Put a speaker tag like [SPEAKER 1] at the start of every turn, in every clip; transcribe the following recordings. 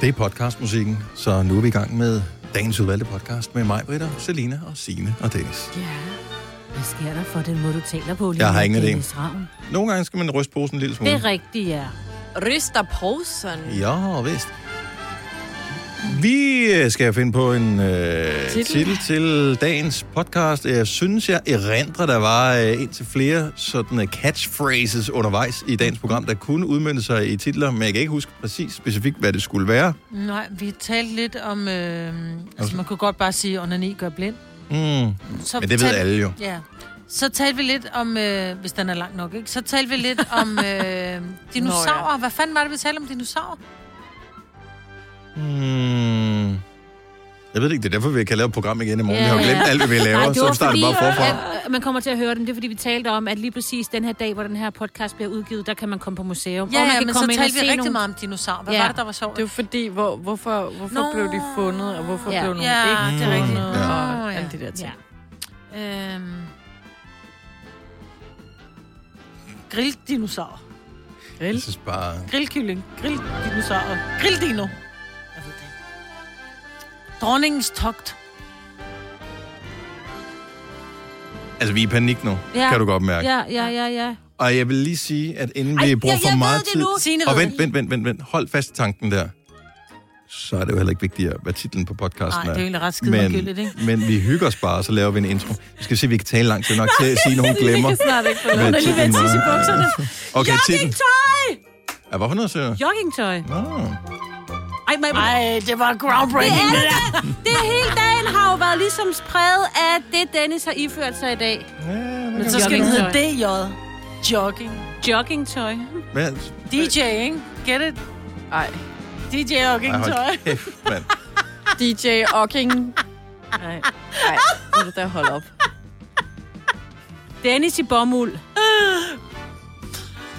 [SPEAKER 1] Det er podcastmusikken, så nu er vi i gang med dagens udvalgte podcast med mig, Britta, Selina og Sine og Dennis.
[SPEAKER 2] Ja. Hvad sker der for den måde, du taler på?
[SPEAKER 1] Jeg har ingen idé. Mm.
[SPEAKER 2] Dennis Ravn?
[SPEAKER 1] Nogle gange skal man ryste posen en lille smule.
[SPEAKER 2] Det er rigtigt, ja.
[SPEAKER 3] Ryster posen.
[SPEAKER 1] Ja, vist. Vi øh, skal finde på en øh, titel.
[SPEAKER 3] Titel.
[SPEAKER 1] titel til dagens podcast. Jeg synes, jeg erindrer, der var øh, indtil flere sådan øh, catchphrases undervejs i dagens program, der kunne udmønte sig i titler, men jeg kan ikke huske præcis specifikt, hvad det skulle være.
[SPEAKER 4] Nej, vi talte lidt om... Øh, altså, man kunne godt bare sige, at onani gør blind.
[SPEAKER 1] Mm. Men
[SPEAKER 4] Så
[SPEAKER 1] det ved
[SPEAKER 4] talte-
[SPEAKER 1] alle jo.
[SPEAKER 4] Ja. Så talte vi lidt om, øh, hvis den er lang nok, ikke? Så talte vi lidt om øh, dinosaurer. Nå,
[SPEAKER 3] Nå,
[SPEAKER 4] ja. Hvad fanden var det, vi talte om dinosaurer?
[SPEAKER 1] Mm. Jeg ved det ikke, det er derfor, vi kan lave et program igen i morgen.
[SPEAKER 2] Ja,
[SPEAKER 1] Yeah. Vi har jo
[SPEAKER 2] ja.
[SPEAKER 1] glemt alt, hvad vi laver,
[SPEAKER 2] Ej,
[SPEAKER 1] Ej,
[SPEAKER 2] det
[SPEAKER 1] så
[SPEAKER 2] var
[SPEAKER 1] vi starter
[SPEAKER 2] fordi,
[SPEAKER 1] bare forfra.
[SPEAKER 2] at, øh, man kommer til at høre dem. Det er fordi, vi talte om, at lige præcis den her dag, hvor den her podcast bliver udgivet, der kan man komme på museum.
[SPEAKER 4] Ja,
[SPEAKER 2] og man
[SPEAKER 4] ja,
[SPEAKER 2] kan
[SPEAKER 4] men så
[SPEAKER 2] komme ind og
[SPEAKER 4] talte vi
[SPEAKER 2] se
[SPEAKER 4] rigtig
[SPEAKER 2] nogle...
[SPEAKER 4] meget om dinosaurer. Hvad
[SPEAKER 2] Ja.
[SPEAKER 4] ja. var det, der var sjovt?
[SPEAKER 3] Det er jo fordi, hvor, hvorfor, hvorfor
[SPEAKER 4] Nå.
[SPEAKER 3] blev de fundet, og hvorfor
[SPEAKER 2] Ja.
[SPEAKER 3] ja. blev nogle
[SPEAKER 4] Ja,
[SPEAKER 3] ikke
[SPEAKER 4] det er rigtigt.
[SPEAKER 3] fundet,
[SPEAKER 1] Ja.
[SPEAKER 4] Nå,
[SPEAKER 3] og
[SPEAKER 4] ja.
[SPEAKER 3] alle de der ting.
[SPEAKER 2] Ja.
[SPEAKER 4] Øhm, grilldinosaurer.
[SPEAKER 1] Jeg
[SPEAKER 3] Grill.
[SPEAKER 1] synes bare...
[SPEAKER 4] Grillkylling. Grilldinosaurer. Grilldino. Jeg ved det ikke. Dronningens togt.
[SPEAKER 1] Altså, vi er i panik nu,
[SPEAKER 2] Ja.
[SPEAKER 1] kan du godt mærke.
[SPEAKER 2] Ja, ja, ja, ja.
[SPEAKER 1] Og jeg vil lige sige, at inden
[SPEAKER 4] Ej,
[SPEAKER 1] vi
[SPEAKER 4] jeg-
[SPEAKER 1] bruger
[SPEAKER 4] jeg
[SPEAKER 1] for
[SPEAKER 4] ved
[SPEAKER 1] meget
[SPEAKER 4] det
[SPEAKER 1] tid...
[SPEAKER 4] nu. Signe
[SPEAKER 1] og
[SPEAKER 4] ved
[SPEAKER 1] vent,
[SPEAKER 4] det.
[SPEAKER 1] vent, vent, vent, vent. Hold fast i tanken der. Så er det jo heller ikke vigtigere, hvad titlen på podcasten
[SPEAKER 4] Nej, det er jo egentlig ret skide
[SPEAKER 1] men,
[SPEAKER 4] ligegyldigt, ikke?
[SPEAKER 1] men vi hygger os bare, og så laver vi en intro. Vi skal se, at vi kan tale langt til nok til at sige, at hun glemmer.
[SPEAKER 3] snart ikke
[SPEAKER 1] hvad titlen var. Okay, titlen.
[SPEAKER 2] Joggingtøj!
[SPEAKER 1] Ja, hvorfor noget, søger?
[SPEAKER 2] Joggingtøj.
[SPEAKER 1] Nå.
[SPEAKER 2] Ej, men...
[SPEAKER 4] Ej, det var groundbreaking. Det er det.
[SPEAKER 2] Det hele dagen har jo været ligesom spredt af det, Dennis har iført sig i dag.
[SPEAKER 1] Ja,
[SPEAKER 4] Men
[SPEAKER 1] men,
[SPEAKER 4] så skal den hedde DJ. Jogging.
[SPEAKER 2] Joggingtøj.
[SPEAKER 1] men,
[SPEAKER 4] DJ, ikke? Get it?
[SPEAKER 3] Nej,
[SPEAKER 4] DJ
[SPEAKER 1] ej,
[SPEAKER 4] jogging tøj.
[SPEAKER 1] hold kæft, mand.
[SPEAKER 3] DJ Ocking. Nej, nej, nu er det der, hold op.
[SPEAKER 2] Dennis i bomuld.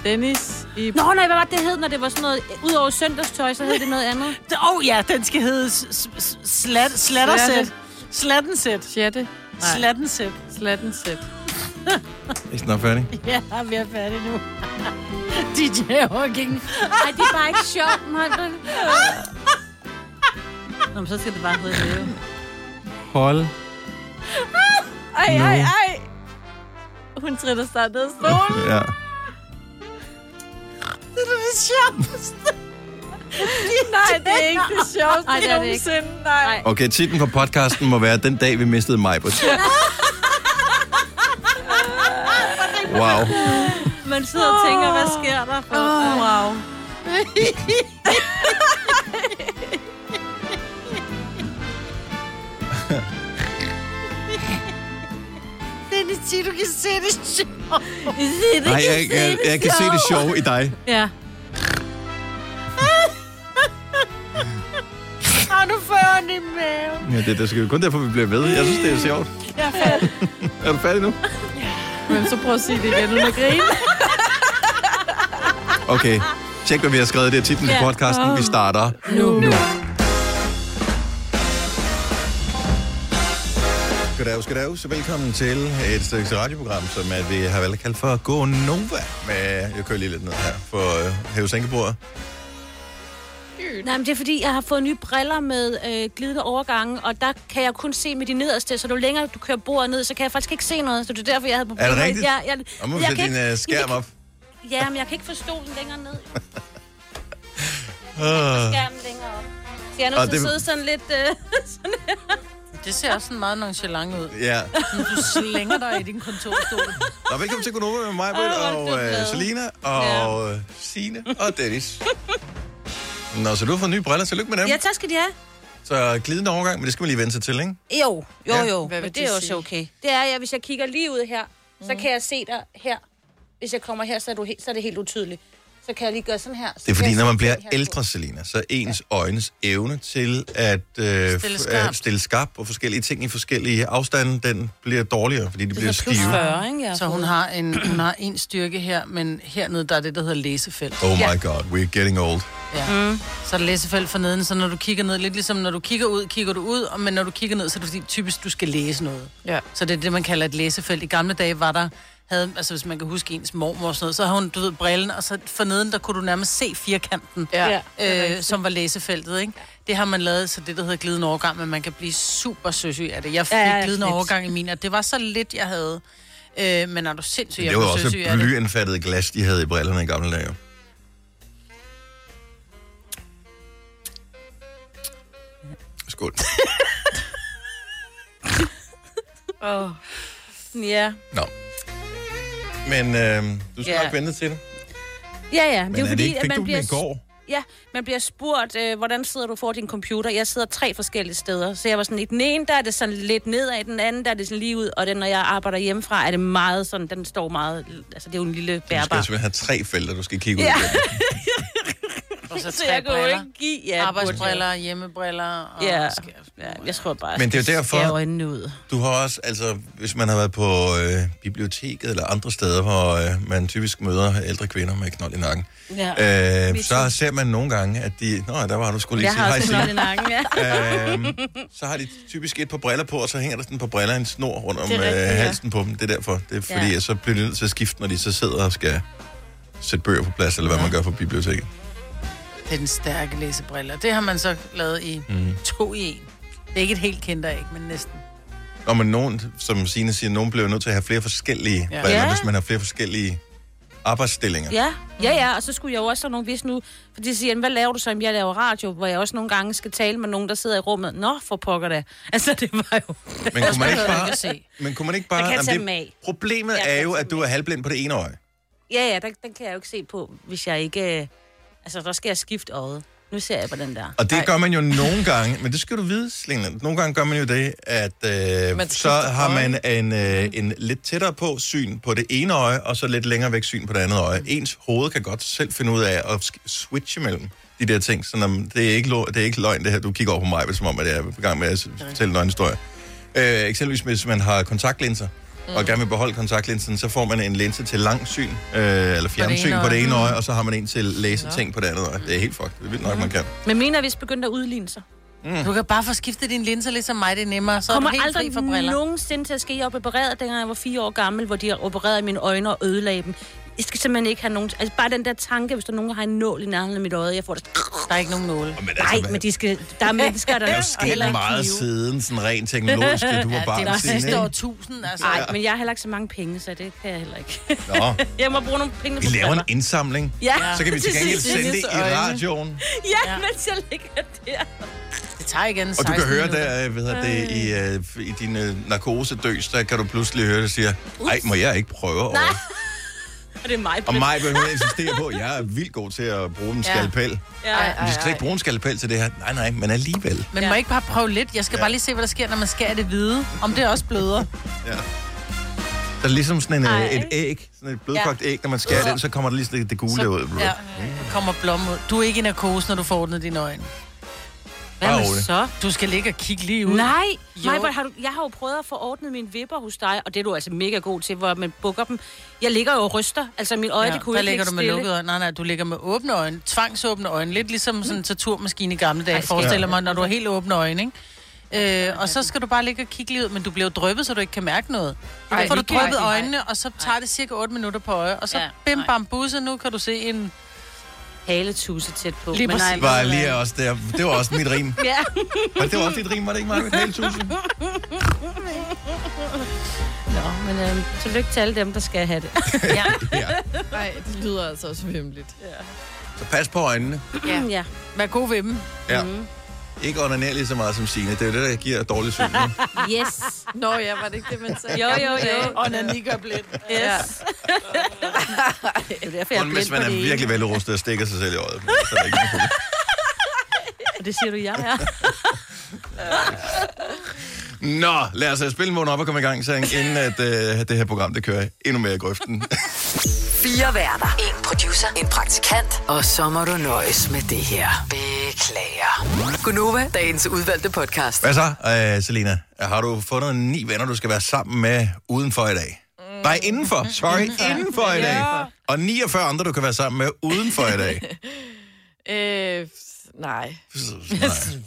[SPEAKER 3] Dennis i...
[SPEAKER 2] Nå, nej, hvad var det, det hed, når det var sådan noget... Udover søndagstøj, så hed det noget andet.
[SPEAKER 4] Åh oh, ja, den skal hedde s- s- slat, slattersæt. Slattensæt.
[SPEAKER 3] 6. Nej,
[SPEAKER 4] Slattensæt.
[SPEAKER 3] slatten sæt.
[SPEAKER 1] Jeg er snart færdig.
[SPEAKER 4] Ja, vi er færdige nu. DJ jogging.
[SPEAKER 2] Nej, det er bare ikke sjovt, Maja. Nå, men så skal det bare hedde det. jo.
[SPEAKER 1] Hold.
[SPEAKER 3] Ej, ej, ej. Hun triller snart ned af stolen.
[SPEAKER 1] Ja.
[SPEAKER 4] Det er det sjoveste.
[SPEAKER 3] Nej, det er ikke det sjoveste
[SPEAKER 2] Ej, det er det ikke.
[SPEAKER 3] nogensinde. Nej.
[SPEAKER 2] Nej.
[SPEAKER 1] Okay, titlen på podcasten må være Den dag, vi mistede mig. Wow.
[SPEAKER 2] Man sidder og tænker, hvad sker der? For? Oh, wow.
[SPEAKER 4] Dennis, sig, du kan se det sjovt.
[SPEAKER 1] Nej, jeg, jeg, jeg kan se det sjove i dig.
[SPEAKER 2] Ja.
[SPEAKER 4] Har du føren i maven?
[SPEAKER 1] Ja, det, det skal jo kun derfor, vi bliver ved. Jeg synes, det er sjovt.
[SPEAKER 4] Jeg er færdig.
[SPEAKER 1] Er du færdig nu?
[SPEAKER 3] Men så prøv at sige det igen, uden at grine.
[SPEAKER 1] Okay. Tjek, hvad vi har skrevet. Det er titlen til podcasten. Vi starter nu. nu. Goddag, goddag. Så velkommen til et stykke radioprogram, som at vi har valgt at kalde for Gå Nova. Med, jeg kører lige lidt ned her for øh, hævesænkebordet.
[SPEAKER 2] Nej, men det er fordi, jeg har fået nye briller med øh, glidende overgange, og der kan jeg kun se med de nederste, så jo længere du kører bordet ned, så kan jeg faktisk ikke se noget. Så det er derfor, jeg havde
[SPEAKER 1] Er
[SPEAKER 2] problemer.
[SPEAKER 1] det rigtigt?
[SPEAKER 2] Jeg, jeg,
[SPEAKER 1] Og må vi
[SPEAKER 2] jeg
[SPEAKER 1] sætte
[SPEAKER 2] kan
[SPEAKER 1] din
[SPEAKER 2] ikke-
[SPEAKER 1] øh, skærm op.
[SPEAKER 2] Ja, men jeg kan ikke forstå den længere ned.
[SPEAKER 1] Uh.
[SPEAKER 2] Skærmen længere op. Så jeg er
[SPEAKER 1] Og
[SPEAKER 2] nødt til at
[SPEAKER 1] det-
[SPEAKER 2] sidde sådan lidt... Øh, sådan her.
[SPEAKER 4] Det ser også sådan meget nonchalant ud.
[SPEAKER 1] Øh, Ja.
[SPEAKER 4] Du slænger dig i din kontorstol.
[SPEAKER 1] Nå, velkommen til Konoba med mig, Britt,
[SPEAKER 2] Åh, hvor
[SPEAKER 1] og
[SPEAKER 2] er det
[SPEAKER 1] øh,
[SPEAKER 2] glad.
[SPEAKER 1] Selina, og øh, Sine og Dennis. Nå, så du har fået nye briller. Tillykke med dem.
[SPEAKER 2] Ja, tak skal de have.
[SPEAKER 1] Så glidende overgang, men det skal man lige vende sig til, ikke?
[SPEAKER 2] Jo, jo,
[SPEAKER 1] Ja.
[SPEAKER 2] jo.
[SPEAKER 3] Hvad vil
[SPEAKER 2] Men det
[SPEAKER 3] det
[SPEAKER 2] er også
[SPEAKER 3] sige?
[SPEAKER 2] okay. Mhm. Det er, at hvis jeg kigger lige ud her, så kan jeg se dig her. Hvis jeg kommer her, så er, du helt, så er det helt utydeligt. Så kan jeg lige gøre sådan her. Så
[SPEAKER 1] Det er fordi,
[SPEAKER 2] kan jeg
[SPEAKER 1] når man
[SPEAKER 2] se
[SPEAKER 1] bliver
[SPEAKER 2] den her
[SPEAKER 1] ældre, Selina, så er ens øjnes evne til at øh,
[SPEAKER 4] Stille
[SPEAKER 1] f-
[SPEAKER 4] skarpt.
[SPEAKER 1] øh, stille skarp på forskellige ting i forskellige afstande, den bliver dårligere, fordi de bliver
[SPEAKER 3] Plus
[SPEAKER 1] stive.
[SPEAKER 3] 40, ikke? Jeg har
[SPEAKER 4] Så hun har, en, hun har en styrke her, men hernede, der er det, der hedder læsefelt.
[SPEAKER 1] Oh my god, we're getting old.
[SPEAKER 4] Ja. Mm. Så er der læsefelt for neden, så når du kigger ned, lidt ligesom når du kigger ud, kigger du ud, og- men når du kigger ned, så er det fordi, typisk, du skal læse noget.
[SPEAKER 3] Ja.
[SPEAKER 4] Så det er det, man kalder et læsefelt. I gamle dage var der havde, altså hvis man kan huske ens mormor og sådan noget, så havde hun, du ved, brillen, og så forneden, der kunne du nærmest se firkanten,
[SPEAKER 3] Ja, det er
[SPEAKER 4] øh,
[SPEAKER 3] rigtigt.
[SPEAKER 4] som var læsefeltet, ikke? Det har man lavet, så det, der hedder glidende overgang, men man kan blive super søsyg af det. Jeg fik
[SPEAKER 3] Ja,
[SPEAKER 4] ja,
[SPEAKER 3] ja,
[SPEAKER 4] glidende
[SPEAKER 3] lidt.
[SPEAKER 4] overgang i min, og det var så lidt, jeg havde. Øh, men er du sindssyg, jeg
[SPEAKER 1] Det var
[SPEAKER 4] blev
[SPEAKER 1] også
[SPEAKER 4] søsyg af det.
[SPEAKER 1] blyindfattet glas, de havde i brillerne i gamle dage. Skål.
[SPEAKER 3] Åh. Ja.
[SPEAKER 1] Nå. Men øh, du skal
[SPEAKER 4] Ja.
[SPEAKER 1] yeah. nok vente til det.
[SPEAKER 2] Ja, ja.
[SPEAKER 1] Men
[SPEAKER 2] det er, jo
[SPEAKER 1] er
[SPEAKER 2] fordi,
[SPEAKER 1] det ikke,
[SPEAKER 2] at
[SPEAKER 1] fik
[SPEAKER 2] man
[SPEAKER 1] du
[SPEAKER 2] bliver,
[SPEAKER 1] den i går?
[SPEAKER 2] Ja, man bliver spurgt, øh, hvordan sidder du for din computer? Jeg sidder tre forskellige steder. Så jeg var sådan, i den ene, der er det sådan lidt nedad, i den anden, der er det sådan lige ud. Og den, når jeg arbejder hjemmefra, er det meget sådan, den står meget... Altså, det er jo en lille
[SPEAKER 1] Du skal
[SPEAKER 2] bærbar.
[SPEAKER 1] simpelthen have tre felter, du skal kigge ud ja.
[SPEAKER 4] Og så
[SPEAKER 2] Så
[SPEAKER 4] tre
[SPEAKER 2] jeg kan jo
[SPEAKER 4] briller.
[SPEAKER 2] ikke give... Ja,
[SPEAKER 4] Arbejdsbriller, hjemmebriller. Og
[SPEAKER 2] Ja,
[SPEAKER 4] skæ-
[SPEAKER 2] ja, jeg tror bare,
[SPEAKER 1] Men det er jo
[SPEAKER 2] jeg
[SPEAKER 1] derfor-
[SPEAKER 2] skærer øjnene ud.
[SPEAKER 1] Du har også, altså, hvis man har været på øh, biblioteket eller andre steder, hvor øh, man typisk møder ældre kvinder med knold i nakken,
[SPEAKER 4] Ja.
[SPEAKER 1] øh, så ser man nogle gange, at de... Nå, ja, der var du skulle lige
[SPEAKER 2] Jeg
[SPEAKER 1] sige
[SPEAKER 2] har
[SPEAKER 1] hej,
[SPEAKER 2] også
[SPEAKER 1] Signe.
[SPEAKER 2] knold i nakken, ja.
[SPEAKER 1] øhm, så har de typisk et par briller på, og så hænger der sådan på briller en snor rundt om
[SPEAKER 3] Det er rigtigt,
[SPEAKER 1] øh,
[SPEAKER 3] ja.
[SPEAKER 1] halsen på dem. Det er derfor. Det er fordi,
[SPEAKER 2] Ja.
[SPEAKER 1] ja. så bliver de nødt til at skifte, når de så sidder og skal sætte bøger på plads, eller hvad man gør på biblioteket.
[SPEAKER 4] Det er den stærke læsebriller. Det har man så lavet i
[SPEAKER 1] Mhm.
[SPEAKER 4] mm. to i en. Det er ikke et helt kinderæg, men næsten.
[SPEAKER 1] Når man nogen, som Signe siger, nogen bliver nødt til at have flere forskellige
[SPEAKER 4] Ja.
[SPEAKER 1] ja. briller,
[SPEAKER 2] Ja.
[SPEAKER 1] hvis man har flere forskellige arbejdsstillinger. Ja.
[SPEAKER 2] Ja, ja, ja, og så skulle jeg jo også have nogle vis nu, for de siger, "Jamen, hvad laver du så, Jamen, jeg laver radio, hvor jeg også nogle gange skal tale med nogen, der sidder i rummet. Nå, for pokker da. Altså, det var jo...
[SPEAKER 1] Men kunne man ikke
[SPEAKER 4] behøver du
[SPEAKER 1] bare...
[SPEAKER 4] ikke at se.
[SPEAKER 1] Men kunne man ikke bare...
[SPEAKER 2] Jeg kan
[SPEAKER 1] Jamen,
[SPEAKER 2] tage
[SPEAKER 1] det-
[SPEAKER 2] dem af.
[SPEAKER 1] Problemet
[SPEAKER 2] Jeg
[SPEAKER 1] er
[SPEAKER 2] kan
[SPEAKER 1] jo,
[SPEAKER 2] tage
[SPEAKER 1] at du er halvblind på det ene øje.
[SPEAKER 2] Ja, ja, den, den kan jeg jo ikke se på, hvis jeg ikke... øh, Altså, der skal jeg skifte øjet. Nu ser jeg på den der.
[SPEAKER 1] Og det gør man jo nogle gange, men det skal du vide, Selina. Nogle gange gør man jo det, at øh,
[SPEAKER 3] Man
[SPEAKER 1] så
[SPEAKER 3] skifter
[SPEAKER 1] har man en, øh, en lidt tættere på syn på det ene øje, og så lidt længere væk syn på det andet øje. Ens hoved kan godt selv finde ud af at sk- switche mellem de der ting. Så om, det, er ikke lo- det er ikke løgn, det her. Du kigger over på mig, som om at jeg er i gang med at s- fortælle en løgnhistorie. Øh, eksempelvis hvis man har kontaktlinser, mm. og gerne vil beholde kontaktlinsen, så får man en linse til langsyn, øh, eller fjernsyn
[SPEAKER 4] ene
[SPEAKER 1] på det
[SPEAKER 4] øje.
[SPEAKER 1] ene øje, og så har man en til læseting på det andet øje. Det er helt fucked. Det er vildt nok, man kan.
[SPEAKER 2] Men mine er vist begyndt at udligne sig.
[SPEAKER 1] Mhm.
[SPEAKER 4] Du kan bare få skiftet dine linser lidt som mig, det er nemmere. Så
[SPEAKER 2] Kommer
[SPEAKER 4] er du helt fri for
[SPEAKER 2] aldrig
[SPEAKER 4] briller.
[SPEAKER 2] nogensinde til at ske. Jeg blev opereret, dengang jeg var fire år gammel, hvor de har opereret mine øjne og ødelagde dem. Jeg skal simpelthen ikke have nogen... Altså, bare den der tanke, hvis der er nogen, der har en nål i nærheden af mit øje, jeg får det...
[SPEAKER 4] Der er ikke nogen nåle.
[SPEAKER 1] Men altså,
[SPEAKER 2] Nej,
[SPEAKER 1] hvad-
[SPEAKER 2] men de skal... Der er mennesker, der...
[SPEAKER 1] Der er jo sket meget siden, sådan rent teknologisk, da du var
[SPEAKER 4] Ja,
[SPEAKER 1] barn.
[SPEAKER 4] det var
[SPEAKER 1] Signe,
[SPEAKER 4] sidste
[SPEAKER 1] ikke?
[SPEAKER 4] år tusind, altså.
[SPEAKER 2] Nej, men jeg har heller ikke så mange penge, så det kan jeg heller ikke.
[SPEAKER 1] Nå,
[SPEAKER 2] Jeg må bruge nogle penge
[SPEAKER 1] vi
[SPEAKER 2] på
[SPEAKER 1] laver en
[SPEAKER 2] briller.
[SPEAKER 1] indsamling.
[SPEAKER 2] Ja,
[SPEAKER 1] Så kan vi til gengæld
[SPEAKER 2] Cecilies
[SPEAKER 1] sende det i
[SPEAKER 4] øjne.
[SPEAKER 1] radioen.
[SPEAKER 2] Ja, ja, mens jeg ligger der.
[SPEAKER 4] Det tager igen
[SPEAKER 1] Og du
[SPEAKER 4] 16
[SPEAKER 1] kan høre
[SPEAKER 4] minutter.
[SPEAKER 1] der, øh, hvad hedder det, i, øh, i din øh, narkosedøs, der kan du pludselig høre det siger, nej, må jeg ikke prøve over.
[SPEAKER 2] Og det er mig.
[SPEAKER 1] Og mig behøver jeg insistere på, jeg er vildt god til at bruge en
[SPEAKER 4] Ja.
[SPEAKER 1] skalpel.
[SPEAKER 2] Ja.
[SPEAKER 1] Men vi skal slet ikke bruge en skalpel til det her. Nej, nej, men alligevel.
[SPEAKER 4] Men må jeg ikke bare prøve lidt? Jeg skal bare lige se, hvad der sker, når man skærer det hvide. Om det også bløder.
[SPEAKER 1] Ja. Der er ligesom sådan en, øh,
[SPEAKER 2] Ej.
[SPEAKER 1] et æg, sådan et blødkogt æg, når man skærer den, så kommer der lige sådan det, det gule ud.
[SPEAKER 4] ja, der kommer blom ud. Du er ikke i narkose, når du får ordnet dine øjne.
[SPEAKER 2] Hvad
[SPEAKER 1] Bare
[SPEAKER 2] med
[SPEAKER 1] rolig.
[SPEAKER 2] så?
[SPEAKER 4] Du skal ligge og kigge lige ud.
[SPEAKER 2] Nej,
[SPEAKER 4] Jo.
[SPEAKER 2] Majbert, har du, jeg har jo prøvet at få ordnet mine vipper hos dig, og det er du altså mega god til, hvor man bukker dem. Jeg ligger jo og ryster, altså min øje, ja, det kunne
[SPEAKER 4] der
[SPEAKER 2] ikke
[SPEAKER 4] ligger
[SPEAKER 2] ligge
[SPEAKER 4] du med
[SPEAKER 2] stille.
[SPEAKER 4] lukkede øjne. Nej, nej, du ligger med åbne øjne. Tvangsåbne øjne. Lidt ligesom
[SPEAKER 2] Mm.
[SPEAKER 4] sådan en torturmaskine i gamle dage, forestiller mig, når du har helt åbne øjne, ikke? Øh, og så skal du bare ligge og kigge lige ud, men du bliver jo dryppet, så du ikke kan mærke noget.
[SPEAKER 3] Ej,
[SPEAKER 4] Så får du
[SPEAKER 3] det kan jeg
[SPEAKER 4] dryppet
[SPEAKER 3] ikke.
[SPEAKER 4] øjnene, og så tager det cirka 8 minutter på øje, og så
[SPEAKER 2] Ja,
[SPEAKER 4] bim
[SPEAKER 2] nej.
[SPEAKER 4] bam busse, nu kan du se en...
[SPEAKER 2] Haletuse tæt på.
[SPEAKER 4] Lige
[SPEAKER 2] men nej,
[SPEAKER 4] præcis.
[SPEAKER 1] Var lige også der. Det var også mit rim.
[SPEAKER 2] ja.
[SPEAKER 1] Men det var også dit rim, var det ikke, Marvind? Hele tusind.
[SPEAKER 2] Nå, men øhm, tillykke til alle dem, der skal have det.
[SPEAKER 4] Ja,
[SPEAKER 1] Ja.
[SPEAKER 3] Nej, det lyder altså også vimligt.
[SPEAKER 1] Så pas på øjnene.
[SPEAKER 2] ja. ja.
[SPEAKER 4] vær god ved dem.
[SPEAKER 1] Ja. Mm. Ikke onaner lige så meget som Signe. Det er jo det, der giver dårlig syn. ikke?
[SPEAKER 2] Yes.
[SPEAKER 3] Nå ja, var det ikke det, man sagde?
[SPEAKER 2] Jo, jo, jo.
[SPEAKER 4] Og Nani gør blind.
[SPEAKER 2] Yes. Det er derfor, jeg er
[SPEAKER 1] Kun hvis
[SPEAKER 2] blind
[SPEAKER 1] man
[SPEAKER 2] på
[SPEAKER 1] er
[SPEAKER 2] det ene.
[SPEAKER 1] virkelig velrustet og stikker sig selv i øjet. Så er der ikke noget problem.
[SPEAKER 2] Og det siger du, jeg er.
[SPEAKER 1] Nå, lad os øh, spille måden op og komme i gang, sang, inden at øh, det her program det kører endnu mere i grøften.
[SPEAKER 5] Fire værter. En producer. En praktikant. Og så må du nøjes med det her. Beklager. Gunova, dagens udvalgte podcast.
[SPEAKER 1] Hvad så, øh, Selina? Har du fundet ni venner, du skal være sammen med udenfor i dag? Nej, indenfor. Sorry, indenfor i dag. Og 49 andre, du kan være sammen med udenfor i dag.
[SPEAKER 3] Øh, nej,
[SPEAKER 1] Nej.
[SPEAKER 3] det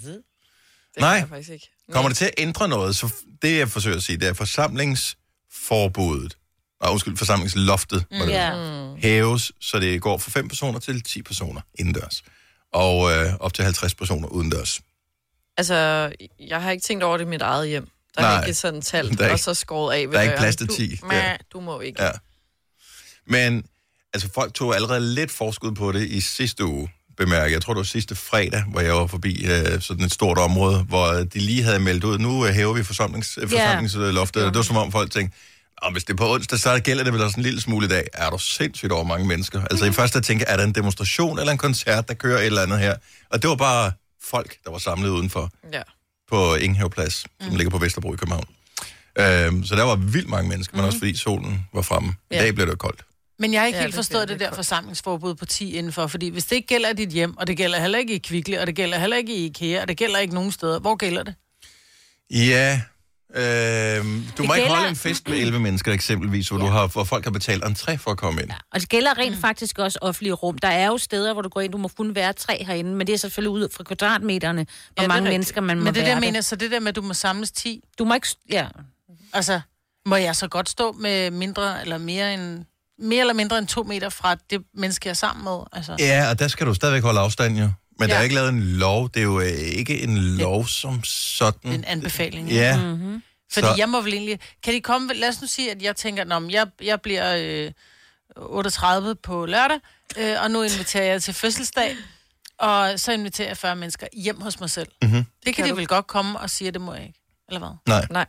[SPEAKER 1] Nej.
[SPEAKER 3] kan jeg faktisk ikke.
[SPEAKER 1] Kommer det til at ændre noget? Så f- det, jeg forsøger at sige, det er forsamlingsforbuddet nej, undskyld, forsamlingsloftet, mm. det
[SPEAKER 2] Ja.
[SPEAKER 1] hæves, så det går fra 5 personer til 10 personer indendørs. Og øh, op til 50 personer udendørs.
[SPEAKER 6] Altså, jeg har ikke tænkt over det i mit eget hjem. Der er
[SPEAKER 1] Nej.
[SPEAKER 6] ikke et sådan tal,
[SPEAKER 1] Der er
[SPEAKER 6] og
[SPEAKER 1] ikke-
[SPEAKER 6] så skåret af ved
[SPEAKER 1] der er ikke
[SPEAKER 6] døren.
[SPEAKER 1] plads til 10
[SPEAKER 6] Du,
[SPEAKER 1] der.
[SPEAKER 6] mæh, du må ikke.
[SPEAKER 1] Ja. Men altså, folk tog allerede lidt forskud på det i sidste uge, bemærker. Jeg tror, det var sidste fredag, hvor jeg var forbi øh, sådan et stort område, hvor øh, de lige havde meldt ud, nu øh, hæver vi forsamlings, øh, forsamlingsloftet. Yeah. Det var som om folk tænkte, og hvis det er på onsdag, så gælder det vel også en lille smule i dag. Er du sindssygt over mange mennesker? Altså i første tænker jeg, er der en demonstration eller en koncert, der kører et eller andet her? Og det var bare folk, der var samlet udenfor
[SPEAKER 6] Ja.
[SPEAKER 1] på Ingenhav Plads, som ligger på Vesterbro i København. Øhm, så der var vildt mange mennesker, men også fordi solen var fremme. I
[SPEAKER 4] Ja.
[SPEAKER 1] dag blev det koldt.
[SPEAKER 4] Men jeg har ikke
[SPEAKER 6] Ja,
[SPEAKER 4] ja, helt
[SPEAKER 6] det
[SPEAKER 4] forstået
[SPEAKER 6] bliver
[SPEAKER 4] det, det der
[SPEAKER 6] lidt
[SPEAKER 4] forsamlingsforbud på 10 indenfor, fordi hvis det ikke gælder i dit hjem, og det gælder heller ikke i Kvickly, og det gælder heller ikke i IKEA, og det gælder ikke nogen steder, hvor gælder det?
[SPEAKER 1] Ja, øhm, du det må ikke
[SPEAKER 2] gælder-
[SPEAKER 1] holde en fest med 11 mennesker eksempelvis, hvor, ja. du har, hvor folk har betalt entré for at komme ind.
[SPEAKER 2] Og det gælder rent faktisk også offentlige rum. Der er jo steder, hvor du går ind, du må kun være tre herinde, men det er selvfølgelig ud fra kvadratmeterne, hvor
[SPEAKER 6] er
[SPEAKER 2] ja, mange
[SPEAKER 6] rigtigt.
[SPEAKER 2] mennesker man må
[SPEAKER 4] Men det
[SPEAKER 2] være
[SPEAKER 4] der mener, jeg, så det der med, at du må samles 10,
[SPEAKER 2] Du må ikke... Ja.
[SPEAKER 4] altså, må jeg så godt stå med mindre eller mere end, mere eller mindre end to meter fra det menneske, jeg er sammen med? Altså,
[SPEAKER 1] Ja, og der skal du stadigvæk holde afstand, jo. Men ja. der er
[SPEAKER 4] Ja.
[SPEAKER 1] ikke lavet en lov. Det er jo øh, ikke en lov som sådan.
[SPEAKER 4] en Mm. anbefaling.
[SPEAKER 1] Ja,
[SPEAKER 4] Fordi
[SPEAKER 1] Så-
[SPEAKER 4] så... jeg må vel egentlig... Kan de komme... Lad os nu sige, at jeg tænker, Nå, men jeg, jeg bliver øh, 38 på lørdag, øh, og nu inviterer jeg til fødselsdag, og så inviterer jeg 40 mennesker hjem hos mig selv.
[SPEAKER 1] Mhm.
[SPEAKER 4] Mm-hmm. Det, det kan
[SPEAKER 6] kan
[SPEAKER 4] de
[SPEAKER 6] du.
[SPEAKER 4] vel godt komme og sige, at det må jeg ikke. Eller hvad?
[SPEAKER 1] nej.
[SPEAKER 6] Nej.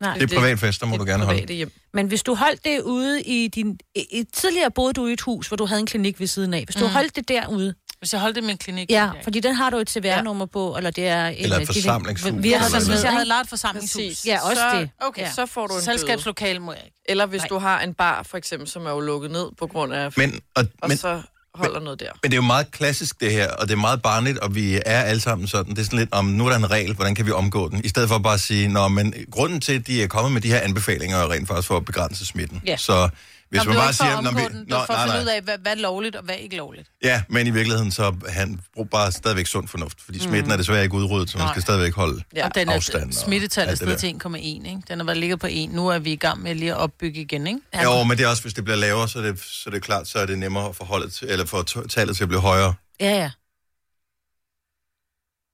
[SPEAKER 2] Nej.
[SPEAKER 1] Det er privat fest, der må du gerne holde.
[SPEAKER 6] private hjem.
[SPEAKER 2] Men hvis du holdt det ude i din... I, i, tidligere boede du i et hus, hvor du havde en klinik ved siden af. Hvis du holdt det derude,
[SPEAKER 4] Hvis jeg holdt det i min klinik...
[SPEAKER 2] Mm. ja,
[SPEAKER 4] ville jeg ikke.
[SPEAKER 2] fordi den har du et CVR-nummer på, eller det er... En,
[SPEAKER 1] Eller et
[SPEAKER 2] det er-
[SPEAKER 1] forsamlingshus,
[SPEAKER 2] Vi- Vi
[SPEAKER 1] eller
[SPEAKER 2] har
[SPEAKER 1] noget.
[SPEAKER 4] Altså, hvis jeg havde
[SPEAKER 2] sådan
[SPEAKER 4] lejet et forsamlingshus,
[SPEAKER 6] Præcis.
[SPEAKER 2] Ja, også
[SPEAKER 4] så,
[SPEAKER 2] det.
[SPEAKER 4] Okay,
[SPEAKER 2] Ja.
[SPEAKER 4] så
[SPEAKER 6] Så får du en Selskabslo-
[SPEAKER 4] selskabslokale må jeg ikke.
[SPEAKER 6] Eller hvis
[SPEAKER 4] Nej.
[SPEAKER 6] du har en bar, for eksempel, som er jo lukket ned på grund af...
[SPEAKER 1] Men, og,
[SPEAKER 6] og
[SPEAKER 1] men,
[SPEAKER 6] så holder noget der.
[SPEAKER 1] Men det er jo meget klassisk det her, og det er meget barnligt, og vi er alle sammen sådan. Det er sådan lidt om, nu er der en regel, hvordan kan vi omgå den? I stedet for bare at sige, nå, men grunden til, at de er kommet med de her anbefalinger, er rent faktisk for at begrænse smitten.
[SPEAKER 2] Ja.
[SPEAKER 1] Så hvis
[SPEAKER 4] Nå,
[SPEAKER 1] man
[SPEAKER 4] det var
[SPEAKER 1] bare
[SPEAKER 4] ikke for
[SPEAKER 1] siger,
[SPEAKER 4] at
[SPEAKER 1] "Nå,
[SPEAKER 4] omgå
[SPEAKER 1] vi-
[SPEAKER 4] den, det
[SPEAKER 1] nå,
[SPEAKER 4] var for at
[SPEAKER 1] nej,
[SPEAKER 4] finde ud
[SPEAKER 1] nej.
[SPEAKER 4] af, hvad, hvad er lovligt og hvad er ikke lovligt.
[SPEAKER 1] Ja, men i virkeligheden, så han brug bare stadigvæk sund fornuft, fordi smitten mm. er desværre ikke udryddet, så man
[SPEAKER 4] Nej.
[SPEAKER 1] skal stadigvæk holde
[SPEAKER 4] Ja. Og den
[SPEAKER 1] afstand
[SPEAKER 4] er
[SPEAKER 1] og
[SPEAKER 4] smittetallet er
[SPEAKER 1] alt det
[SPEAKER 4] stedet til 1,1, ikke? Den har været ligget på 1. Nu er vi i gang med lige at opbygge igen, ikke?
[SPEAKER 1] Jo, men det er også, hvis det bliver lavere, så er det, så er det klart, så er det nemmere at forholde til, eller for t- tallet til at blive højere.
[SPEAKER 2] Ja, ja.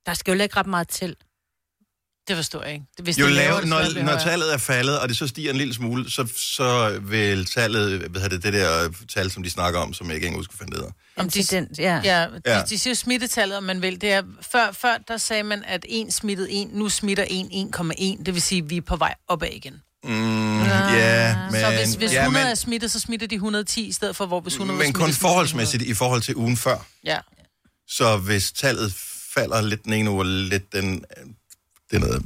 [SPEAKER 2] Der skal jo ikke ret meget til.
[SPEAKER 4] Det forstår jeg ikke. Hvis
[SPEAKER 1] Jo
[SPEAKER 4] det er
[SPEAKER 1] lavere,
[SPEAKER 4] det
[SPEAKER 1] når,
[SPEAKER 4] skal
[SPEAKER 1] når
[SPEAKER 4] være højere.
[SPEAKER 1] tallet er faldet, og det så stiger en lille smule, så, så vil tallet, hvad hedder det, det der øh, tal, som de snakker om, som jeg ikke engang husker, hvad det hedder.
[SPEAKER 4] Om de-
[SPEAKER 2] Incident, ja. ja.
[SPEAKER 4] Ja, de,
[SPEAKER 1] Ja.
[SPEAKER 4] ja. de siger smittetallet, om man vil. Det er, før, før der sagde man, at en smittede en, nu smitter en 1,1. Det vil sige, at vi er på vej opad igen.
[SPEAKER 1] Mm, ja, men,
[SPEAKER 4] så hvis, hvis
[SPEAKER 1] ja,
[SPEAKER 4] 100 er
[SPEAKER 1] men,
[SPEAKER 4] smittet, så smitter de 110 i stedet for, hvor hvis 100 er
[SPEAKER 1] men kun
[SPEAKER 4] smittet, så smitter de
[SPEAKER 1] forholdsmæssigt i forhold til ugen før.
[SPEAKER 4] 100. Ja.
[SPEAKER 1] Så hvis tallet falder lidt den ene uge, og lidt den... øh, Det er noget,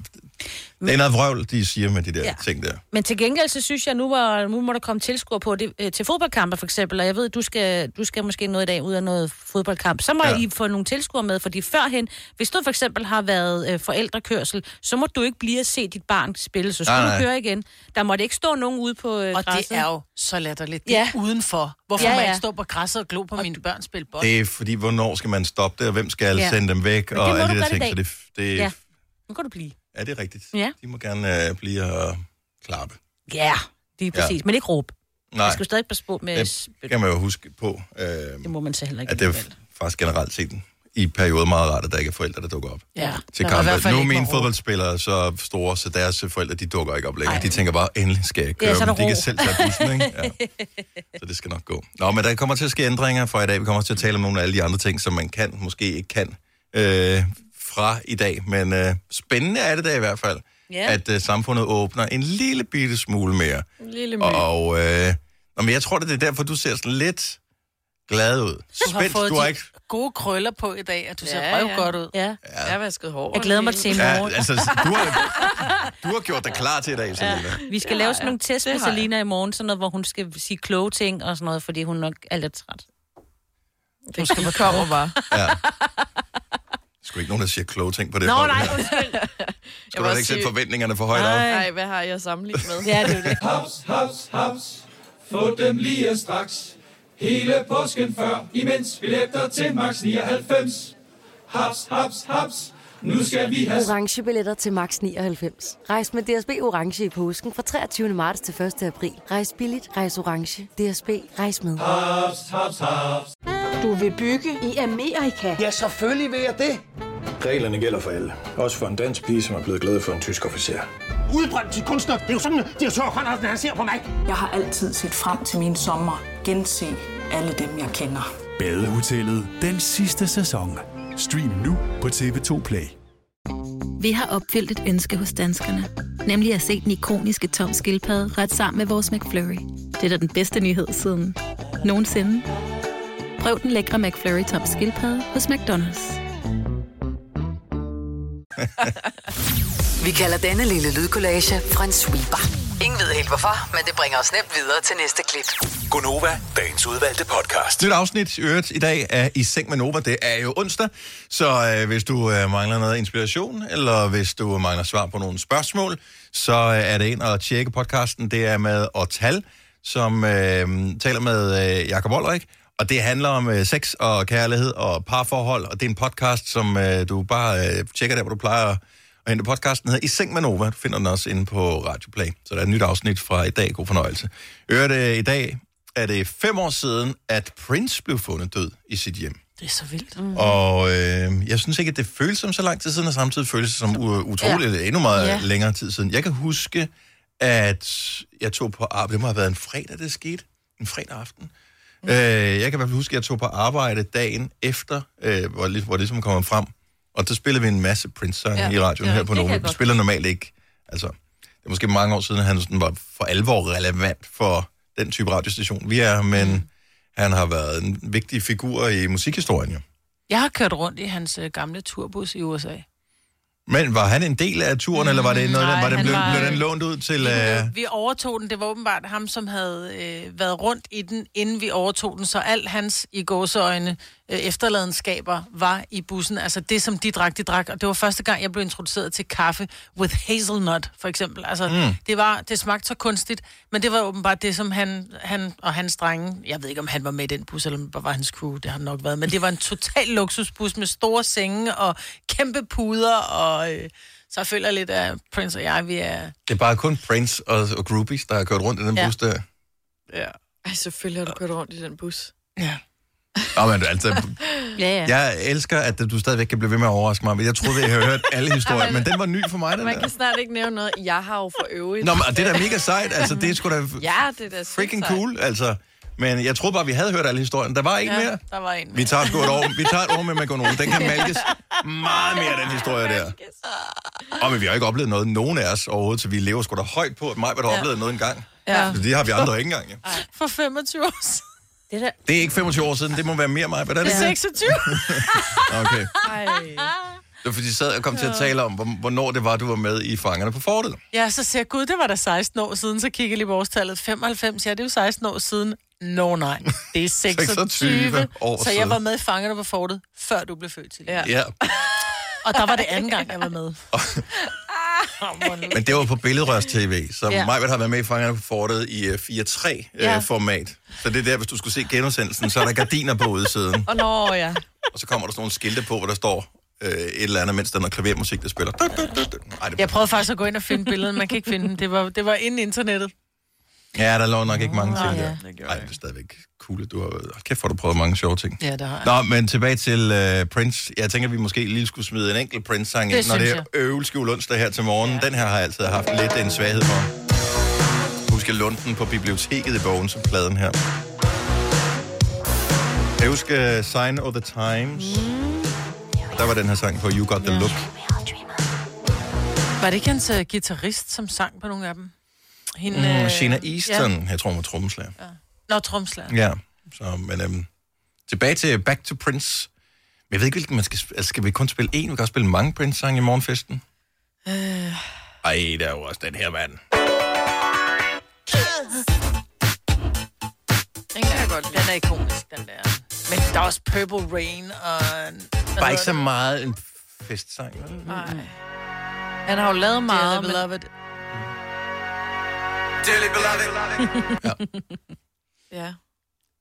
[SPEAKER 1] det er noget vrøvl, de siger med de der ja.
[SPEAKER 2] Ja.
[SPEAKER 1] ting der.
[SPEAKER 2] Men til gengæld, så synes jeg, nu, var, nu må der komme tilskuer på det, øh, til fodboldkampe for eksempel, og jeg ved, du skal, du skal måske noget i dag ud af noget fodboldkamp, så må
[SPEAKER 1] Ja.
[SPEAKER 2] ja. I få nogle tilskuere med, fordi førhen, hvis du for eksempel har været øh, forældrekørsel, så må du ikke blive at se dit barn spille, så skulle
[SPEAKER 1] Nej, nej.
[SPEAKER 2] du køre igen. Der måtte ikke stå nogen ude på øh,
[SPEAKER 4] Og det
[SPEAKER 2] græsset.
[SPEAKER 4] er jo så latterligt. Det er
[SPEAKER 2] Ja.
[SPEAKER 4] ja. udenfor. Hvorfor
[SPEAKER 2] Ja,
[SPEAKER 4] ja, ja. må jeg
[SPEAKER 2] ja.
[SPEAKER 4] ikke stå på græsset og glo på mine børn spille bold?
[SPEAKER 1] Det er fordi, hvornår skal man stoppe det, og hvem skal ja.
[SPEAKER 2] Ja.
[SPEAKER 1] sende dem væk,
[SPEAKER 2] det må
[SPEAKER 1] og alle
[SPEAKER 2] du
[SPEAKER 1] de der
[SPEAKER 2] godt i
[SPEAKER 1] ting. Så
[SPEAKER 2] dag.
[SPEAKER 1] det, det ja.
[SPEAKER 2] Ja. Nu kan du blive.
[SPEAKER 1] er det rigtigt.
[SPEAKER 2] Ja.
[SPEAKER 1] De må gerne øh, blive og klappe.
[SPEAKER 2] Ja, yeah. lige
[SPEAKER 1] Ja.
[SPEAKER 2] præcis. Ja. Men ikke råbe.
[SPEAKER 1] Nej.
[SPEAKER 2] Jeg skal jo stadig passe på med...
[SPEAKER 1] Det
[SPEAKER 2] Det,
[SPEAKER 1] kan man jo huske på, øh,
[SPEAKER 2] det må man så heller ikke.
[SPEAKER 1] at det er
[SPEAKER 2] alligevel.
[SPEAKER 1] faktisk generelt set i perioder meget rart, at der ikke er forældre, der dukker op
[SPEAKER 4] Ja.
[SPEAKER 1] til
[SPEAKER 4] Der var i hvert
[SPEAKER 1] kampe.
[SPEAKER 4] fald
[SPEAKER 1] Nu er
[SPEAKER 4] ikke
[SPEAKER 1] mine
[SPEAKER 4] nogen ro.
[SPEAKER 1] fodboldspillere så store, så deres forældre, de dukker ikke op længere. De tænker bare, endelig skal jeg køre,
[SPEAKER 2] Ja, så er
[SPEAKER 1] men
[SPEAKER 2] der
[SPEAKER 1] de kan
[SPEAKER 2] ro.
[SPEAKER 1] selv tage bussen, ikke? Ja. Så det skal nok gå. Nå, men der kommer til at ske ændringer fra i dag. Vi kommer også til at tale om nogle af alle de andre ting, som man kan, måske ikke kan øh, fra i dag. Men øh, spændende er det da i hvert fald,
[SPEAKER 2] Ja.
[SPEAKER 1] at øh, samfundet åbner en lille bitte smule mere.
[SPEAKER 4] Mm.
[SPEAKER 6] En lille my.
[SPEAKER 1] Og øh, nå, men jeg tror, det er derfor, du ser sådan lidt glad ud.
[SPEAKER 4] Du har
[SPEAKER 1] Spændt,
[SPEAKER 4] fået
[SPEAKER 1] du har
[SPEAKER 4] de
[SPEAKER 1] ikke...
[SPEAKER 4] gode krøller på i dag, at du ser
[SPEAKER 6] Ja,
[SPEAKER 4] ja,
[SPEAKER 6] ja.
[SPEAKER 4] godt ud.
[SPEAKER 2] Ja.
[SPEAKER 6] Ja. Jeg har vasket hår.
[SPEAKER 2] Jeg glæder mig til i
[SPEAKER 1] Ja,
[SPEAKER 2] morgen.
[SPEAKER 1] altså, du har, du har gjort dig klar til i dag, Selina.
[SPEAKER 2] Vi skal ja, lave sådan nogle tests med
[SPEAKER 6] har jeg.
[SPEAKER 2] Selina i morgen, sådan noget, hvor hun skal sige kloge ting og sådan noget, fordi hun nok er lidt træt.
[SPEAKER 6] Det kommer bare.
[SPEAKER 1] Sgu ikke nogen, der siger kloge ting på det.
[SPEAKER 2] Nå,
[SPEAKER 1] hold
[SPEAKER 2] nej,
[SPEAKER 1] her.
[SPEAKER 2] undskyld.
[SPEAKER 1] Skulle du
[SPEAKER 6] må
[SPEAKER 1] da ikke sætte
[SPEAKER 6] sige-
[SPEAKER 1] forventningerne for højt op?
[SPEAKER 2] Nej.
[SPEAKER 6] Nej, hvad har jeg sammenlignet med?
[SPEAKER 2] Ja, det er jo det.
[SPEAKER 7] Haps, haps, haps. Få dem lige straks. Hele påsken før, imens vi læfter til max 99. Haps, haps, haps. Nu skal vi have...
[SPEAKER 8] orange billetter til max 99. Rejs med DSB orange i påsken fra 23. marts til 1. april. Rejs billigt, rejs orange. DSB rejs med.
[SPEAKER 7] Haps, haps, haps.
[SPEAKER 9] Du vil bygge i Amerika? Ja, selvfølgelig vil jeg det.
[SPEAKER 10] Reglerne gælder for alle. Også for en dansk pige, som er blevet glad for en tysk officer.
[SPEAKER 9] Udbrøndt til kunstner. Det er jo sådan, at de har Conradsen, han ser på mig. Jeg har altid set frem til min sommer. Gense alle dem, jeg kender.
[SPEAKER 11] Badehotellet den sidste sæson. Stream nu på TV2 Play.
[SPEAKER 12] Vi har opfyldt et ønske hos danskerne. Nemlig at se den ikoniske tom skildpadde ret sammen med vores McFlurry. Det er da den bedste nyhed siden nogensinde. Prøv den lækre McFlurry tom skildpadde hos McDonald's.
[SPEAKER 5] Vi kalder denne lille lydkollage en sweeper. Ingen ved helt hvorfor, men det bringer os nemt videre til næste klip.
[SPEAKER 11] Gunova, dagens udvalgte podcast.
[SPEAKER 1] Nyt afsnit i øvrigt i dag af I Seng med Nova. Det er jo onsdag, så øh, hvis du øh, mangler noget inspiration, eller hvis du mangler svar på nogle spørgsmål, så øh, er det ind og tjekke podcasten. Det er med Ortal, som øh, taler med øh, Jakob Olrik, og det handler om øh, sex og kærlighed og parforhold, og det er en podcast, som øh, du bare øh, tjekker der, hvor du plejer at hente podcasten. Den hedder I Seng med Nova. Du finder den også inde på Radio Play. Så der er et nyt afsnit fra i dag. God fornøjelse. Øret øh, i dag er det fem år siden, at Prince blev fundet død i sit hjem.
[SPEAKER 4] Det er så vildt. Mm.
[SPEAKER 1] Og øh, jeg synes ikke, at det føles som så lang tid siden, og samtidig føles det som u- utroligt ja. endnu meget
[SPEAKER 4] Ja.
[SPEAKER 1] ja. længere tid siden. Jeg kan huske, at jeg tog på arbejde. Det må have været en fredag, det skete. En fredag aften. Mm. Øh, jeg kan i hvert fald huske, at jeg tog på arbejde dagen efter, øh, hvor, lig- hvor det som kom frem. Og der spillede vi en masse Prince-sange
[SPEAKER 13] Ja.
[SPEAKER 1] ja. i radioen
[SPEAKER 13] Ja,
[SPEAKER 1] ja, her på
[SPEAKER 13] det kan
[SPEAKER 1] Nova.
[SPEAKER 13] jeg
[SPEAKER 1] Vi
[SPEAKER 13] godt
[SPEAKER 1] spiller normalt ikke. Altså, det er måske mange år siden, at han sådan var for alvor relevant for den type radiostation, vi er, men mm. han har været en vigtig figur i musikhistorien jo.
[SPEAKER 4] Jeg har kørt rundt i hans øh, gamle turbus i USA.
[SPEAKER 1] Men var han en del af turen, mm, eller var det noget,
[SPEAKER 4] nej,
[SPEAKER 1] nej, var den
[SPEAKER 4] han
[SPEAKER 1] blev,
[SPEAKER 4] var-
[SPEAKER 1] var... blev den lånt ud til... Øh...
[SPEAKER 4] Vi overtog den. Det var åbenbart ham, som havde øh, været rundt i den, inden vi overtog den. Så alt hans i gåseøjne øh, efterladenskaber var i bussen. Altså det, som de drak, de drak. Og det var første gang, jeg blev introduceret til kaffe with hazelnut, for eksempel. Altså mm.
[SPEAKER 14] Mm.
[SPEAKER 4] det, var, det smagte så kunstigt, men det var åbenbart det, som han, han og hans drenge... Jeg ved ikke, om han var med i den bus, eller om det bare var hans crew. Det har han nok været. Men det var en total luksusbus med store senge og kæmpe puder og... Øh, så jeg føler lidt, at Prince og jeg, vi er...
[SPEAKER 1] Det er bare kun Prince og, og groupies, der har kørt rundt i den
[SPEAKER 4] Ja.
[SPEAKER 1] ja. bus der.
[SPEAKER 4] Ja.
[SPEAKER 6] Ej, selvfølgelig har du kørt rundt i den bus.
[SPEAKER 4] Ja.
[SPEAKER 1] Nå, men altså,
[SPEAKER 6] ja, ja.
[SPEAKER 1] jeg elsker, at du stadigvæk kan blive ved med at overraske mig, men jeg troede, jeg havde hørt alle historier, men den var ny for mig, den
[SPEAKER 6] Man
[SPEAKER 1] der.
[SPEAKER 6] kan snart ikke nævne noget. Jeg har jo for øvrigt.
[SPEAKER 1] Nå, men og det er da mega sejt, altså det er sgu da
[SPEAKER 6] Ja, det er da sygt
[SPEAKER 1] freaking
[SPEAKER 6] sejt.
[SPEAKER 1] cool, altså. Men jeg troede bare, vi havde hørt alle historien. Der var ikke
[SPEAKER 6] Ja,
[SPEAKER 1] mere.
[SPEAKER 4] Der var en.
[SPEAKER 1] Vi tager sgu et år, vi tager et år med Magonone. Den kan malkes meget mere, den historie der. Og men vi har ikke oplevet noget, nogen af os overhovedet, så vi lever sgu da højt på, at mig har
[SPEAKER 4] Ja.
[SPEAKER 1] oplevet noget engang.
[SPEAKER 4] Ja.
[SPEAKER 1] Ja. Så det har vi andre ikke engang. Ja.
[SPEAKER 4] For 25 år siden.
[SPEAKER 2] Det er
[SPEAKER 1] Det er ikke 25 år siden, det må være mere mig. Hvad er det?
[SPEAKER 4] 26.
[SPEAKER 1] Okay.
[SPEAKER 4] Ej.
[SPEAKER 1] Det var fordi, de sad og kom til at tale om, hvor- hvornår det var, du var med i Fangerne på Fortet.
[SPEAKER 4] Ja, så siger jeg, gud, det var da 16 år siden, så kigger jeg lige på årstallet. 95, ja, det er jo 16 år siden. Nå no, nej, det er 26.
[SPEAKER 1] 26 år
[SPEAKER 4] så jeg
[SPEAKER 1] siden.
[SPEAKER 4] var med i Fangerne på Fortet, før du blev født til. Ja.
[SPEAKER 1] Ja,
[SPEAKER 4] Og der var det anden gang, jeg var med.
[SPEAKER 1] men det var på Billedrørs TV, så
[SPEAKER 4] Ja.
[SPEAKER 1] ja. Majbert har været med i Fangerne på Fortet i øh, 4-3-format. Så det er der, hvis du skulle se genudsendelsen, så er der gardiner på udsiden.
[SPEAKER 6] Og nå, ja.
[SPEAKER 1] Og så kommer der sådan nogle skilte på, hvor der står øh, et eller andet, mens der er noget klavermusik, der spiller. Ej, det,
[SPEAKER 4] Jeg prøvede faktisk at gå ind og finde billedet, man kan ikke finde dem. Det var, det var inden internettet.
[SPEAKER 1] ja, der lå nok ikke mange
[SPEAKER 4] Nå, ja.
[SPEAKER 1] ting der. Ej, det er stadigvæk cool. at Du har, hold kæft, hvor har du prøvet mange sjove ting.
[SPEAKER 4] Ja, det har jeg.
[SPEAKER 1] Nå, men tilbage til øh, Prince. Jeg tænker, vi måske lige skulle smide en enkelt Prince-sang
[SPEAKER 4] Det
[SPEAKER 1] ind, når
[SPEAKER 4] synes
[SPEAKER 1] det er øvelskjul onsdag her til morgen. Ja. Den her har jeg altid haft lidt en svaghed for. Husk, jeg lånte den på biblioteket i bogen som pladen her. Jeg husker øh, Sign of the Times. Mm. Der var den her sang på You Got The Look.
[SPEAKER 4] Var det ikke hans uh, guitarist, som sang på nogle af dem? Hende,
[SPEAKER 1] Mm,
[SPEAKER 4] øh,
[SPEAKER 1] Sheena Easton,
[SPEAKER 4] Ja.
[SPEAKER 1] ja. jeg tror, hun var trommeslager.
[SPEAKER 4] Nå, tromslager.
[SPEAKER 1] Ja, så, men øhm, tilbage til Back to Prince. Men jeg ved ikke, hvilken man skal... sp- Altså, skal vi kun spille en? Vi kan også spille mange Prince-sange i morgenfesten.
[SPEAKER 6] Øh,
[SPEAKER 1] Ej, der er jo også den her mand.
[SPEAKER 4] Den kan jeg godt lide. Den er ikonisk, den der. Men der er også Purple Rain og...
[SPEAKER 1] Bare ikke så meget en festsang. vel?
[SPEAKER 4] Nej. Han har jo lavet meget, men... Beloved.
[SPEAKER 1] Dearly beloved.
[SPEAKER 6] ja.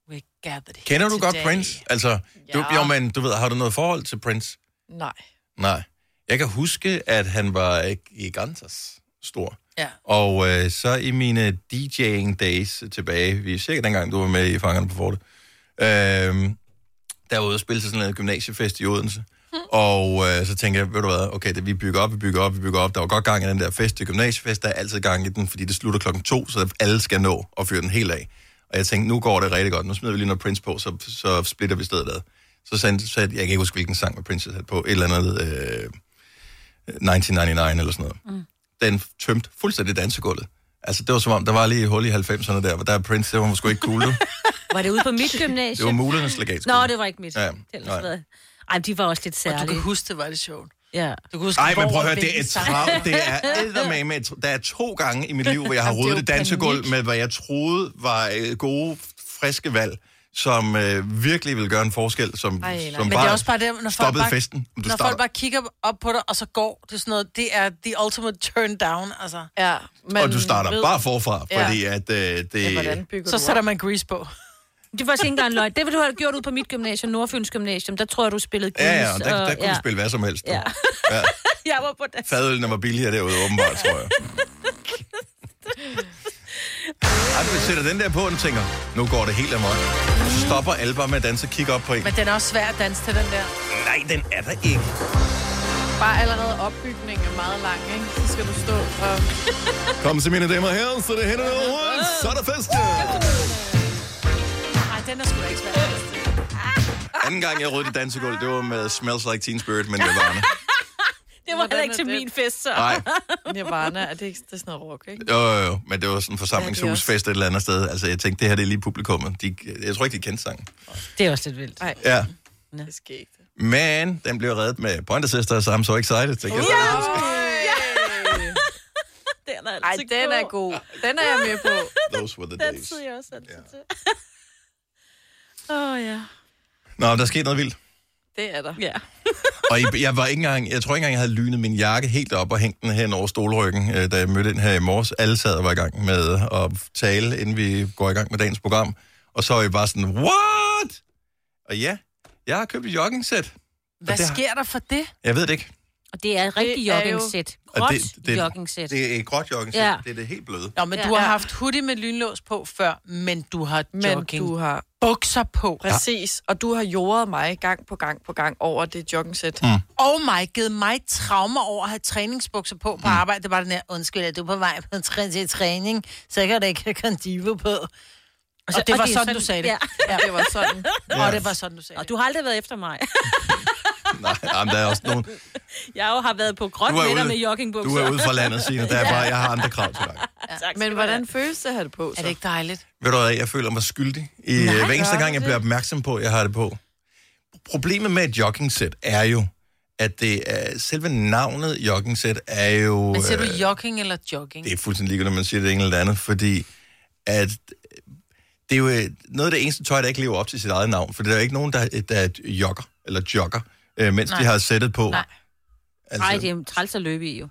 [SPEAKER 4] We gathered
[SPEAKER 1] Kender du
[SPEAKER 6] here
[SPEAKER 1] godt
[SPEAKER 6] today.
[SPEAKER 1] Prince? Altså, du,
[SPEAKER 6] Ja.
[SPEAKER 1] jo, men du ved, har du noget forhold til Prince?
[SPEAKER 6] Nej.
[SPEAKER 1] Nej. Jeg kan huske, at han var øh, gigantisk stor.
[SPEAKER 4] Ja.
[SPEAKER 1] Og øh, så i mine DJ'ing days tilbage, vi er cirka dengang, du var med i Fangerne på Forte, øh, der var ude og spille til sådan en gymnasiefest i Odense. Og øh, så tænkte jeg, ved du hvad, okay, det, vi bygger op, vi bygger op, vi bygger op. Der var godt gang i den der fest, det er gymnasiefest, der er altid gang i den, fordi det slutter klokken to, så alle skal nå at fyre den helt af. Og jeg tænkte, nu går det rigtig godt, nu smider vi lige noget Prince på, så, så splitter vi stedet ad. Så sendte, så jeg kan ikke huske, hvilken sang med Prince havde på, et eller andet øh, 1999 eller sådan noget
[SPEAKER 2] Mm.
[SPEAKER 1] den tømte fuldstændig dansegulvet. Altså, det var som om, der var lige et hul i 90'erne der, hvor der er Prince, det var måske ikke cool, du.
[SPEAKER 2] Var det ude på mit gymnasie?
[SPEAKER 1] Det var mulernes legatskole.
[SPEAKER 2] Nå, det var ikke mit.
[SPEAKER 1] Ja,
[SPEAKER 2] Ja,
[SPEAKER 1] nej.
[SPEAKER 2] det Ej, de var også lidt særlige.
[SPEAKER 4] Og du kan huske, det var lidt sjovt.
[SPEAKER 2] Ja.
[SPEAKER 4] Du kan huske,
[SPEAKER 1] Nej, men
[SPEAKER 4] hvor
[SPEAKER 1] prøv at høre,
[SPEAKER 4] og
[SPEAKER 1] det er et
[SPEAKER 4] hvilken
[SPEAKER 1] trav.
[SPEAKER 4] sang.
[SPEAKER 1] Det er eddermame. et tra- Der er to gange i mit liv, hvor jeg har
[SPEAKER 4] Det er
[SPEAKER 1] rodet
[SPEAKER 4] jo
[SPEAKER 1] det dansegulv med, hvad jeg troede var øh, gode, friske valg, som øh, virkelig ville gøre en forskel, som,
[SPEAKER 4] Ej, nej.
[SPEAKER 1] som
[SPEAKER 4] men det er også bare det, når folk
[SPEAKER 1] stoppede
[SPEAKER 4] bare,
[SPEAKER 1] festen.
[SPEAKER 4] Når
[SPEAKER 1] Du
[SPEAKER 4] folk
[SPEAKER 1] starter,
[SPEAKER 4] bare kigger op på dig, og så går, det er sådan noget, det er the ultimate turn down, altså.
[SPEAKER 6] Ja,
[SPEAKER 1] og du starter bare forfra, fordi at øh, det...
[SPEAKER 4] så sætter man grease på.
[SPEAKER 2] Det var ikke engang løgn. Det, du har gjort ud på mit gymnasium, Nordfyns Gymnasium, der tror jeg, du spillede gris.
[SPEAKER 1] Ja, ja, og der, der
[SPEAKER 2] og-
[SPEAKER 1] kunne du spille hvad som helst.
[SPEAKER 2] Ja.
[SPEAKER 1] Ja.
[SPEAKER 2] jeg var på det.
[SPEAKER 1] Fadølene var billigere derude, åbenbart, tror jeg. Ej, du sætter den der på, og tænker, nu går det helt amok. Og så stopper alle bare med at danse og kigge op på en.
[SPEAKER 4] Men den er også svær at danse til, den der.
[SPEAKER 1] Nej, den er der ikke.
[SPEAKER 6] Bare allerede opbygningen er meget lang, ikke? Så skal du stå og...
[SPEAKER 1] Kom så, mine damer og herrer, så det hænder over, så er der fest.
[SPEAKER 4] Nej, den er sgu da ikke svær. at danse til.
[SPEAKER 1] Anden gang, jeg rødte dansegulv, det var med Smells Like Teen Spirit, men jeg var
[SPEAKER 2] Det var heller ikke til min fest, så.
[SPEAKER 1] Nej.
[SPEAKER 6] Nirvana, er det ikke det er sådan noget rock, ikke?
[SPEAKER 1] Jo, jo, jo, men det var sådan en forsamlingshusfest et eller andet sted. Altså, jeg tænkte, det her det er lige publikummet. De, jeg tror ikke, de kendte sangen.
[SPEAKER 2] Det er også lidt vildt.
[SPEAKER 6] Nej,
[SPEAKER 1] Ja.
[SPEAKER 6] det sker ikke.
[SPEAKER 1] Men den blev reddet med Pointer Sisters, I'm so excited. Tænkte jeg.
[SPEAKER 2] den er
[SPEAKER 6] Ej, den er god. Den er jeg med på.
[SPEAKER 1] Those were the days.
[SPEAKER 2] sidder jeg også altid til. Åh, oh, ja.
[SPEAKER 1] Nå, der skete noget vildt.
[SPEAKER 6] Det er der.
[SPEAKER 2] Ja.
[SPEAKER 1] Og I- jeg var ikke engang, jeg tror ikke engang, jeg havde lynet min jakke helt op og hængt den hen over stolryggen, øh, da jeg mødte ind her i morges. Alle sad og var i gang med at tale, inden vi går i gang med dagens program. Og så var jeg bare sådan, what? Og ja, jeg har købt et joggingsæt.
[SPEAKER 4] Hvad
[SPEAKER 1] det har-
[SPEAKER 4] sker der for det?
[SPEAKER 1] Jeg ved det ikke.
[SPEAKER 2] Og det er et rigtigt
[SPEAKER 4] Det er jo-
[SPEAKER 2] joggingsæt.
[SPEAKER 1] Og
[SPEAKER 2] Gråt joggingsæt.
[SPEAKER 1] Det er et gråt joggingsæt.
[SPEAKER 2] Ja.
[SPEAKER 1] Ja. Det er det helt bløde.
[SPEAKER 4] Nå, men ja. du har haft hoodie med lynlås på før, men du har
[SPEAKER 6] Men
[SPEAKER 4] jogging.
[SPEAKER 6] du har...
[SPEAKER 4] Bukser på.
[SPEAKER 6] Præcis. Og du har jordet mig gang på gang på gang over det joggingsæt.
[SPEAKER 1] Mm.
[SPEAKER 4] Og mig Oh givet mig traumer over at have træningsbukser på på arbejde. Det var den her, undskyld, er du på vej på en træ- til træning, så kan det ikke have kondivo på. Og,
[SPEAKER 2] så-
[SPEAKER 4] det
[SPEAKER 2] og
[SPEAKER 4] var sådan,
[SPEAKER 2] det er sådan-
[SPEAKER 4] du sagde det.
[SPEAKER 2] ja.
[SPEAKER 4] Ja.
[SPEAKER 6] Det var sådan.
[SPEAKER 1] Ja.
[SPEAKER 4] Og det var sådan, du sagde
[SPEAKER 2] Og du har aldrig været efter mig.
[SPEAKER 1] Nej, jamen, der er også nogen.
[SPEAKER 2] Jeg jo har været på gråt
[SPEAKER 1] Du er
[SPEAKER 2] netter
[SPEAKER 1] ude-
[SPEAKER 2] med joggingbukser.
[SPEAKER 1] Du er ude fra landet, Signe. Der er bare, jeg har andre krav til dig.
[SPEAKER 6] Ja. Men hvordan føles det at have det på? Så? Er det
[SPEAKER 4] ikke dejligt?
[SPEAKER 1] Ved du hvad, jeg føler mig skyldig. I, Nej, hver
[SPEAKER 6] gør
[SPEAKER 1] eneste
[SPEAKER 6] du
[SPEAKER 1] gang, jeg
[SPEAKER 6] det?
[SPEAKER 1] bliver opmærksom på, at jeg har det på. Problemet med et joggingsæt er jo, at det er, selve navnet joggingsæt er jo...
[SPEAKER 4] Men siger du
[SPEAKER 1] øh,
[SPEAKER 4] jogging eller jogging?
[SPEAKER 1] det er fuldstændig ligegyldigt, om man siger det ene eller det andet, fordi at det er jo øh, noget af det eneste tøj, der ikke lever op til sit eget navn, for der er jo ikke nogen, der, der jogger, eller jogger, øh, mens Nej.
[SPEAKER 2] Nej.
[SPEAKER 1] de har sættet på.
[SPEAKER 2] Nej.
[SPEAKER 1] Altså-
[SPEAKER 2] Nej, det er træls at løbe i jo.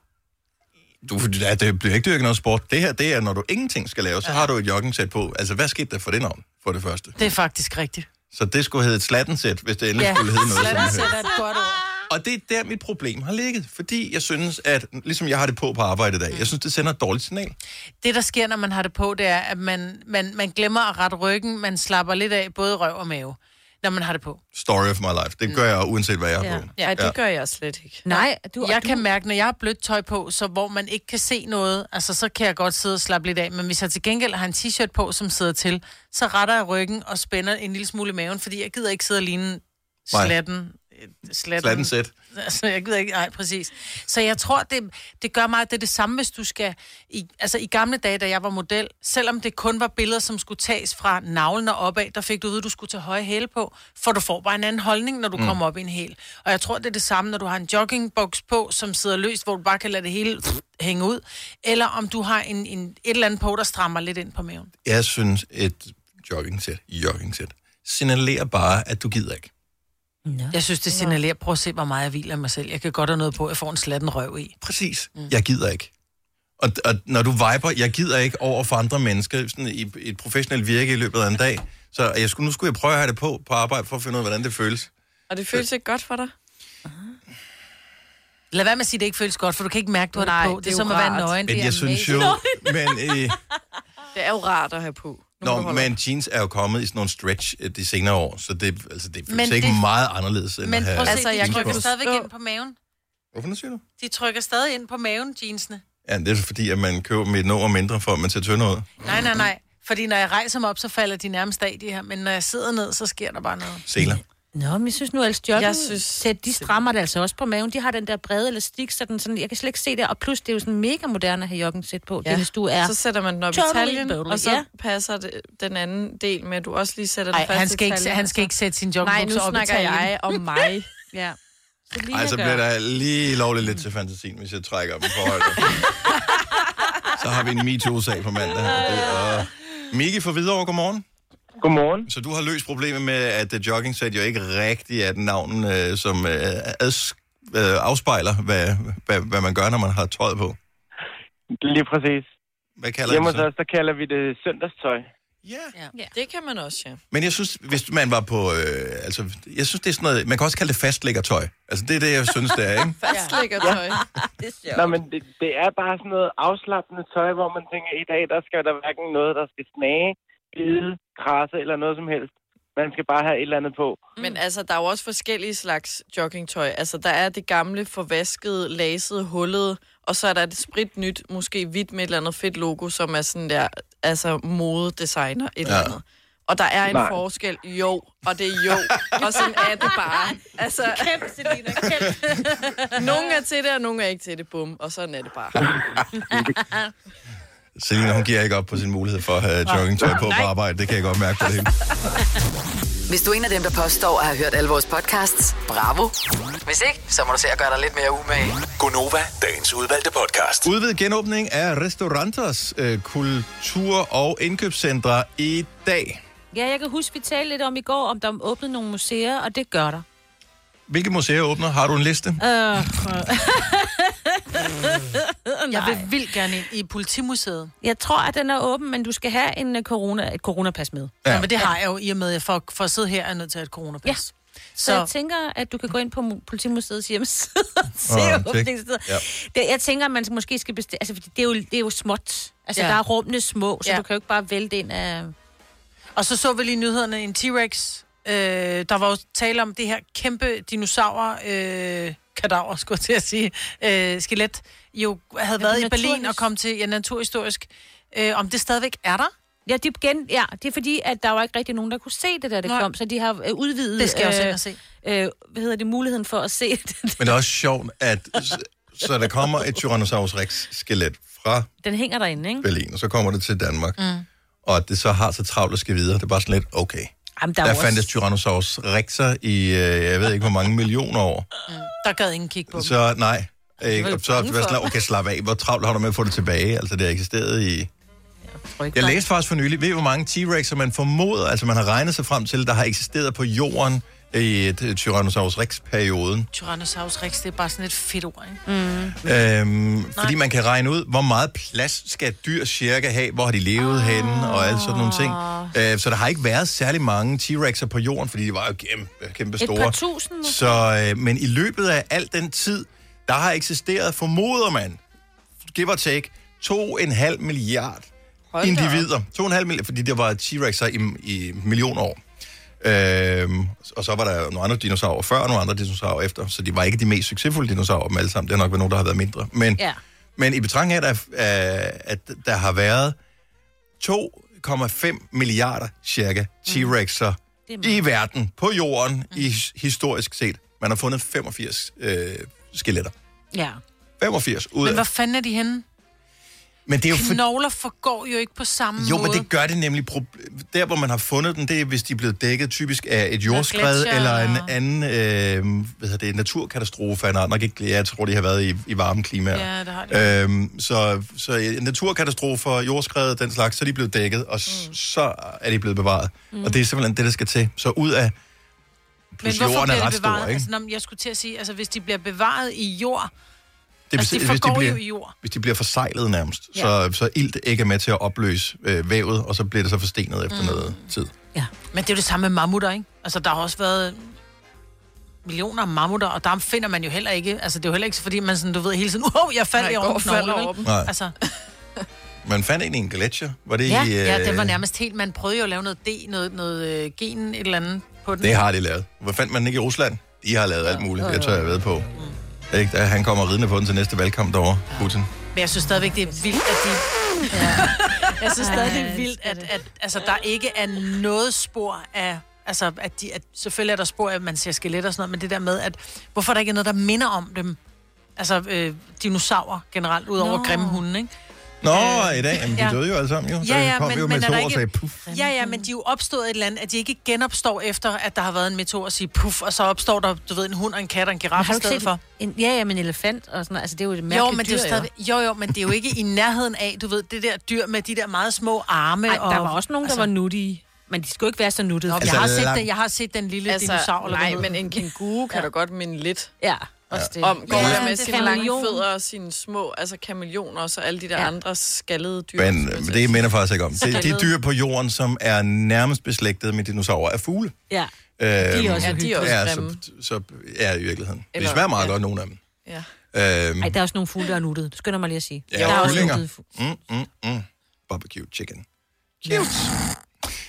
[SPEAKER 1] Du, ja, det bliver ikke dyrket noget sport. Det her, det er, når du ingenting skal lave, så har du et joggingsæt på. Altså, hvad skete der for det navn, for det første?
[SPEAKER 4] Det er faktisk rigtigt.
[SPEAKER 1] Så det skulle hedde et slattensæt, hvis det endelig ja. skulle hedde noget. som det hedder.
[SPEAKER 4] er et godt ord.
[SPEAKER 1] Og det er der, mit problem har ligget. Fordi jeg synes, at ligesom jeg har det på på arbejde i
[SPEAKER 4] Mm.
[SPEAKER 1] dag, jeg synes, det sender et dårligt signal.
[SPEAKER 4] Det, der sker, når man har det på, det er, at man, man, man glemmer at rette ryggen. Man slapper lidt af både røv og mave, når man har det på.
[SPEAKER 1] Story of my life. Det gør jeg uanset, hvad jeg har
[SPEAKER 4] Mm. Ja.
[SPEAKER 1] på.
[SPEAKER 4] Ja, det
[SPEAKER 6] Det gør jeg slet ikke.
[SPEAKER 2] Nej, du,
[SPEAKER 4] jeg kan mærke, når jeg har blødt tøj på, så hvor man ikke kan se noget, altså så kan jeg godt sidde og slappe lidt af. Men hvis jeg til gengæld har en t-shirt på, som sidder til, så retter jeg ryggen og spænder en lille smule i maven, fordi jeg gider ikke sidde og ligne
[SPEAKER 1] Nej.
[SPEAKER 4] slatten. øh,
[SPEAKER 1] Slattensæt.
[SPEAKER 4] Altså, jeg gider ikke, nej, præcis. Så jeg tror, det, det gør meget, det er det samme, hvis du skal... I, altså, i gamle dage, da jeg var model, selvom det kun var billeder, som skulle tages fra navlen og opad, der fik du at vide, at du skulle tage høje hæle på, for du får bare en anden holdning, når du
[SPEAKER 6] Mm.
[SPEAKER 4] mm. kommer op i en hæl. Og jeg tror, det er det samme, når du har en joggingboks på, som sidder løst, hvor du bare kan lade det hele hænge ud, eller om du har en, en, et eller andet på, der strammer lidt ind på maven.
[SPEAKER 1] Jeg synes, et joggingsæt, joggingsæt, signalerer bare, at du gider ikke.
[SPEAKER 4] Ja. Jeg synes, det signalerer, prøv at se, hvor meget jeg hviler mig selv. Jeg kan godt have noget på, jeg får en slatten røv i.
[SPEAKER 1] Præcis. Mm. Jeg gider ikke. Og, og når du viber, jeg gider ikke over for andre mennesker sådan i, i et professionelt virke i løbet af en dag, så jeg skulle, nu skulle jeg prøve at have det på på arbejde for at finde ud af, hvordan det føles.
[SPEAKER 6] Og det føles ikke godt for dig?
[SPEAKER 4] Lad være med at sige, at det ikke føles godt, for du kan ikke mærke, du har det på. Det er som at være nøgen.
[SPEAKER 1] Men
[SPEAKER 4] Det er
[SPEAKER 1] jeg synes jo...
[SPEAKER 4] amazing.
[SPEAKER 1] Men, øh,
[SPEAKER 6] Det er jo rart at have på.
[SPEAKER 1] Nå, men jeans er jo kommet i sådan nogle stretch øh, de senere år, så det, altså, det
[SPEAKER 4] Men
[SPEAKER 1] føles ikke
[SPEAKER 4] det-
[SPEAKER 1] meget anderledes end
[SPEAKER 4] Men
[SPEAKER 1] at
[SPEAKER 4] prøv
[SPEAKER 1] have
[SPEAKER 4] at se, altså, jeg
[SPEAKER 1] jeans
[SPEAKER 4] trykker
[SPEAKER 1] på.
[SPEAKER 4] stadigvæk ind på maven.
[SPEAKER 1] Hvorfor nu siger du?
[SPEAKER 4] De trykker stadig ind på maven, jeansene.
[SPEAKER 1] Ja, det er fordi, at man køber med et nummer mindre, for at man ser tyndere ud.
[SPEAKER 4] Nej, nej, nej. Fordi når jeg rejser mig op, så falder de nærmest af, de her. Men når jeg sidder ned, så sker der bare noget.
[SPEAKER 1] Seler.
[SPEAKER 2] Nå, men jeg synes nu, at stjorten,
[SPEAKER 4] Jeg
[SPEAKER 2] jeg
[SPEAKER 4] synes-
[SPEAKER 2] synes, sæt, de strammer det altså også på maven. De har den der brede elastik, så den sådan, jeg kan slet ikke se det. Og plus, det er jo sådan mega moderne at have jokken sæt på, ja. det, hvis du er...
[SPEAKER 6] Så sætter man den op
[SPEAKER 2] Totally
[SPEAKER 6] i taljen,
[SPEAKER 2] totally,
[SPEAKER 6] og så
[SPEAKER 2] ja.
[SPEAKER 6] passer det, den anden del med, at du også lige sætter den
[SPEAKER 4] Ej,
[SPEAKER 6] fast
[SPEAKER 4] han
[SPEAKER 6] i
[SPEAKER 4] skal ikke-
[SPEAKER 6] taljen,
[SPEAKER 4] han
[SPEAKER 6] og
[SPEAKER 4] skal
[SPEAKER 6] så-
[SPEAKER 4] ikke sætte sine
[SPEAKER 6] Nej, nu
[SPEAKER 4] joggingbukser op i
[SPEAKER 6] snakker
[SPEAKER 4] taljen.
[SPEAKER 6] jeg om mig.
[SPEAKER 2] ja. Så lige
[SPEAKER 1] Ej, så
[SPEAKER 2] at
[SPEAKER 1] bliver
[SPEAKER 2] gøre.
[SPEAKER 1] der lige lovligt lidt til fantasien, hvis jeg trækker dem for højt. så har vi en MeToo-sag på mandag. her. Det er- Mikke fra Hvidovre, godmorgen. Godmorgen. Så du har løst problemet med, at øh, jogging-sæt jo ikke rigtig er den navn, øh, som øh, ads, øh, afspejler, hvad, hvad, hvad man gør, når man har tøjet på.
[SPEAKER 13] Lige præcis.
[SPEAKER 1] Hvad kalder
[SPEAKER 13] Hjemme
[SPEAKER 1] I det
[SPEAKER 13] hos os, der kalder vi det søndagstøj.
[SPEAKER 4] Ja. Det kan man også, ja.
[SPEAKER 1] Men jeg synes, hvis man var på... Øh, altså, jeg synes, det er sådan noget... Man kan også kalde det fastlæggertøj. Altså, det er det, jeg synes, det er, ikke?
[SPEAKER 6] Fastlægger tøj.
[SPEAKER 2] det er
[SPEAKER 13] Nå, men det, det er bare sådan noget afslappende tøj, hvor man tænker, i dag, der skal der hverken noget, der skal snage, bide, krasse eller noget som helst. Man skal bare have et eller andet på.
[SPEAKER 6] Men altså, der er jo også forskellige slags joggingtøj. Altså, der er det gamle, forvaskede, lasede, hullede, og så er der det sprit nyt, måske hvidt med et eller andet fedt logo, som er sådan der, altså modedesigner et ja. eller
[SPEAKER 13] Ja.
[SPEAKER 6] andet. Og der er en
[SPEAKER 13] Nej.
[SPEAKER 6] Nej. forskel, jo, og det er jo, og sådan er det bare. Altså,
[SPEAKER 2] kæmpe, Selina,
[SPEAKER 6] kæmpe. nogle er til det, og nogle er ikke til det, bum, og sådan er det bare.
[SPEAKER 1] Selina, hun giver ikke op på sin mulighed for at have joggingtøj på på arbejde. Det kan jeg godt mærke på det hele.
[SPEAKER 5] Hvis du er en af dem, der påstår at have hørt alle vores podcasts, bravo. Hvis ikke, så må du se at gøre dig lidt mere umage.
[SPEAKER 11] Gonova, dagens udvalgte podcast.
[SPEAKER 1] Udvidet genåbning af restauranters øh, kultur- og indkøbscentre i dag.
[SPEAKER 2] Ja, jeg kan huske, vi talte lidt om i går, om der åbnede nogle museer, og det gør der.
[SPEAKER 1] Hvilke museer åbner? Har du en liste?
[SPEAKER 2] Øh,
[SPEAKER 4] Jeg vil vildt gerne ind i politimuseet.
[SPEAKER 2] jeg tror, at den er åben, men du skal have en øh, corona, et coronapas med.
[SPEAKER 4] Ja. Nå, men det har jeg jo i og med, at jeg for, for at sidde her er nødt til at have et coronapas. Ja.
[SPEAKER 2] Så,
[SPEAKER 4] Så-
[SPEAKER 2] så jeg tænker, at du kan gå ind på mu- Politimuseets hjemmeside og se
[SPEAKER 4] tjek.
[SPEAKER 2] åbningstider.
[SPEAKER 4] Ja.
[SPEAKER 2] Det, jeg tænker, at man måske skal bestille... Altså, fordi det er jo, det er jo småt. Altså,
[SPEAKER 4] Ja.
[SPEAKER 2] ja. der er rummene små, så
[SPEAKER 4] Ja.
[SPEAKER 2] ja. du kan jo ikke bare vælte ind af...
[SPEAKER 4] Og så så vi lige i nyhederne en T-Rex. Øh, der var jo tale om det her kæmpe dinosaur, øh, kadaver, skulle jeg til at sige, øh, skelet, jo havde
[SPEAKER 2] Ja,
[SPEAKER 4] været i
[SPEAKER 2] naturhis-
[SPEAKER 4] Berlin og kom til ja, naturhistorisk. Øh, om det stadigvæk er der?
[SPEAKER 2] Ja, det, gen, ja, det er fordi, at der var ikke rigtig nogen, der kunne se det, da det
[SPEAKER 4] Nej.
[SPEAKER 2] Nej. kom. Så de har øh, udvidet...
[SPEAKER 4] Det skal jeg også ind og se.
[SPEAKER 2] Øh, hvad hedder det? Muligheden for at se det.
[SPEAKER 1] Men det er også sjovt, at s- så der kommer et Tyrannosaurus Rex-skelet fra
[SPEAKER 2] Den hænger derinde, ikke?
[SPEAKER 1] Berlin, og så kommer det til Danmark.
[SPEAKER 2] Mm.
[SPEAKER 1] Og at det så har så travlt at skal videre. Det er bare sådan lidt, okay.
[SPEAKER 2] Jamen, der,
[SPEAKER 1] Der,
[SPEAKER 2] er
[SPEAKER 1] der
[SPEAKER 2] jo også-
[SPEAKER 1] fandtes Tyrannosaurus Rex'er i, øh, jeg ved ikke hvor mange millioner år.
[SPEAKER 4] Der gad ingen kigge på dem.
[SPEAKER 1] Så nej. Ikke?
[SPEAKER 4] vel
[SPEAKER 1] Og så
[SPEAKER 4] bange
[SPEAKER 1] være sådan,
[SPEAKER 4] for.
[SPEAKER 1] okay, slap af. Hvor travlt har du med at få det tilbage? Altså, det har eksisteret i... Jeg læste faktisk for nylig, ved I, hvor mange T-Rex'er man formoder, altså man har regnet sig frem til, der har eksisteret på jorden i øh, Tyrannosaurus Rex-perioden.
[SPEAKER 4] Tyrannosaurus Rex, det er bare sådan et fedt ord, ikke?
[SPEAKER 1] Mm. Øhm, fordi man kan regne ud, hvor meget plads skal et dyr cirka have, hvor har de levet
[SPEAKER 2] Ah.
[SPEAKER 1] oh. henne og alle sådan nogle ting. Øh, så der har ikke været særlig mange T-Rex'er på jorden, fordi de var jo kæmpe, kæmpe store.
[SPEAKER 2] Et par tusind, måske?
[SPEAKER 1] Så, øh, men i løbet af al den tid, der har eksisteret, formoder man, give or take, 2,5 milliard Hold individer. 2,5 milliard, fordi der var T-Rex'er i, i millioner år. Øhm, og så var der nogle andre dinosaurer før, og nogle andre dinosaurer efter, så de var ikke de mest succesfulde dinosaurer dem alle sammen. Det har nok været nogen, der har været mindre. Men,
[SPEAKER 2] Ja.
[SPEAKER 1] men i betragtning af, at der, er- øh, at der har været 2,5 milliarder cirka T-Rex'er i verden, på jorden, i, historisk set. Man har fundet 85 øh, skeletter.
[SPEAKER 4] Ja.
[SPEAKER 1] 85 ud
[SPEAKER 4] Men hvor
[SPEAKER 1] af...
[SPEAKER 4] fanden er de henne?
[SPEAKER 1] Men det er jo for,
[SPEAKER 4] Knogler forgår jo ikke på samme
[SPEAKER 1] jo,
[SPEAKER 4] måde.
[SPEAKER 1] men det gør det nemlig. prob- Der, hvor man har fundet den, det er, hvis de er blevet dækket typisk af et jordskred
[SPEAKER 4] gletsjer
[SPEAKER 1] eller en
[SPEAKER 4] og-
[SPEAKER 1] anden øh, hvad hedder det, naturkatastrofe. af en art. nok ikke, jeg tror, de har været i, i varme klimaer.
[SPEAKER 4] Ja, det har de.
[SPEAKER 1] Øhm, så, så ja, naturkatastrofer, jordskred, den slags, så er de blevet dækket, og mm. så er de blevet bevaret. Mm.
[SPEAKER 4] Mm.
[SPEAKER 1] Og det er simpelthen det, der skal til. Så ud af... Plus jorden er ret
[SPEAKER 4] bevaret?
[SPEAKER 1] stor, ikke?
[SPEAKER 4] Altså, når, jeg skulle til at sige, altså hvis de bliver bevaret i jord,
[SPEAKER 1] Det
[SPEAKER 4] Altså, de
[SPEAKER 1] hvis de
[SPEAKER 4] forgår
[SPEAKER 1] bliver,
[SPEAKER 4] jo i jord.
[SPEAKER 1] Hvis de bliver forsejlet nærmest, ja.
[SPEAKER 4] Ja.
[SPEAKER 1] så, så ilt ikke er med til at opløse øh, vævet, og så bliver det så forstenet efter mm.
[SPEAKER 4] Mm.
[SPEAKER 1] noget tid.
[SPEAKER 4] men det er jo det samme med mammutter, ikke? Altså der har også været millioner af mammutter, og der finder man jo heller ikke, altså det er jo heller ikke, fordi man sådan, du ved hele tiden, wow, jeg faldt
[SPEAKER 1] Nej,
[SPEAKER 4] i
[SPEAKER 1] går
[SPEAKER 4] over
[SPEAKER 1] og
[SPEAKER 4] en
[SPEAKER 1] falder
[SPEAKER 4] knogle,
[SPEAKER 1] over dem.
[SPEAKER 4] vel?
[SPEAKER 1] Nej.
[SPEAKER 4] Altså,
[SPEAKER 1] Man fandt en i en gletsjer. Var det
[SPEAKER 4] ja,
[SPEAKER 1] i, øh,
[SPEAKER 4] ja, den var nærmest helt, man prøvede jo at lave noget D, noget, noget øh, gen, et eller andet på den.
[SPEAKER 1] Det har de lavet. Hvor fandt man den ikke i Rusland? De har lavet alt muligt, det tør jeg ved på.
[SPEAKER 4] Mm.
[SPEAKER 1] Ikke? Der- Han kommer ridende på den til næste valgkamp derovre, Putin.
[SPEAKER 4] Men jeg synes stadigvæk, det er vildt, at de... Ja. Jeg synes stadig, det er vildt, at, at altså, der ikke er noget spor af... Altså, at de, at, selvfølgelig er der spor af, at man ser skeletter og sådan noget, men det der med, at hvorfor der ikke er noget, der minder om dem. Altså, øh, dinosaurer generelt, ud over
[SPEAKER 1] Nå.
[SPEAKER 4] grimme hunde, ikke?
[SPEAKER 1] Nå,
[SPEAKER 4] Øh,
[SPEAKER 1] i dag. Jamen, de
[SPEAKER 4] ja.
[SPEAKER 1] døde jo alle sammen, jo. Så
[SPEAKER 4] Ja, ja,
[SPEAKER 1] kom
[SPEAKER 4] men,
[SPEAKER 1] jo
[SPEAKER 4] men er
[SPEAKER 1] meteor
[SPEAKER 4] der
[SPEAKER 1] og
[SPEAKER 4] ikke...
[SPEAKER 1] sagde, puff.
[SPEAKER 4] Ja, ja, men de er jo opstået et eller andet, at de ikke genopstår efter, at der har været en meteor og siger puff, og så opstår der, du ved, en hund og en kat og en giraf
[SPEAKER 2] Har
[SPEAKER 4] i
[SPEAKER 2] du ikke
[SPEAKER 4] stedet
[SPEAKER 2] set
[SPEAKER 4] for.
[SPEAKER 2] for? En, ja, ja, men elefant og sådan noget. Altså, det er jo et mærkeligt
[SPEAKER 4] Jo, men det er jo,
[SPEAKER 2] dyr,
[SPEAKER 4] stadig, jo, jo, men det er jo ikke i nærheden af, du ved, det der dyr med de der meget små arme.
[SPEAKER 2] Ej, der
[SPEAKER 4] og,
[SPEAKER 2] var også nogen, der var nuttige. Men de skulle ikke være så nuttede.
[SPEAKER 4] altså- Nå,
[SPEAKER 2] Nå,
[SPEAKER 4] men
[SPEAKER 1] Altså,
[SPEAKER 4] jeg, har set den, jeg har set den lille altså,
[SPEAKER 6] Altså,
[SPEAKER 4] dinosaur. Eller
[SPEAKER 6] nej,
[SPEAKER 4] hvad
[SPEAKER 6] men en kænguru kan da godt minde lidt.
[SPEAKER 2] Ja,
[SPEAKER 4] også det.
[SPEAKER 6] Om går
[SPEAKER 4] Ja,
[SPEAKER 6] ja, med
[SPEAKER 4] det er
[SPEAKER 6] sine lange
[SPEAKER 4] kameleon.
[SPEAKER 6] fødder og sine små, altså kameleoner og så alle de der ja. andre skaldede dyr.
[SPEAKER 1] Men øh, det minder faktisk ikke om. Det, de
[SPEAKER 6] Skaldede.
[SPEAKER 1] dyr på jorden, som er nærmest beslægtet med dinosaurer, er fugle.
[SPEAKER 2] Ja.
[SPEAKER 1] Øhm,
[SPEAKER 2] de er også hyggelige.
[SPEAKER 1] ja,
[SPEAKER 2] grimme.
[SPEAKER 1] så, så, ja, i virkeligheden.
[SPEAKER 2] Eller-
[SPEAKER 1] det smager meget
[SPEAKER 2] ja.
[SPEAKER 1] godt, nogle af dem.
[SPEAKER 6] Ja.
[SPEAKER 1] Øhm,
[SPEAKER 2] Ej, der er også nogle fugle, der er nuttede. Det skynder mig lige at sige.
[SPEAKER 1] Ja,
[SPEAKER 2] der er også
[SPEAKER 1] kyllinger.
[SPEAKER 2] nuttede fugle.
[SPEAKER 1] Mm, mm, mm. Barbecue chicken. Cute.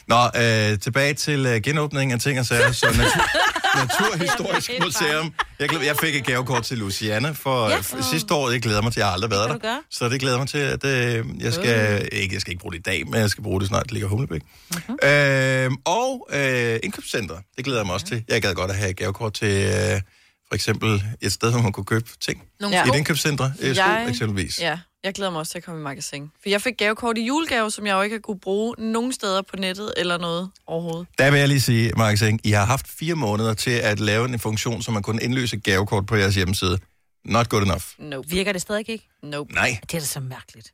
[SPEAKER 1] Nå, øh, tilbage til øh, genåbningen af ting og sager. Så natur- Naturhistorisk Museum. Jeg, glæder, jeg fik et gavekort til Luciana for ja. f- sidste år. Jeg glæder mig til, at jeg har aldrig har været
[SPEAKER 7] Hvad skal du
[SPEAKER 1] der.
[SPEAKER 7] gøre?
[SPEAKER 1] Så det glæder mig til, at øh, jeg, skal, ikke, jeg skal ikke bruge det i dag, men jeg skal bruge det snart. Det ligger i Humlebæk. Mm-hmm. Øh, og øh, indkøbscenter. Det glæder jeg mig også til. Jeg gad godt at have et gavekort til øh, for eksempel et sted, hvor man kunne købe ting.
[SPEAKER 6] Nogle
[SPEAKER 1] I
[SPEAKER 6] sko.
[SPEAKER 1] et indkøbscenter. Øh, sko, eksempelvis.
[SPEAKER 6] Ja, jeg glæder mig også til at komme i magasin. For jeg fik gavekort i julegave, som jeg jo ikke har kunne bruge nogen steder på nettet eller noget overhovedet.
[SPEAKER 1] Der vil jeg lige sige, Mark Seng, I har haft fire måneder til at lave en funktion, så man kunne indløse et gavekort på jeres hjemmeside. Not good enough.
[SPEAKER 6] Nope.
[SPEAKER 2] Virker det stadig ikke?
[SPEAKER 6] Nope.
[SPEAKER 1] Nej.
[SPEAKER 2] Det er da så mærkeligt.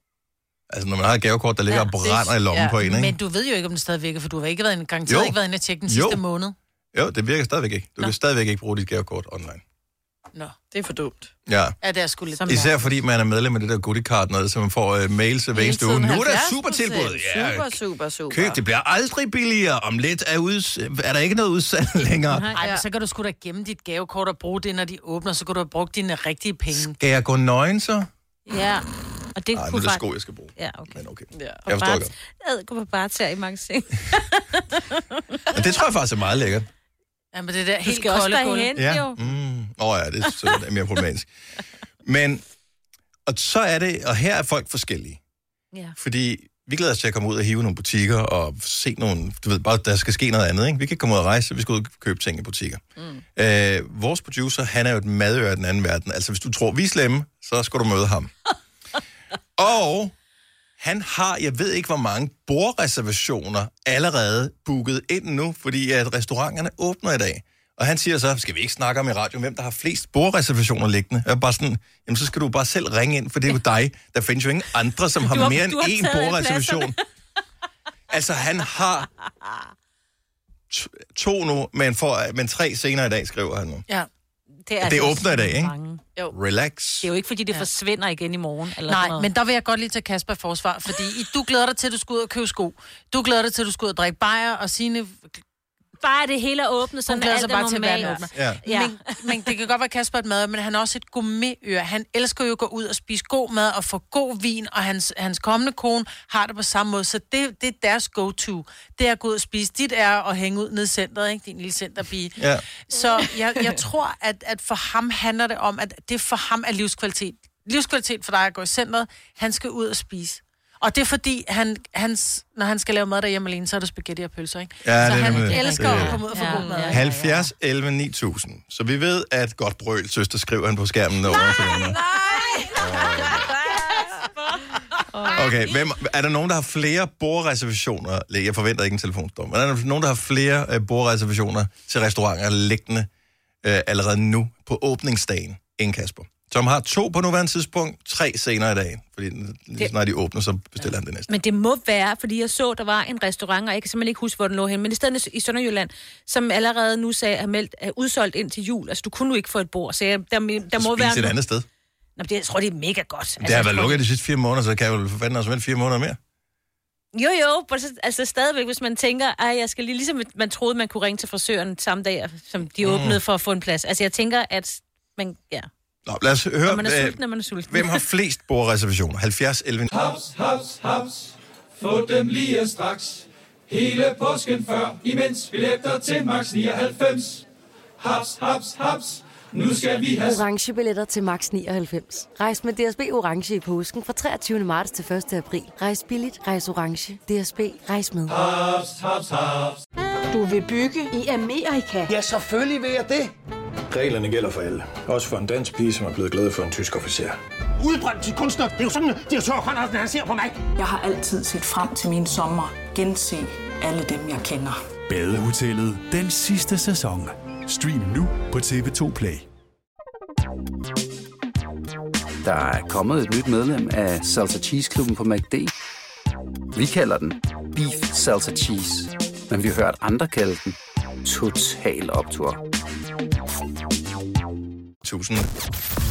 [SPEAKER 1] Altså, når man har et gavekort, der ligger ja, og brænder i lommen ja, på en, ikke?
[SPEAKER 4] Men du ved jo ikke, om den stadig virker, for du har ikke været en gang
[SPEAKER 1] Jo.
[SPEAKER 4] ikke været inde og tjekke den
[SPEAKER 1] Jo.
[SPEAKER 4] sidste måned.
[SPEAKER 1] Jo, det virker stadigvæk ikke. Du Nå. kan stadigvæk ikke bruge dit gavekort online.
[SPEAKER 4] Nå,
[SPEAKER 6] det er for dumt.
[SPEAKER 1] Ja.
[SPEAKER 4] Ja, det er sgu lidt.
[SPEAKER 1] Især fordi man er medlem af det der goodie card, noget, så man får øh, mails hver eneste uge. Nu er der super tilbud. Ja,
[SPEAKER 6] Super, super, super.
[SPEAKER 1] køb. Det bliver aldrig billigere. Om lidt er, uds- er der ikke noget udsalg længere.
[SPEAKER 4] Nej, ja. men så kan du sgu da gemme dit gavekort og bruge det, når de åbner, så kan du have brugt dine rigtige penge.
[SPEAKER 1] Skal jeg gå nøgen så? Ej,
[SPEAKER 2] Ja, og det
[SPEAKER 1] nu er
[SPEAKER 2] kunne
[SPEAKER 1] det
[SPEAKER 2] faktisk...
[SPEAKER 1] sko, jeg skal bruge.
[SPEAKER 2] Ja, okay.
[SPEAKER 1] Men okay.
[SPEAKER 6] Ja.
[SPEAKER 1] Jeg forstår godt.
[SPEAKER 2] Jeg går på bare tage i magasin.
[SPEAKER 1] Men det tror jeg faktisk er meget lækkert.
[SPEAKER 4] Ja, men det der
[SPEAKER 2] Du
[SPEAKER 4] helt
[SPEAKER 2] skal også
[SPEAKER 4] kolde
[SPEAKER 2] derhen,
[SPEAKER 4] gulv.
[SPEAKER 1] ja. Mm. Oh, ja, det er, så, det er mere problematisk. Men, og så er det, og her er folk forskellige.
[SPEAKER 2] Ja.
[SPEAKER 1] Fordi vi glæder os til at komme ud og hive nogle butikker og se nogle, du ved, bare der skal ske noget andet, ikke? Vi kan ikke komme ud og rejse, vi skal ud og købe ting i butikker. Mm. Øh, vores producer, han er jo et madøre af den anden verden. Altså, hvis du tror, vi er slemme, så skal du møde ham. og han har, jeg ved ikke hvor mange bordreservationer allerede booket ind nu, fordi at restauranterne åbner i dag. Og han siger så, skal vi ikke snakke om i radio, hvem der har flest bordreservationer liggende? Jeg er bare sådan, jamen så skal du bare selv ringe ind, for det er jo dig. Der findes jo ingen andre, som har,
[SPEAKER 7] Du har-
[SPEAKER 1] mere end
[SPEAKER 7] du har
[SPEAKER 1] én
[SPEAKER 7] taget alle
[SPEAKER 1] bordreservation. altså han har to, to nu, men, for, men tre senere i dag, skriver han nu.
[SPEAKER 4] Ja.
[SPEAKER 1] Det åbner i dag, ikke?
[SPEAKER 2] Jo.
[SPEAKER 1] Relax.
[SPEAKER 2] altså Det er jo ikke, fordi det ja. forsvinder igen i morgen. Eller sådan
[SPEAKER 4] Nej,
[SPEAKER 2] noget.
[SPEAKER 4] men der vil jeg godt lige tage Kasper i forsvar, fordi I, du glæder dig til, at du skal ud og købe sko. Du glæder dig til, at du skal ud og drikke bajer, og sine
[SPEAKER 2] Bare det hele er åbnet, sådan
[SPEAKER 4] Hun glæder
[SPEAKER 2] alt
[SPEAKER 4] sig
[SPEAKER 2] er
[SPEAKER 4] bare til, at verden
[SPEAKER 2] normalt.
[SPEAKER 4] åbner.
[SPEAKER 2] Ja.
[SPEAKER 4] Ja. Men, men det kan godt være Kasper er et mad, men han er også et gourmetøre. Han elsker jo at gå ud og spise god mad og få god vin, og hans, hans kommende kone har det på samme måde. Så det, det er deres go-to. Det er at gå ud og spise. Dit er at hænge ud nede i centret, ikke? Din lille centerpige.
[SPEAKER 1] Ja.
[SPEAKER 4] Så jeg, jeg tror, at, at for ham handler det om, at det for ham er livskvalitet. Livskvalitet for dig at gå i centret. Han skal ud og spise. Og det er fordi, han, hans, når han skal lave mad derhjemme alene, så er det spaghetti og pølser, ikke?
[SPEAKER 1] Ja,
[SPEAKER 4] så
[SPEAKER 1] det er
[SPEAKER 4] han
[SPEAKER 1] nemlig-
[SPEAKER 4] elsker
[SPEAKER 1] det-
[SPEAKER 4] at komme ud og få god mad. ikke?
[SPEAKER 1] 70, 11, 9000. Så vi ved, at godt brøl, søster, skriver han på skærmen. Over til hende. Okay, hvem, er der nogen, der har flere bordreservationer? Jeg forventer ikke en telefonstorm. Men er der nogen, der har flere øh, bordreservationer til restauranter liggende øh, allerede nu på åbningsdagen end Kasper? Som har to på nuværende tidspunkt, tre senere i dag. Fordi lige
[SPEAKER 2] Det-
[SPEAKER 1] snart de åbner, så bestiller han det næste.
[SPEAKER 2] Men det må være, fordi jeg så, der var en restaurant, og jeg kan simpelthen ikke huske, hvor den lå hen, men i stedet i Sønderjylland, som allerede nu sagde, er, meldt, er udsolgt ind til jul. Altså, du kunne nu ikke få et bord, så jeg, der, der må
[SPEAKER 1] Spis
[SPEAKER 2] være...
[SPEAKER 1] et andet sted.
[SPEAKER 2] Nå, men det, jeg tror, det er mega godt.
[SPEAKER 1] Det har været lukket de sidste fire måneder, så kan jeg jo for fanden også vente fire måneder mere.
[SPEAKER 2] Jo, jo, men så- altså stadigvæk, hvis man tænker, at jeg skal lige, ligesom at man troede, man kunne ringe til frisøren samme dag, som de
[SPEAKER 1] Mm.
[SPEAKER 2] åbnede for at få en plads. Altså jeg tænker, at man, ja,
[SPEAKER 1] Nå, lad os høre,
[SPEAKER 2] når man er
[SPEAKER 1] øh,
[SPEAKER 2] sulten, når man er sulten.
[SPEAKER 1] hvem har flest bordreservationer? 70, 11...
[SPEAKER 7] Haps, haps, haps. Få dem lige straks. Hele påsken før, imens billetter til max 99. Haps, haps, haps. Nu skal vi have
[SPEAKER 8] orange billetter til max 99. Rejs med DSB orange i påsken fra 23. marts til 1. april. Rejs billigt, rejs orange. DSB rejs med.
[SPEAKER 7] haps, haps, haps.
[SPEAKER 14] Du vil bygge i Amerika? Ja, selvfølgelig vil jeg det.
[SPEAKER 10] Reglerne gælder for alle. Også for en dansk pige, som er blevet glad for en tysk officer.
[SPEAKER 9] Udbrændt til kunstner. Det er jo sådan, at de har tørt, han, han ser på mig. Jeg har altid set frem til min sommer. Gense alle dem, jeg kender.
[SPEAKER 11] Badehotellet den sidste sæson. Stream nu på TV2 Play.
[SPEAKER 15] Der er kommet et nyt medlem af Salsa Cheese Klubben på MACD. Vi kalder den Beef Salsa Cheese, men vi har hørt andre kalde den Total Optor.
[SPEAKER 1] Tusind.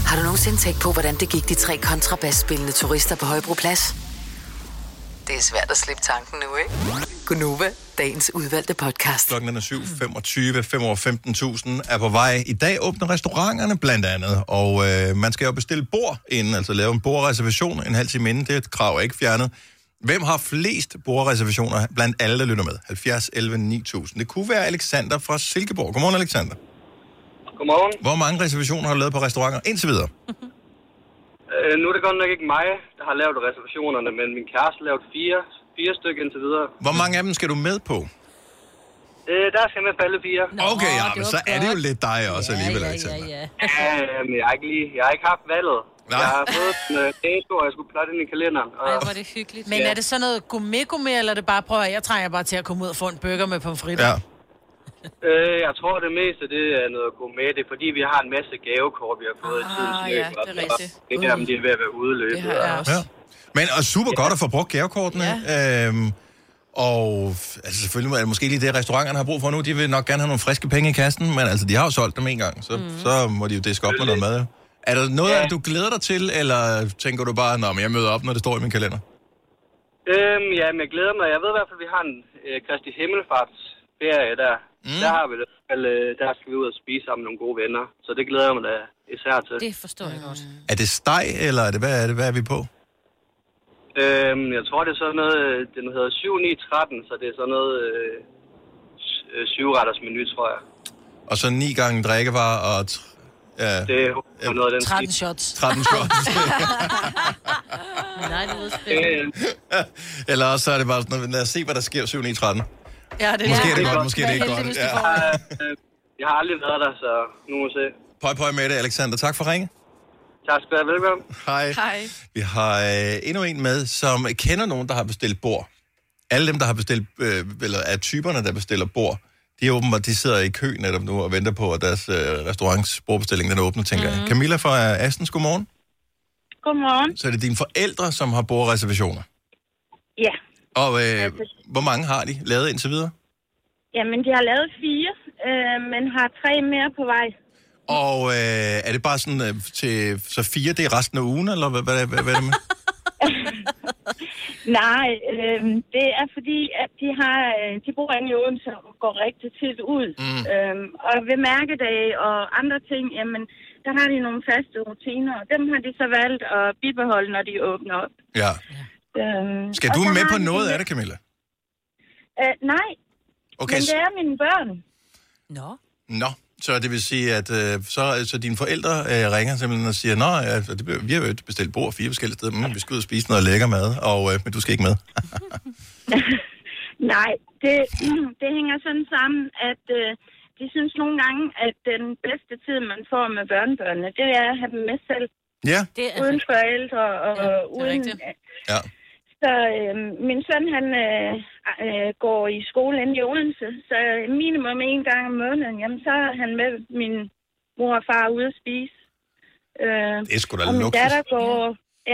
[SPEAKER 5] Har du nogensinde tænkt på, hvordan det gik de tre kontrabasspillende turister på Højbroplads? Det er svært at slippe tanken nu, ikke? Gunova, dagens udvalgte podcast.
[SPEAKER 1] Klokken den er 7.25, 5 over 15.000 er på vej. I dag åbner restauranterne blandt andet, og øh, man skal jo bestille bord inden, altså lave en bordreservation en halv time inden. Det er et krav, ikke fjernet. Hvem har flest bordreservationer blandt alle, der lytter med? 70, 11, 9000. Det kunne være Alexander fra Silkeborg. Godmorgen, Alexander.
[SPEAKER 16] Godmorgen.
[SPEAKER 1] Hvor mange reservationer har du lavet på restauranter indtil videre?
[SPEAKER 16] Øh, nu er det godt nok ikke mig, der har lavet reservationerne, men min kæreste har lavet fire, fire stykker indtil videre.
[SPEAKER 1] Hvor mange af dem skal du med på?
[SPEAKER 16] Øh, der skal jeg med på alle fire.
[SPEAKER 1] Okay, ja, men så er det jo lidt dig også alligevel, Alexander.
[SPEAKER 16] ja. ja Øh, men jeg har ikke, lige, jeg har ikke haft valget.
[SPEAKER 1] Nej.
[SPEAKER 16] Jeg har fået en øh, dato, og jeg skulle plotte ind i kalenderen. Og...
[SPEAKER 4] Ej, hvor er det hyggeligt. Men
[SPEAKER 16] Ja.
[SPEAKER 4] er det sådan noget gourmet gourmet, eller er det bare, prøv at høre, jeg trænger bare til at komme ud og få en burger med pomfritter?
[SPEAKER 1] Ja.
[SPEAKER 16] Øh, jeg tror, det meste det er noget at gå med. Det er fordi, vi har en masse gavekort, vi har fået i tidens
[SPEAKER 4] Ah,
[SPEAKER 16] løb.
[SPEAKER 4] ja, det er
[SPEAKER 16] og-
[SPEAKER 4] rigtigt.
[SPEAKER 16] og Det der, men det er ved at være udløbet. Det har jeg
[SPEAKER 1] Ja. Men og super godt at få brugt gavekortene. Ja. Øhm, og f- altså selvfølgelig er det måske lige det, restauranterne har brug for nu. De vil nok gerne have nogle friske penge i kassen, men altså, de har jo solgt dem en gang, så, mm. så må de jo diske op med noget mad. jo. Er der noget, ja. du glæder dig til, eller tænker du bare, at jeg møder op, når det står i min kalender?
[SPEAKER 16] Øhm, ja, men jeg glæder mig. Jeg ved i hvert fald, at vi har en øh, Kristi Himmelfarts ferie der. Mm. Der har vi det. Eller, øh, der skal vi ud og spise sammen med nogle gode venner. Så det glæder jeg mig da især til.
[SPEAKER 2] Det forstår jeg godt.
[SPEAKER 4] Mm.
[SPEAKER 1] Er det steg, eller er det, hvad er det, hvad er vi på?
[SPEAKER 16] Øhm, jeg tror, det er sådan noget, øh, den hedder 7, 9, 13, så det er sådan noget øh, s- øh, syvretters menu, tror jeg.
[SPEAKER 1] Og så ni gange drikkevarer og... Tr- ja,
[SPEAKER 16] Det er jo noget af den
[SPEAKER 4] 13 shots.
[SPEAKER 1] 13 shots.
[SPEAKER 2] Nej, det lyder
[SPEAKER 16] spændende.
[SPEAKER 1] eller også så er det bare sådan, noget, lad os se, hvad der sker 7 i 13.
[SPEAKER 4] Ja,
[SPEAKER 1] det er- Måske er det godt, måske er det ikke godt.
[SPEAKER 16] Ja.
[SPEAKER 1] Ja.
[SPEAKER 16] Øh, Jeg har aldrig været der, så nu må vi se.
[SPEAKER 1] Pøj, pøj med det, Alexander. Tak for ringe.
[SPEAKER 16] Tak skal du have. Velkommen.
[SPEAKER 1] Hej.
[SPEAKER 16] Hej.
[SPEAKER 1] Vi har øh, endnu en med, som kender nogen, der har bestilt bord. Alle dem, der har bestilt, øh, eller er typerne, der bestiller bord, de er åbenbart, de sidder i kø netop nu og venter på, at deres øh, restaurants bordbestilling den åbner, tænker mm. jeg. Camilla fra Astens, godmorgen.
[SPEAKER 17] Godmorgen.
[SPEAKER 1] Så er det dine forældre, som har bordreservationer.
[SPEAKER 17] Ja,
[SPEAKER 1] Og øh, hvor mange har de lavet indtil videre?
[SPEAKER 17] jamen de har lavet fire, øh, men har tre mere på vej.
[SPEAKER 1] Og øh, er det bare sådan øh, til, så fire, det er resten af ugen, eller hvad, hvad, hvad, hvad er det med?
[SPEAKER 17] Nej, øh, det er fordi, at de har, øh, de bor inde i Odense og går rigtig tit ud.
[SPEAKER 18] Mm.
[SPEAKER 17] Øh, og ved mærkedage og andre ting, jamen der har de nogle faste rutiner, og dem har de så valgt at bibeholde, når de åbner op.
[SPEAKER 1] Ja.
[SPEAKER 17] Øh,
[SPEAKER 1] Skal
[SPEAKER 17] og
[SPEAKER 1] du
[SPEAKER 17] så
[SPEAKER 1] med
[SPEAKER 17] har
[SPEAKER 1] på
[SPEAKER 17] de-
[SPEAKER 1] noget af det, Camilla?
[SPEAKER 17] Øh, nej, okay.
[SPEAKER 1] Okay,
[SPEAKER 17] men
[SPEAKER 1] så-
[SPEAKER 17] det er mine børn.
[SPEAKER 2] Nå.
[SPEAKER 1] Nå, så det vil sige, at øh, så, så dine forældre øh, ringer simpelthen og siger, Nå, ja, det, blev- vi har jo bestilt bord fire forskellige steder, men vi skal ud og spise noget lækker mad, og, øh, men du skal ikke med.
[SPEAKER 17] Nej, det, det hænger sådan sammen, at øh, de synes nogle gange, at den bedste tid, man får med børnebørnene, det er at have dem med selv.
[SPEAKER 1] Ja.
[SPEAKER 17] Det er uden forældre og ja, uden...
[SPEAKER 1] Ja.
[SPEAKER 17] Så øh, min søn, han øh, øh, går i skole inde i Odense, så minimum en gang om måneden, jamen så er han med min mor og far ude at spise. Øh,
[SPEAKER 1] Det er sgu da
[SPEAKER 17] og min
[SPEAKER 1] luksus.
[SPEAKER 17] datter går,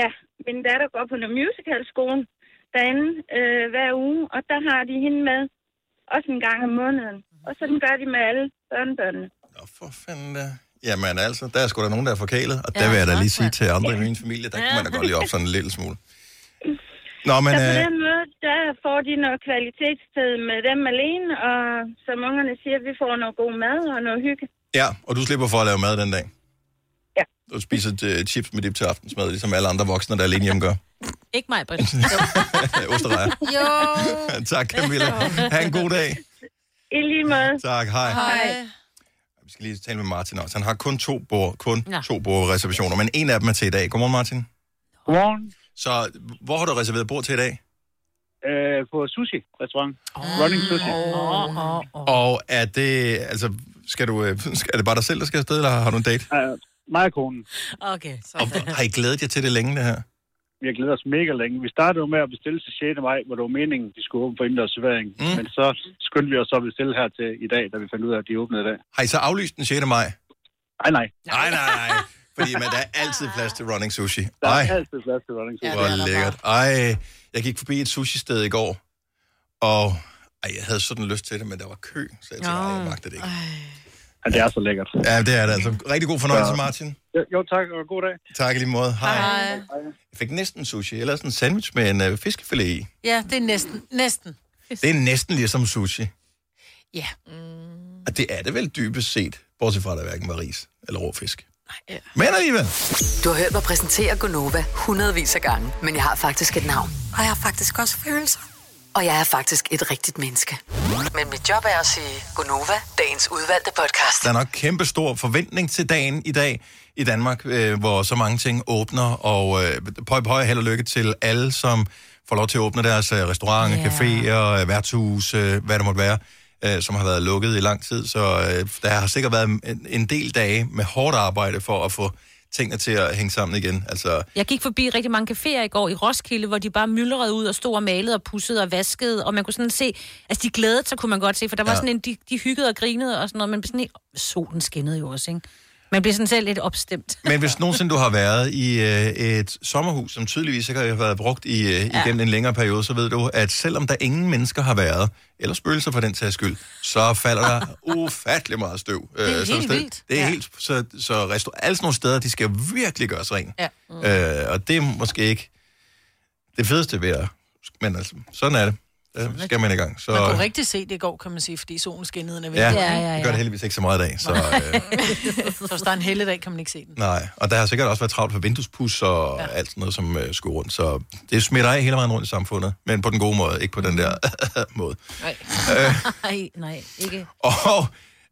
[SPEAKER 17] ja, min datter går på noget musicalskole derinde øh, hver uge, og der har de hende med også en gang om måneden. Og sådan gør de med alle børnebørnene.
[SPEAKER 1] For fanden da. Jamen altså, der er sgu da nogen, der er forkælet, og der vil jeg da lige sige til andre i min familie, der kan man da godt lige op sådan en lille smule. Nå, men...
[SPEAKER 17] så på
[SPEAKER 1] Øh,
[SPEAKER 17] den måde, der får de noget kvalitetstid med dem alene, og som ungerne siger, vi får noget god mad og noget hygge.
[SPEAKER 1] ja, og du slipper for at lave mad den dag? Ja. Du spiser øh, chips med dip til aftensmad, ligesom alle andre voksne, der alene hjemme gør.
[SPEAKER 2] Ikke mig, Britt.
[SPEAKER 1] Øh, Osterrejer.
[SPEAKER 2] jo.
[SPEAKER 1] tak, Camilla. Ha' en god dag.
[SPEAKER 17] I lige måde.
[SPEAKER 1] Tak, hej.
[SPEAKER 17] Hej.
[SPEAKER 1] Vi skal lige tale med Martin også. Han har kun to, bord, kun to bordreservationer, men en af dem er til i dag. Godmorgen, Martin.
[SPEAKER 18] Godmorgen.
[SPEAKER 1] Så hvor har du reserveret bord til i dag?
[SPEAKER 18] Øh, på sushi-restaurant. Oh. Running sushi. Oh, oh, oh.
[SPEAKER 1] Og er det, altså, skal du, øh, skal- er det bare dig selv, der skal afsted, eller har du en date?
[SPEAKER 18] Øh, mig og konen.
[SPEAKER 2] Okay.
[SPEAKER 1] Og har I glædet jer til det længe, det her?
[SPEAKER 18] Vi har glædet os mega længe. Vi startede jo med at bestille til 6. maj, hvor det var meningen, de skulle åbne for indendørs servering. Mm. Men så skyndte vi os så at bestille her til i dag, da vi fandt ud af, at de åbnede i dag.
[SPEAKER 1] Har I så aflyst den 6. maj?
[SPEAKER 18] Nej, nej.
[SPEAKER 1] Nej, nej, nej. Fordi man, der er altid plads til running sushi.
[SPEAKER 18] Der er
[SPEAKER 1] Ej,
[SPEAKER 18] altid plads til running sushi.
[SPEAKER 1] hvor lækkert. Ej, jeg gik forbi et sushi-sted i går, og ej, jeg havde sådan lyst til det, men der var kø, så jeg tænkte, nej, jeg magter det ikke.
[SPEAKER 18] Ja, det er så lækkert.
[SPEAKER 1] Ja, det er det altså. Rigtig god fornøjelse,
[SPEAKER 18] Så-
[SPEAKER 1] Martin.
[SPEAKER 18] Jo, jo, tak, og god dag.
[SPEAKER 1] Tak i lige måde. Hej. Jeg fik næsten sushi. Jeg lavede sådan en sandwich med en øh, fiskefilet i.
[SPEAKER 4] Ja, det er næsten. Næsten.
[SPEAKER 1] Det er næsten ligesom sushi.
[SPEAKER 4] Ja.
[SPEAKER 1] Og det er det vel dybest set, bortset fra, at der hverken var ris eller rå fisk. Men alligevel.
[SPEAKER 5] Du har hørt mig præsentere Gonova hundredvis af gange, men jeg har faktisk et navn.
[SPEAKER 19] Og jeg har faktisk også følelser.
[SPEAKER 5] Og jeg er faktisk et rigtigt menneske. Men mit job er at sige Gonova, dagens udvalgte podcast.
[SPEAKER 1] Der er nok kæmpe stor forventning til dagen i dag i Danmark, øh, hvor så mange ting åbner, og øh, pøj pøj, held og lykke til alle, som får lov til at åbne deres øh, restauranter, yeah. caféer, øh, værtshus, øh, hvad det måtte være, øh, som har været lukket i lang tid. Så øh, der har sikkert været en, en del dage med hårdt arbejde for at få tingene til at hænge sammen igen. Altså,
[SPEAKER 2] Jeg gik forbi rigtig mange caféer i går i Roskilde, hvor de bare myldrede ud og stod og malede og pussede og vaskede, og man kunne sådan se, altså de glædede sig, kunne man godt se, for der var
[SPEAKER 1] Ja.
[SPEAKER 2] ja. sådan en, de, de hyggede og grinede og sådan noget, men sådan en, solen skinnede jo også, ikke? Man bliver sådan selv lidt opstemt.
[SPEAKER 1] Men hvis nogensinde du har været i øh, et sommerhus, som tydeligvis ikke har været brugt i, øh, igennem en længere periode, så ved du, at selvom der ingen mennesker har været, eller spøgelser for den sags skyld, så falder der ufattelig meget støv. øh,
[SPEAKER 7] Det er
[SPEAKER 1] sådan et
[SPEAKER 7] helt
[SPEAKER 1] sted.
[SPEAKER 7] vildt.
[SPEAKER 1] Det er
[SPEAKER 7] Ja.
[SPEAKER 1] helt, så, så restau- alle sådan nogle steder, de skal virkelig gøres rent.
[SPEAKER 7] Ja.
[SPEAKER 1] Øh, og det er måske ikke det fedeste ved at... Men altså, sådan er det. Der skal man i gang. Så,
[SPEAKER 4] Man kunne rigtig se det i går, kan man sige, fordi solen skinnede ned.
[SPEAKER 1] ja, det gør det heldigvis ikke så meget i dag. Så, øh,
[SPEAKER 4] Så hvis der er en helligdag, kan man ikke se den.
[SPEAKER 1] Nej, og der har sikkert også været travlt for vinduespus og ja. alt sådan noget, som øh, skulle rundt. Så det smitter af hele vejen rundt i samfundet, men på den gode måde, ikke på den der måde.
[SPEAKER 2] Nej.
[SPEAKER 1] Øh.
[SPEAKER 2] nej, nej, ikke.
[SPEAKER 1] Og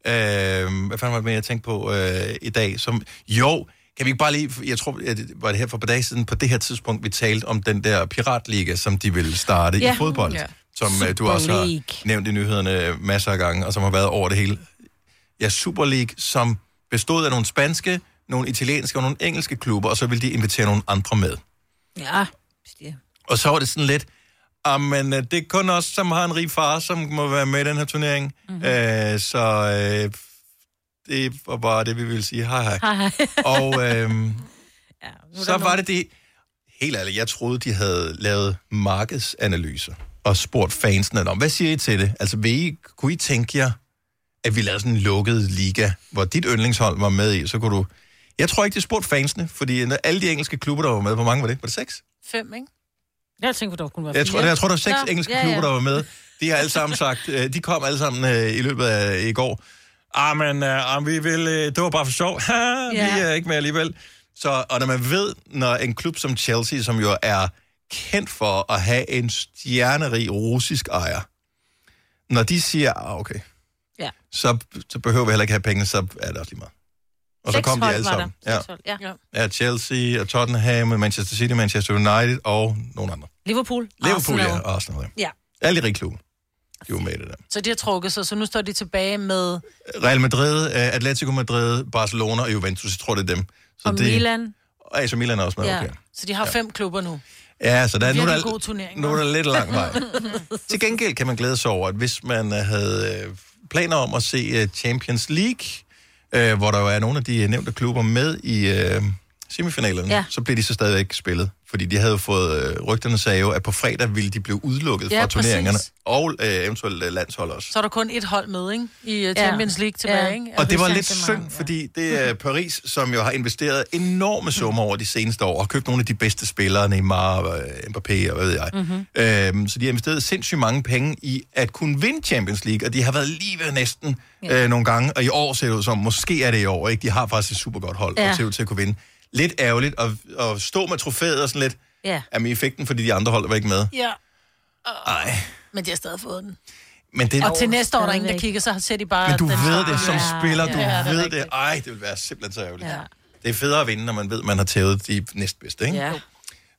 [SPEAKER 1] øh, hvad fanden var det med, jeg tænkte på øh, i dag? Som, jo, kan vi ikke bare lige, jeg tror, at det var det her for et par dage siden, på det her tidspunkt, vi talte om den der piratliga, som de ville starte ja.
[SPEAKER 7] Ja.
[SPEAKER 1] i fodbold.
[SPEAKER 7] Ja.
[SPEAKER 1] Ja. Som øh, du også
[SPEAKER 7] Super
[SPEAKER 1] har
[SPEAKER 7] League.
[SPEAKER 1] nævnt i nyhederne masser af gange, og som har været over det hele. Ja, Super League, som bestod af nogle spanske, nogle italienske og nogle engelske klubber, og så ville de invitere nogle andre med.
[SPEAKER 2] Ja,
[SPEAKER 1] Og så var det sådan lidt, ah, men øh, det er kun os, som har en rig far, som må være med i den her turnering. Mm-hmm. Øh, så øh, det var bare det, vi ville sige. Hej hej.
[SPEAKER 2] Hej, hej.
[SPEAKER 1] Og øh,
[SPEAKER 2] der
[SPEAKER 1] så var det det, helt ærligt, jeg troede, de havde lavet markedsanalyser og spurgt fansene om, hvad siger I til det? Altså, vil I, kunne I tænke jer, at vi lavede sådan en lukket liga, hvor dit yndlingshold var med i, så kunne du... Jeg tror ikke, de spurgte fansene, fordi alle de engelske klubber, der var med, hvor mange var det? Var det seks?
[SPEAKER 4] Fem, ikke?
[SPEAKER 2] Jeg tænkte, der kunne være
[SPEAKER 1] Jeg tror,
[SPEAKER 2] fire.
[SPEAKER 1] jeg tror, der er seks
[SPEAKER 2] Nå,
[SPEAKER 1] engelske klubber, der var med. De har alle sammen sagt, øh, de kom alle sammen øh, i løbet af i går. Ah, men øh, ah, vi vil, øh, det var bare for sjov. Ha, vi
[SPEAKER 7] Ja.
[SPEAKER 1] er ikke med alligevel. Så, og når man ved, når en klub som Chelsea, som jo er kendt for at have en stjernerig russisk ejer, når de siger, ah, okay,
[SPEAKER 2] Ja.
[SPEAKER 1] så, så behøver vi heller ikke have penge, så er det også lige meget. Og så
[SPEAKER 2] Seks
[SPEAKER 1] kom de
[SPEAKER 2] hold
[SPEAKER 1] alle
[SPEAKER 2] var
[SPEAKER 1] sammen.
[SPEAKER 2] der.
[SPEAKER 1] Ja.
[SPEAKER 2] Seks hold, Ja. Ja.
[SPEAKER 1] ja, Chelsea og Tottenham, og Manchester City, Manchester United og nogle andre.
[SPEAKER 2] Liverpool.
[SPEAKER 1] Liverpool, ja,
[SPEAKER 4] Arsenal.
[SPEAKER 1] og Arsenal, ja.
[SPEAKER 2] Ja.
[SPEAKER 1] Alle de rige klubber. De var med i det der.
[SPEAKER 4] Så de har trukket sig, så nu står de tilbage med...
[SPEAKER 1] Real Madrid, øh, Atletico Madrid, Barcelona og Juventus, jeg tror, det er dem. Så
[SPEAKER 4] Og
[SPEAKER 1] det,
[SPEAKER 4] Milan.
[SPEAKER 1] Og AC Milan er også med,
[SPEAKER 4] Ja.
[SPEAKER 1] okay.
[SPEAKER 4] Så de har fem klubber nu.
[SPEAKER 1] Ja, så der, nu, er
[SPEAKER 4] Virkelig
[SPEAKER 1] der,
[SPEAKER 4] god turnering,
[SPEAKER 1] nu er der
[SPEAKER 4] hva'?
[SPEAKER 1] lidt lang vej. Til gengæld kan man glæde sig over, at hvis man øh, havde øh, planer om at se øh, Champions League, øh, hvor der jo er nogle af de øh, nævnte klubber med i, øh, semifinalerne, ja.
[SPEAKER 2] Ja.
[SPEAKER 1] så blev de så stadigvæk spillet. Fordi de havde jo fået, øh, rygterne sagde jo, at på fredag ville de blive udelukket
[SPEAKER 4] Ja,
[SPEAKER 1] fra turneringerne.
[SPEAKER 4] præcis.
[SPEAKER 1] Og øh, eventuelt øh, landshold også.
[SPEAKER 4] Så er der kun et hold med, ikke? I øh, Champions League tilbage, ikke?
[SPEAKER 1] Og det var
[SPEAKER 4] Rusland
[SPEAKER 1] lidt
[SPEAKER 4] til
[SPEAKER 1] synd, fordi det er Paris, som jo har investeret enorme summer over de seneste år, og har købt nogle af de bedste spillere, Neymar, og, øh, Mbappé og hvad ved jeg.
[SPEAKER 7] Mhm.
[SPEAKER 1] Øhm, så de har investeret sindssygt mange penge i at kunne vinde Champions League, og de har været lige ved næsten
[SPEAKER 7] Ja.
[SPEAKER 1] øh, nogle gange, og i år ser det ud som, måske er det i år, ikke? De har faktisk et super godt hold, ja.
[SPEAKER 2] Ja.
[SPEAKER 1] og ser ud til at kunne vinde. Lidt ærgerligt at, at stå med trofæet og sådan lidt,
[SPEAKER 2] Ja.
[SPEAKER 1] jamen I fik den, fordi de andre hold var ikke med.
[SPEAKER 4] Ja,
[SPEAKER 1] Nej,
[SPEAKER 4] men de har stadig fået den.
[SPEAKER 1] men det er
[SPEAKER 4] Og til næste år, der er ingen, der kigger, så ser de bare...
[SPEAKER 1] Men du
[SPEAKER 4] den
[SPEAKER 1] ved
[SPEAKER 4] samme.
[SPEAKER 1] det som
[SPEAKER 4] Ja,
[SPEAKER 1] spiller, du
[SPEAKER 4] ja, er
[SPEAKER 1] ved
[SPEAKER 4] rigtigt.
[SPEAKER 1] det. Ej, det vil være simpelthen så ærgerligt.
[SPEAKER 4] Ja.
[SPEAKER 1] Det er federe at vinde, når man ved, man har tævet de næstbedste, ikke?
[SPEAKER 2] Ja.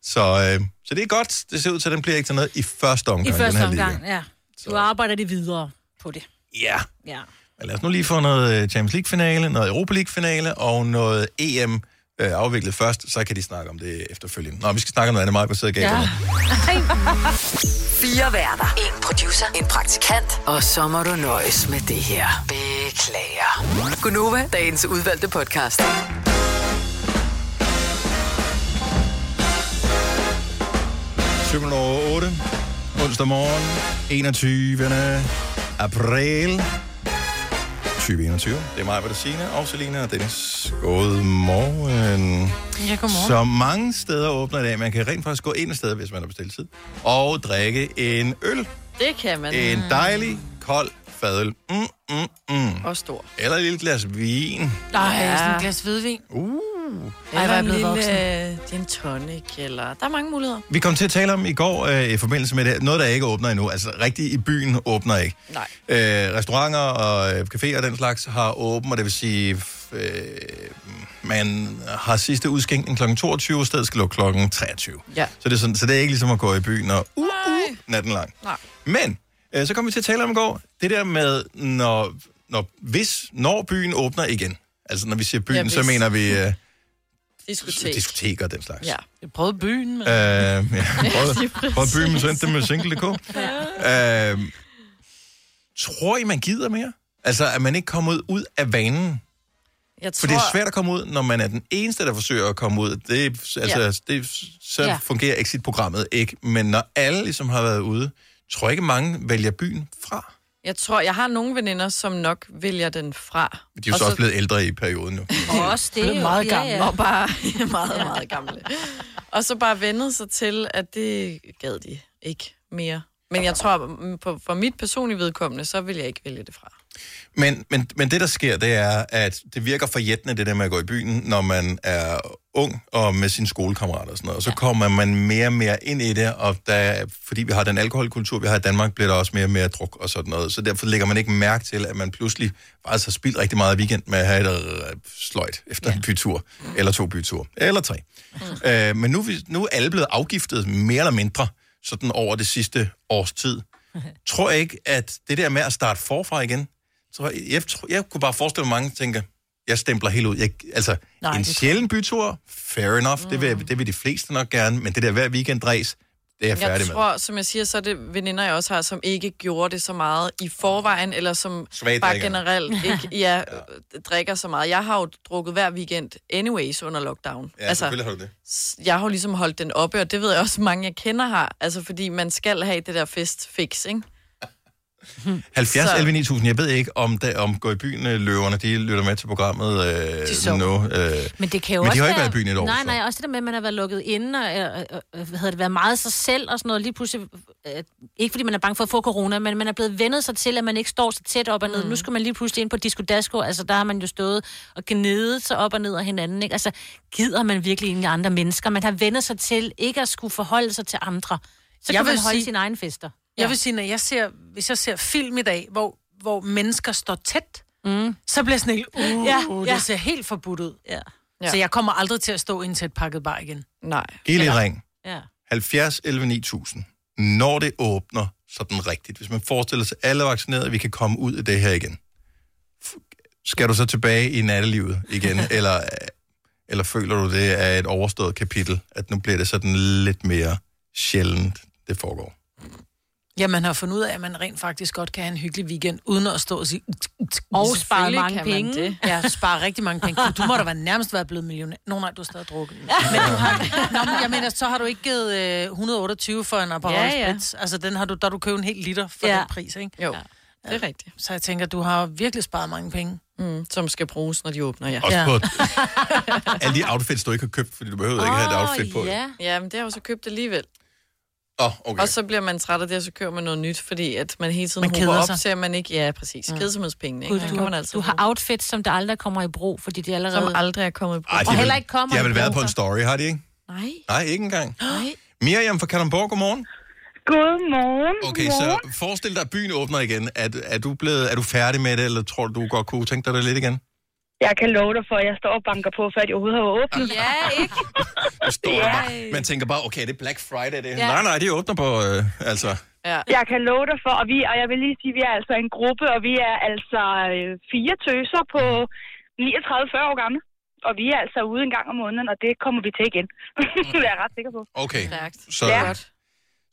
[SPEAKER 1] Så, øh, så det er godt. Det ser ud til, at den bliver ikke til noget i første omgang.
[SPEAKER 2] I første
[SPEAKER 1] den her
[SPEAKER 2] omgang, ja. Du arbejder det videre på det.
[SPEAKER 1] Liga. Ja.
[SPEAKER 2] Ja.
[SPEAKER 1] Men lad os nu lige få noget øh, Champions League-finale, noget Europa League-finale og noget EM øh, afviklet først, så kan de snakke om det efterfølgende. Nå, vi skal snakke om noget andet, Maja, på sidder ja.
[SPEAKER 5] Fire værter. En producer. En praktikant. Og så må du nøjes med det her. Beklager. Gunova, dagens udvalgte podcast.
[SPEAKER 1] Syvende over 8, onsdag morgen, 21. april 2021. Det er mig, hvad der siger, og Selina og Dennis. God morgen.
[SPEAKER 4] Ja, godmorgen.
[SPEAKER 1] Så mange steder åbner i dag. Man kan rent faktisk gå ind et sted, hvis man har bestilt tid, og drikke en øl.
[SPEAKER 6] Det kan man.
[SPEAKER 1] En dejlig, kold fadøl. Mm, mm, mm.
[SPEAKER 6] Og stor.
[SPEAKER 1] Eller et lille glas vin.
[SPEAKER 4] Nej,
[SPEAKER 6] Ja.
[SPEAKER 4] sådan et glas hvidvin.
[SPEAKER 1] Uh.
[SPEAKER 4] Ej, hvor er jeg blevet voksen.
[SPEAKER 6] lille øh, gin tonic, eller... Der er mange muligheder.
[SPEAKER 1] Vi kom til at tale om i går øh, i forbindelse med det, noget, der ikke åbner endnu. Altså rigtigt i byen åbner ikke.
[SPEAKER 6] Nej.
[SPEAKER 1] Øh, restauranter og øh, caféer og den slags har åbent, og det vil sige, f- øh, man har sidste udskænkning kl. 22, og stedet skal lukke kl. 23.
[SPEAKER 6] Ja.
[SPEAKER 1] Så det, er sådan, så det er ikke ligesom at gå i byen og uh, uh, natten lang.
[SPEAKER 6] Nej.
[SPEAKER 1] Men øh, så kom vi til at tale om i går, det der med, når, når, hvis, når byen åbner igen. Altså når vi siger byen,
[SPEAKER 6] Ja,
[SPEAKER 1] ja, så
[SPEAKER 6] hvis.
[SPEAKER 1] mener vi øh,
[SPEAKER 6] Diskotek.
[SPEAKER 1] diskoteker og den slags.
[SPEAKER 6] Ja.
[SPEAKER 4] Jeg prøvede byen, men...
[SPEAKER 1] Øh, ja, prøvede,
[SPEAKER 4] lige
[SPEAKER 1] prøvede
[SPEAKER 4] præcis.
[SPEAKER 1] byen, men sendte dem med single.dk. Øh, tror I, man gider mere? Altså, at man ikke kommer ud, ud af vanen?
[SPEAKER 6] Jeg
[SPEAKER 1] For det er svært at komme ud, når man er den eneste, der forsøger at komme ud. Det, er- altså,
[SPEAKER 6] Ja.
[SPEAKER 1] ja. det, er- så
[SPEAKER 6] Ja.
[SPEAKER 1] ja. fungerer exit-programmet ikke. Men når alle ligesom har været ude, tror jeg ikke, mange vælger byen fra.
[SPEAKER 6] Jeg tror, jeg har nogle veninder, som nok vælger den fra.
[SPEAKER 1] De er jo
[SPEAKER 6] Og
[SPEAKER 1] så også blevet ældre i perioden nu.
[SPEAKER 6] Og også
[SPEAKER 4] det, Blevet jo. meget Ja, gamle. ja.
[SPEAKER 6] Og bare meget, meget gamle. Og så bare vendet sig til, at det gad de ikke mere. Men jeg tror, mm, på, for mit personlige vedkommende, så vil jeg ikke vælge det fra.
[SPEAKER 1] Men, men, men det, der sker, det er, at det virker forjættende, det der med at gå i byen, når man er ung og med sine skolekammerater og sådan noget. Og så ja. kommer man mere og mere ind i det, og der, fordi vi har den alkoholkultur, vi har i Danmark, bliver der også mere og mere druk og sådan noget. Så derfor lægger man ikke mærke til, at man pludselig faktisk har spildt rigtig meget weekend med at have et øh, sløjt efter ja. en bytur, eller to byture, eller tre. Mm. Øh, men nu, er vi- nu er alle blevet afgiftet mere eller mindre sådan over det sidste års tid. Tror jeg ikke, at det der med at starte forfra igen, tror jeg, jeg, tror, jeg kunne bare forestille mig, at mange tænker, jeg stempler helt ud. Jeg, altså,
[SPEAKER 7] Nej,
[SPEAKER 1] Nej, en
[SPEAKER 7] det tror
[SPEAKER 1] sjælden bytur, fair enough, mm. det, vil, det vil de fleste nok gerne, men det der hver weekend ræs, det er jeg
[SPEAKER 6] Jeg
[SPEAKER 1] færdig med.
[SPEAKER 6] tror, som jeg siger, så er det veninder, jeg også har, som ikke gjorde det så meget i forvejen, eller som
[SPEAKER 1] Svage
[SPEAKER 6] bare
[SPEAKER 1] drikkere.
[SPEAKER 6] generelt ikke ja, øh, drikker så meget. Jeg har jo drukket hver weekend anyways under lockdown.
[SPEAKER 1] Ja, altså, selvfølgelig har du det.
[SPEAKER 6] s- jeg har jo ligesom holdt den oppe, og det ved jeg også, mange jeg kender har. Altså, fordi man skal have det der festfix, ikke?
[SPEAKER 1] 70
[SPEAKER 6] Så-
[SPEAKER 1] 11 9000, jeg ved ikke, om, der, om gå i byen øh, løverne, de lytter med til programmet øh,
[SPEAKER 2] De sover.
[SPEAKER 1] nu. Øh,
[SPEAKER 2] Men det kan jo
[SPEAKER 1] men
[SPEAKER 2] også
[SPEAKER 1] de har
[SPEAKER 2] være-
[SPEAKER 1] ikke været i byen i et år.
[SPEAKER 2] Nej,
[SPEAKER 1] så.
[SPEAKER 2] nej, også det der med, at man har været lukket inde, og, og, og- og hvad hedder det, været meget sig selv og sådan noget. Lige pludselig, øh, ikke fordi man er bange for at få corona, men man er blevet vendet sig til, at man ikke står så tæt op og ned. Mm. Nu skal man lige pludselig ind på Disco Dasko, altså der har man jo stået og gnedet sig op og ned af hinanden. Ikke? Altså, gider man virkelig egentlig andre mennesker? Man har vendet sig til ikke at skulle forholde sig til andre. Så
[SPEAKER 4] Jeg
[SPEAKER 2] jeg kan man
[SPEAKER 4] vil
[SPEAKER 2] holde
[SPEAKER 4] sige-
[SPEAKER 2] sige... sine egne fester.
[SPEAKER 4] Jeg vil sige, når jeg ser, hvis jeg ser film i dag, hvor, hvor mennesker står tæt, mm. så bliver jeg sådan helt, uh, ja,
[SPEAKER 2] Ja,
[SPEAKER 4] ja.
[SPEAKER 2] ja.
[SPEAKER 4] det ser helt forbudt ud.
[SPEAKER 2] Ja.
[SPEAKER 4] Ja. Så jeg kommer aldrig til at stå i en tæt pakket bar igen.
[SPEAKER 6] Nej.
[SPEAKER 1] Giv lige ring.
[SPEAKER 2] Ja.
[SPEAKER 1] 70 11 9000. Når det åbner sådan rigtigt, hvis man forestiller sig, alle er vaccineret, vi kan komme ud af det her igen. F- Skal du så tilbage i nattelivet igen, eller, eller føler du, det er et overstået kapitel, at nu bliver det sådan lidt mere sjældent, det foregår?
[SPEAKER 4] Ja, man har fundet ud af, at man rent faktisk godt kan have en hyggelig weekend, uden at stå og sige... "Ut, ut, ut."
[SPEAKER 2] Og
[SPEAKER 4] Selvfølgelig
[SPEAKER 2] spare mange
[SPEAKER 4] kan man
[SPEAKER 2] penge.
[SPEAKER 4] det. Ja, spare rigtig mange penge. Du må da være nærmest være blevet millionær. Nå nej, du har stadig drukket. Men du har, nå, men jeg mener, så har du ikke givet øh, 128 for en Aperol
[SPEAKER 6] Ja, ja.
[SPEAKER 4] ja, ja. Altså, den har du, der har du købt en hel liter for
[SPEAKER 6] Ja.
[SPEAKER 4] den pris, ikke?
[SPEAKER 6] Jo, det er rigtigt.
[SPEAKER 4] Så jeg tænker, du har virkelig sparet mange penge.
[SPEAKER 6] Mm, som skal bruges, når de åbner, ja.
[SPEAKER 4] Også Ja. på-
[SPEAKER 1] Alle de outfits, du ikke har købt, fordi du behøvede ikke have et outfit på.
[SPEAKER 6] Ja. ja, men det har jeg jo så købt alligevel.
[SPEAKER 1] Åh, oh, okay.
[SPEAKER 6] Og så bliver man træt af det, og så kører man noget nyt, fordi at man hele tiden
[SPEAKER 2] Man
[SPEAKER 6] man
[SPEAKER 2] keder
[SPEAKER 6] håber op
[SPEAKER 2] sig.
[SPEAKER 6] til, at man ikke... Ja, præcis. Mm. Kedsomhedspengene, ikke?
[SPEAKER 2] Gud,
[SPEAKER 6] Det
[SPEAKER 2] du,
[SPEAKER 6] kan man
[SPEAKER 2] har,
[SPEAKER 6] altid
[SPEAKER 2] du har outfits, som der aldrig kommer i brug, fordi de allerede...
[SPEAKER 6] Som aldrig er kommet i brug.
[SPEAKER 1] Ej, de
[SPEAKER 2] og
[SPEAKER 1] har
[SPEAKER 2] heller
[SPEAKER 1] vel-
[SPEAKER 2] ikke kommer
[SPEAKER 1] De har
[SPEAKER 2] i
[SPEAKER 1] vel været
[SPEAKER 2] brug.
[SPEAKER 1] på en story, har de ikke?
[SPEAKER 2] Nej.
[SPEAKER 1] Nej, ikke engang.
[SPEAKER 2] Nej.
[SPEAKER 1] Miriam fra Kalundborg, godmorgen.
[SPEAKER 17] Godmorgen.
[SPEAKER 1] Okay, så forestil dig, at byen åbner igen. Er, er, du blevet, er du færdig med det, eller tror du, du godt kunne tænke dig det lidt igen?
[SPEAKER 17] Jeg kan love dig for, at jeg står og banker på, før de overhovedet har åbnet.
[SPEAKER 2] Ja, ikke?
[SPEAKER 1] Du står der
[SPEAKER 17] Ja.
[SPEAKER 1] bare, man tænker bare, okay, det er Black Friday det.
[SPEAKER 17] Ja.
[SPEAKER 1] Ja. Nej, nej, de åbner på, øh, altså...
[SPEAKER 6] Ja.
[SPEAKER 17] Jeg kan love dig for, og, vi, og jeg vil lige sige, at vi er altså en gruppe, og vi er altså øh, fire tøser på 39-40 år gamle. Og vi er altså ude en gang om måneden, og det kommer vi til igen. det er jeg ret sikker på.
[SPEAKER 1] Okay, så,
[SPEAKER 17] Ja,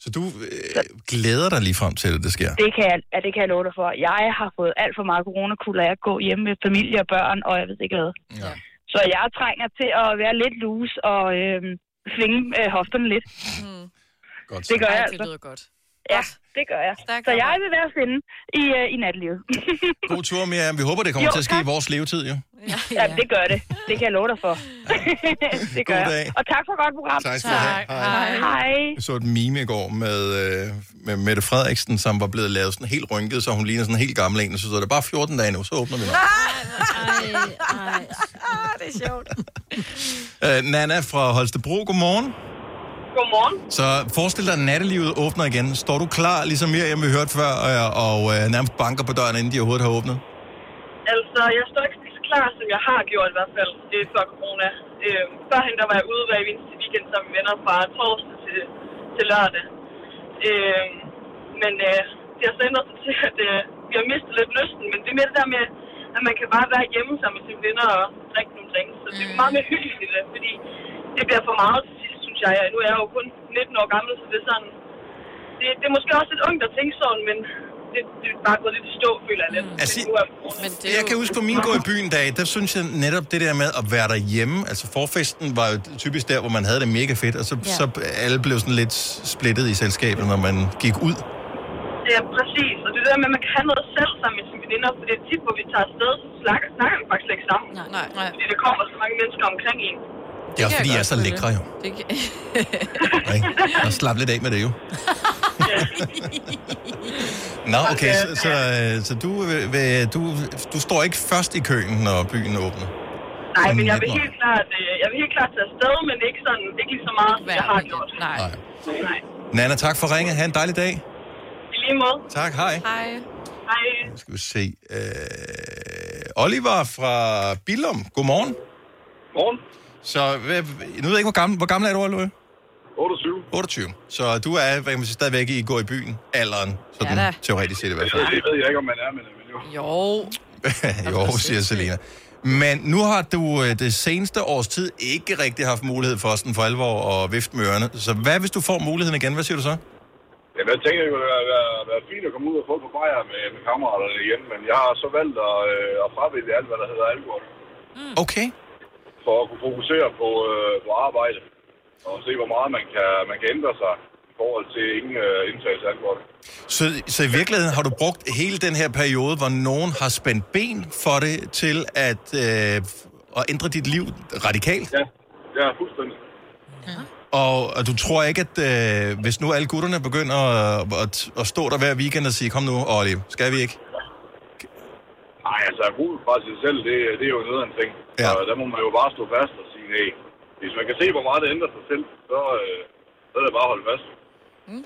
[SPEAKER 1] så du øh, glæder dig lige frem til, at det sker.
[SPEAKER 17] det kan, jeg, ja, det kan jeg love dig for. Jeg har fået alt for meget coronakulde af at gå hjemme med familie og børn, og jeg ved ikke hvad.
[SPEAKER 1] Ja.
[SPEAKER 17] Så jeg trænger til at være lidt loose og øh, svinge øh, hofterne lidt.
[SPEAKER 1] Godt,
[SPEAKER 17] det gør jeg
[SPEAKER 6] Ej,
[SPEAKER 17] altså.
[SPEAKER 6] det lyder godt.
[SPEAKER 17] Ja, det gør jeg. Så jeg vil være at finde i, øh, i nattelivet.
[SPEAKER 1] God tur, Miriam. Vi håber, det kommer
[SPEAKER 17] Jo,
[SPEAKER 1] jo, til at ske
[SPEAKER 17] tak.
[SPEAKER 1] i vores levetid, jo.
[SPEAKER 17] Ja, ja. det gør det. Det kan jeg love dig for. det gør
[SPEAKER 1] God
[SPEAKER 17] jeg.
[SPEAKER 1] dag.
[SPEAKER 17] Og tak for et godt program.
[SPEAKER 1] Tak skal du have. Tak. Hej.
[SPEAKER 17] Hej.
[SPEAKER 1] Jeg så et meme i går med, øh, med Mette Frederiksen, som var blevet lavet sådan helt rynket, så hun ligner sådan en helt gammel en, og så stod der bare 14 dage nu, så åbner vi nok.
[SPEAKER 17] det er sjovt.
[SPEAKER 1] Øh, Nana fra Holstebro, godmorgen.
[SPEAKER 20] Godmorgen.
[SPEAKER 1] Så forestil dig, at nattelivet åbner igen. Står du klar, ligesom Miriam, vi hørte før, og, og øh, nærmest banker på døren, inden de overhovedet har åbnet?
[SPEAKER 20] Altså, jeg står ikke lige så klar, som jeg har gjort i hvert fald det er før corona. Øh, førhen der var jeg ude hver eneste weekend sammen med venner fra torsdag til, til lørdag. Øh, men øh, det har så ændret sig til, at øh, vi har mistet lidt lysten. Men det er mere det der med, at man kan bare være hjemme sammen med sine venner og drikke nogle drinks. Så det er meget mere hyggeligt, i det, fordi det bliver for meget til sidst, synes jeg. Nu er jeg jo kun 19 år gammel, så det er sådan... Det, det er måske også lidt ungt at tænke sådan, men det, det er bare gået lidt Mm. i stå, føler jeg lidt.
[SPEAKER 1] Altså,
[SPEAKER 20] Men nu er- men det er
[SPEAKER 1] Jeg kan huske på min gå i byen dag, der synes jeg netop det der med at være derhjemme, altså forfesten var jo typisk der, hvor man havde det mega fedt, og så,
[SPEAKER 20] Ja.
[SPEAKER 1] ja. så alle blev sådan lidt splittet i selskabet, når man gik ud.
[SPEAKER 20] Ja, præcis. Og det er det der med, at man kan have noget selv sammen med sine veninder, for det er tit, hvor vi tager afsted, så snakker, snakker vi faktisk slet ikke sammen. Nej, nej, nej. Fordi der kommer så mange mennesker omkring en.
[SPEAKER 1] Det er også fordi, jeg er så lækre jo.
[SPEAKER 6] Det kan...
[SPEAKER 1] Og slap lidt af med det jo. Nå, okay, så, så, øh, så du, vil- vil- du, du står ikke først i køen, når byen åbner.
[SPEAKER 20] Nej, men jeg
[SPEAKER 1] lidt
[SPEAKER 20] vil
[SPEAKER 1] nok.
[SPEAKER 20] helt klart, øh, jeg vil helt klart tage afsted, men ikke sådan, ikke lige så meget, som jeg har gjort. Nej. Nej.
[SPEAKER 1] Nana, tak for ringet. Ha' en dejlig dag.
[SPEAKER 20] I lige måde.
[SPEAKER 1] Tak, hej.
[SPEAKER 20] Hej. Hej.
[SPEAKER 1] Nu skal vi se. Øh, Oliver fra Billum, godmorgen.
[SPEAKER 21] Godmorgen.
[SPEAKER 1] Så hvad, nu ved jeg ikke, hvor gammel, hvor gammel er du, Oliver?
[SPEAKER 21] 28.
[SPEAKER 1] 28. Så du er hvad kan man sige, stadigvæk i går i byen, alderen, sådan
[SPEAKER 6] Ja
[SPEAKER 1] ja,
[SPEAKER 6] da.
[SPEAKER 1] teoretisk set i hvert fald.
[SPEAKER 21] Det ved jeg ikke, om man er, men men jo.
[SPEAKER 6] Jo.
[SPEAKER 1] jo, siger Selina. Men nu har du øh, det seneste års tid ikke rigtig haft mulighed for sådan for alvor at vifte med ørerne. Så hvad hvis du får muligheden igen? Hvad siger du så?
[SPEAKER 21] Jamen, jeg tænker, det ville være, være, være fint at komme ud og få på bajer med, med kammeraterne igen, men jeg har så valgt at, øh, at fravælge alt, hvad der hedder alkohol,
[SPEAKER 6] Hmm.
[SPEAKER 1] Okay.
[SPEAKER 21] for at kunne fokusere på, øh, på arbejde og se, hvor meget man kan, man kan ændre sig i forhold til ingen øh, indtagelse af alkohol.
[SPEAKER 1] Så, så i virkeligheden har du brugt hele den her periode, hvor nogen har spændt ben for det, til at, øh, at ændre dit liv radikalt?
[SPEAKER 21] Ja, ja fuldstændig.
[SPEAKER 1] Og, og du tror ikke, at øh, hvis nu alle gutterne begynder at, at, at stå der hver weekend og sige, kom nu, Olli, skal vi ikke?
[SPEAKER 21] Nej, altså, at bruge fra sig selv, det, det er jo noget af en ting. Ja. Og der må man jo bare stå fast og sige, nej. Hvis man kan se, hvor meget det ændrer sig selv, så, øh, så er det bare at holde fast.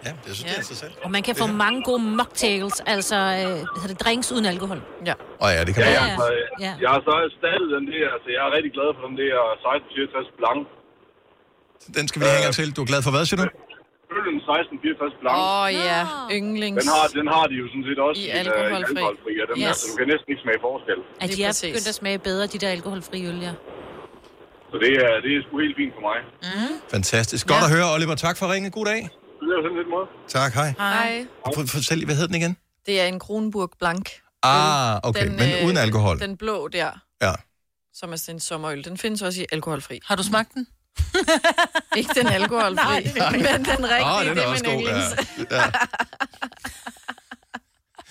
[SPEAKER 1] Ja, det synes jeg ja. er sig selv.
[SPEAKER 2] Og man kan få mange gode mocktails, altså øh, hvad hedder det drinks uden alkohol.
[SPEAKER 6] Ja.
[SPEAKER 1] Og ja, det kan
[SPEAKER 21] ja,
[SPEAKER 1] man
[SPEAKER 21] ja,
[SPEAKER 1] godt.
[SPEAKER 21] altså, ja. Jeg har så erstattet den der, altså jeg er rigtig glad for den der 1664 Blanc.
[SPEAKER 1] Den skal vi lige hænge os til. Du er glad for hvad, siger du?
[SPEAKER 21] Øllen 1664 Blanc.
[SPEAKER 6] Åh oh, ja, yndlings.
[SPEAKER 21] Den har, den har de jo sådan set også
[SPEAKER 6] I
[SPEAKER 21] øh,
[SPEAKER 6] alkoholfri.
[SPEAKER 21] alkoholfri og den
[SPEAKER 2] Yes.
[SPEAKER 21] yes. altså, du kan næsten ikke smage forskel.
[SPEAKER 2] At de
[SPEAKER 6] Lige
[SPEAKER 2] er
[SPEAKER 6] præcis.
[SPEAKER 2] begyndt at smage bedre, de der alkoholfri øl, ja.
[SPEAKER 21] Så det er, det er sgu helt fint for mig.
[SPEAKER 1] Fantastisk. Godt ja. at høre, Oliver. Tak for ringet. God dag.
[SPEAKER 21] det er jo sådan lidt måde.
[SPEAKER 1] Tak, hej.
[SPEAKER 6] Hej.
[SPEAKER 1] For, fortæl lige, hvad hed den igen?
[SPEAKER 6] Det er en Kronburg Blank.
[SPEAKER 1] Ah, okay,
[SPEAKER 6] den,
[SPEAKER 1] men
[SPEAKER 6] øh,
[SPEAKER 1] uden alkohol.
[SPEAKER 6] Den blå der,
[SPEAKER 1] Ja.
[SPEAKER 6] som er sådan en sommerøl, den findes også i alkoholfri.
[SPEAKER 4] Har du smagt den?
[SPEAKER 6] Ikke den alkoholfri,
[SPEAKER 4] Nej.
[SPEAKER 6] men den rigtige,
[SPEAKER 1] Åh, den
[SPEAKER 6] det
[SPEAKER 1] er
[SPEAKER 6] er
[SPEAKER 1] også
[SPEAKER 6] min
[SPEAKER 1] god, ja.
[SPEAKER 6] yndlings.
[SPEAKER 1] ja.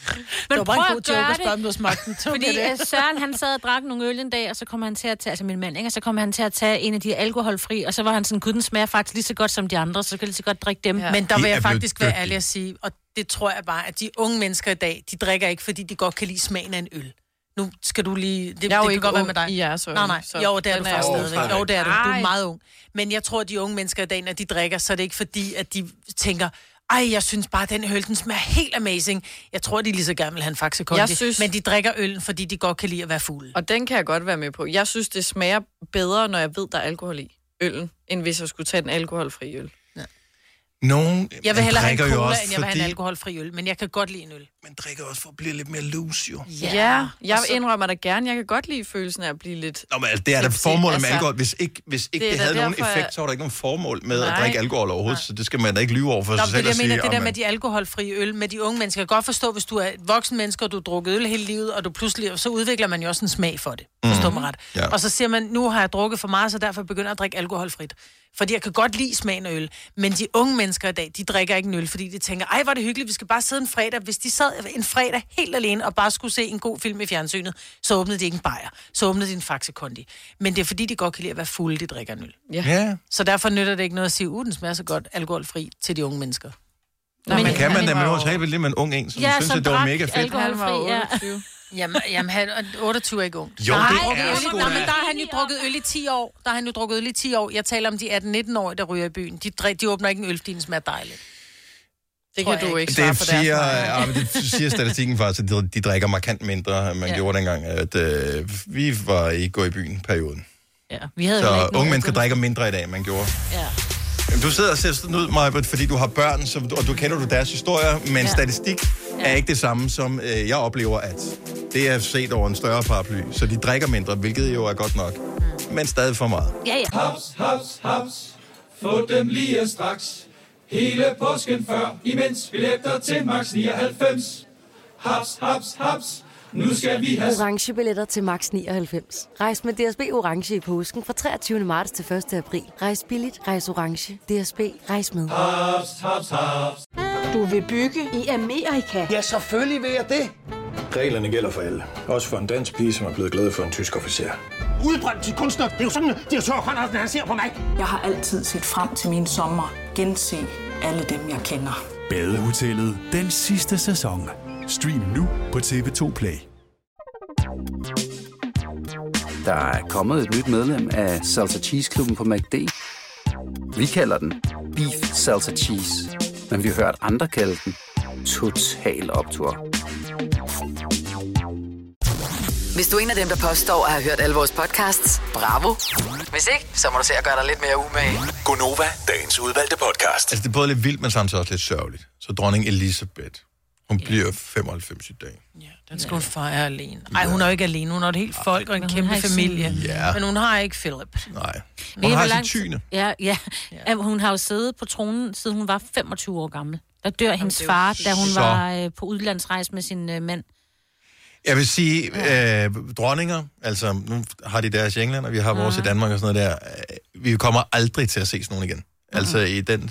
[SPEAKER 4] Men det
[SPEAKER 2] Men
[SPEAKER 4] var
[SPEAKER 2] prøv
[SPEAKER 4] bare en
[SPEAKER 2] at
[SPEAKER 4] god joke
[SPEAKER 2] gøre
[SPEAKER 4] at
[SPEAKER 2] det.
[SPEAKER 4] spørge, om du har smagt den. Så
[SPEAKER 2] Fordi
[SPEAKER 4] bliver det.
[SPEAKER 2] øh, Søren, han sad og drak nogle øl en dag, og så kom han til at tage, altså min mand, ikke? Og så kom han til at tage en af de alkoholfri, og så var han sådan, gud, den smager faktisk lige så godt som de andre, så kan jeg lige så godt drikke dem. Ja.
[SPEAKER 4] Men der vil jeg faktisk være ærlig at sige, og det tror jeg bare, at de unge mennesker i dag, de drikker ikke, fordi de godt kan lide smagen af en øl. Nu skal du lige... Det,
[SPEAKER 6] Jeg
[SPEAKER 4] det
[SPEAKER 6] er jo
[SPEAKER 4] kan
[SPEAKER 6] ikke
[SPEAKER 4] godt være
[SPEAKER 6] ung
[SPEAKER 4] med dig.
[SPEAKER 6] i jeres øjne,
[SPEAKER 4] nej, nej.
[SPEAKER 6] så
[SPEAKER 4] Jo, det er
[SPEAKER 6] den
[SPEAKER 4] du
[SPEAKER 6] er
[SPEAKER 4] faktisk
[SPEAKER 6] jeg
[SPEAKER 4] stadigvæk.
[SPEAKER 6] overhovedet
[SPEAKER 4] Jo, det er du. Du er
[SPEAKER 6] ikke.
[SPEAKER 4] meget ung. Men jeg tror, at de unge mennesker i dag, når de drikker, så er det ikke fordi, at de tænker, ej, jeg synes bare, at den øl, den smager helt amazing. Jeg tror, de lige så gerne vil have en Faxe Kondi.
[SPEAKER 6] Jeg synes-
[SPEAKER 4] Men de drikker øl, fordi de godt kan lide at være fugle.
[SPEAKER 6] Og den kan jeg godt være med på. Jeg synes, det smager bedre, når jeg ved, der er alkohol i øllen, end hvis jeg skulle tage den alkoholfri øl.
[SPEAKER 1] Nogen
[SPEAKER 4] Jeg vil hellere have en
[SPEAKER 1] drikker jo
[SPEAKER 4] cola,
[SPEAKER 1] også,
[SPEAKER 4] end jeg vil have en
[SPEAKER 1] fordi-
[SPEAKER 4] alkoholfri øl, men jeg kan godt lide en øl.
[SPEAKER 1] Man drikker også for at blive lidt mere loose, jo.
[SPEAKER 6] Ja, ja jeg så... indrømmer dig gerne. Jeg kan godt lide følelsen af at blive lidt...
[SPEAKER 1] Nå, men altså, det er da
[SPEAKER 6] Tipsy,
[SPEAKER 1] formålet med
[SPEAKER 6] altså.
[SPEAKER 1] alkohol. Hvis ikke, hvis ikke
[SPEAKER 6] Det
[SPEAKER 1] det,
[SPEAKER 6] er
[SPEAKER 1] det
[SPEAKER 6] da
[SPEAKER 1] havde nogen
[SPEAKER 6] derfor,
[SPEAKER 1] effekt,
[SPEAKER 6] jeg-
[SPEAKER 1] så var der ikke nogen formål med
[SPEAKER 4] Nej.
[SPEAKER 1] at drikke alkohol overhovedet, så det skal man da ikke lyve over for
[SPEAKER 4] Nå,
[SPEAKER 1] sig
[SPEAKER 4] men det, er
[SPEAKER 1] selv og
[SPEAKER 4] det, jeg
[SPEAKER 1] sige,
[SPEAKER 4] mener, det der
[SPEAKER 1] "Åh,
[SPEAKER 4] med
[SPEAKER 1] mand."
[SPEAKER 4] de alkoholfrie øl med de unge mennesker. Jeg kan godt forstå, hvis du er et voksen menneske, og du har drukket øl hele livet, og du pludselig, så udvikler man jo også en smag for det. Forstår
[SPEAKER 1] Mhm.
[SPEAKER 4] mig ret.
[SPEAKER 1] Ja.
[SPEAKER 4] Og så siger man, nu har jeg drukket for meget, så derfor begynder jeg at drikke alkoholfrit. Fordi jeg kan godt lide smagen af øl. Men de unge mennesker i dag, de drikker ikke en øl, fordi de tænker, ej, hvor er det hyggeligt, vi skal bare sidde en fredag. Hvis de sad en fredag helt alene og bare skulle se en god film i fjernsynet, så åbnede de ikke en bajer. Så åbnede de en Faxe Kondi. Men det er fordi, de godt kan lide at være fulde, de drikker en øl.
[SPEAKER 6] Ja.
[SPEAKER 1] ja.
[SPEAKER 4] Så derfor nytter det ikke noget at sige, uden smager så godt alkoholfri til de unge mennesker.
[SPEAKER 1] Men, men kan man da,
[SPEAKER 4] det
[SPEAKER 1] men nu talte vi lige med en ung en, som ja, synes, at det var mega fedt.
[SPEAKER 4] Alkoholfri,
[SPEAKER 6] ja.
[SPEAKER 4] jamen, jamen, han og 28 er ikke ung.
[SPEAKER 1] Jo, det
[SPEAKER 4] okay,
[SPEAKER 1] er
[SPEAKER 4] øl-
[SPEAKER 1] sgu
[SPEAKER 4] Nå,
[SPEAKER 1] da.
[SPEAKER 4] men der har han jo drukket øl i 10 år. Der har han jo drukket øl i 10 år. Jeg taler om de 18-19-årige, der ryger i byen. De, drik, de åbner ikke en øl, fordi den smager dejligt.
[SPEAKER 6] Det
[SPEAKER 4] Tror
[SPEAKER 6] kan du
[SPEAKER 4] jeg
[SPEAKER 6] ikke svare
[SPEAKER 1] Det
[SPEAKER 6] på deres
[SPEAKER 1] siger,
[SPEAKER 6] vegne.
[SPEAKER 1] ja, men det siger statistikken faktisk, at de, de drikker markant mindre, end man
[SPEAKER 4] Ja.
[SPEAKER 1] ja. gjorde dengang, at øh, vi var ikke gået i byen perioden.
[SPEAKER 2] Ja, vi havde jo
[SPEAKER 1] så
[SPEAKER 2] ikke
[SPEAKER 1] unge
[SPEAKER 2] nogen
[SPEAKER 1] mennesker drikker mindre i dag, end man gjorde.
[SPEAKER 2] Ja.
[SPEAKER 1] Jamen, Du sidder og ser sådan ud, Majbert, fordi du har børn, så, og du kender du deres historier, men
[SPEAKER 2] Ja.
[SPEAKER 1] ja. statistik er ikke det samme, som øh, jeg oplever, at det er set over en større paraply, så de drikker mindre, hvilket jo er godt nok, men stadig for meget.
[SPEAKER 2] Mm. Ja, ja.
[SPEAKER 7] Haps, haps, haps. Få dem lige straks. Hele påsken før, imens billetter til max 99. Haps, haps, haps. Nu skal vi have...
[SPEAKER 8] orange billetter til max 99. Rejs med DSB orange i påsken fra 23. marts til 1. april. Rejs billigt, rejs orange. DSB rejs med.
[SPEAKER 7] Haps, haps, haps.
[SPEAKER 14] Du vil bygge i Amerika? Ja, selvfølgelig vil jeg det.
[SPEAKER 10] Reglerne gælder for alle. Også for en dansk pige, som er blevet glad for en tysk officer.
[SPEAKER 9] Udbrændt til kunstner. Det er jo sådan, at de har tørt, han, han ser på mig. Jeg har altid set frem til min sommer. Gense alle dem, jeg kender.
[SPEAKER 11] Badehotellet den sidste sæson. Stream nu på TV2 Play.
[SPEAKER 15] Der er kommet et nyt medlem af Salsa Cheese Klubben på MACD. Vi kalder den Beef Salsa Cheese, men vi har hørt andre kalde den Total Optor.
[SPEAKER 5] Hvis du er en af dem, der påstår at have hørt alle vores podcasts, bravo. Hvis ikke, så må du se at gøre dig lidt mere umage.
[SPEAKER 1] Gonova, dagens udvalgte podcast. Altså, det er både lidt vildt, men samtidig også lidt sørgeligt. Så dronning Elisabeth, hun bliver 95 i dag.
[SPEAKER 4] Den skal hun fejre alene. Nej, hun er jo ikke alene. Hun har et helt folk og en kæmpe
[SPEAKER 2] har ikke
[SPEAKER 4] familie.
[SPEAKER 2] sin-
[SPEAKER 1] Ja.
[SPEAKER 4] Men hun har ikke Philip.
[SPEAKER 1] Nej.
[SPEAKER 2] Ved I, hvor lang tid- Ja, ja. ja. Hun har jo siddet på tronen, siden hun var 25 år gammel. Der dør hendes
[SPEAKER 6] det er jo
[SPEAKER 2] far, da hun
[SPEAKER 1] sygt.
[SPEAKER 2] var øh, på udlandsrejse med sin øh, mand.
[SPEAKER 1] Jeg vil sige, øh, dronninger, altså nu har de deres i England, og vi har
[SPEAKER 2] Mm.
[SPEAKER 1] vores i Danmark og sådan noget der. Øh, Vi kommer aldrig til at ses nogen igen. Altså i den...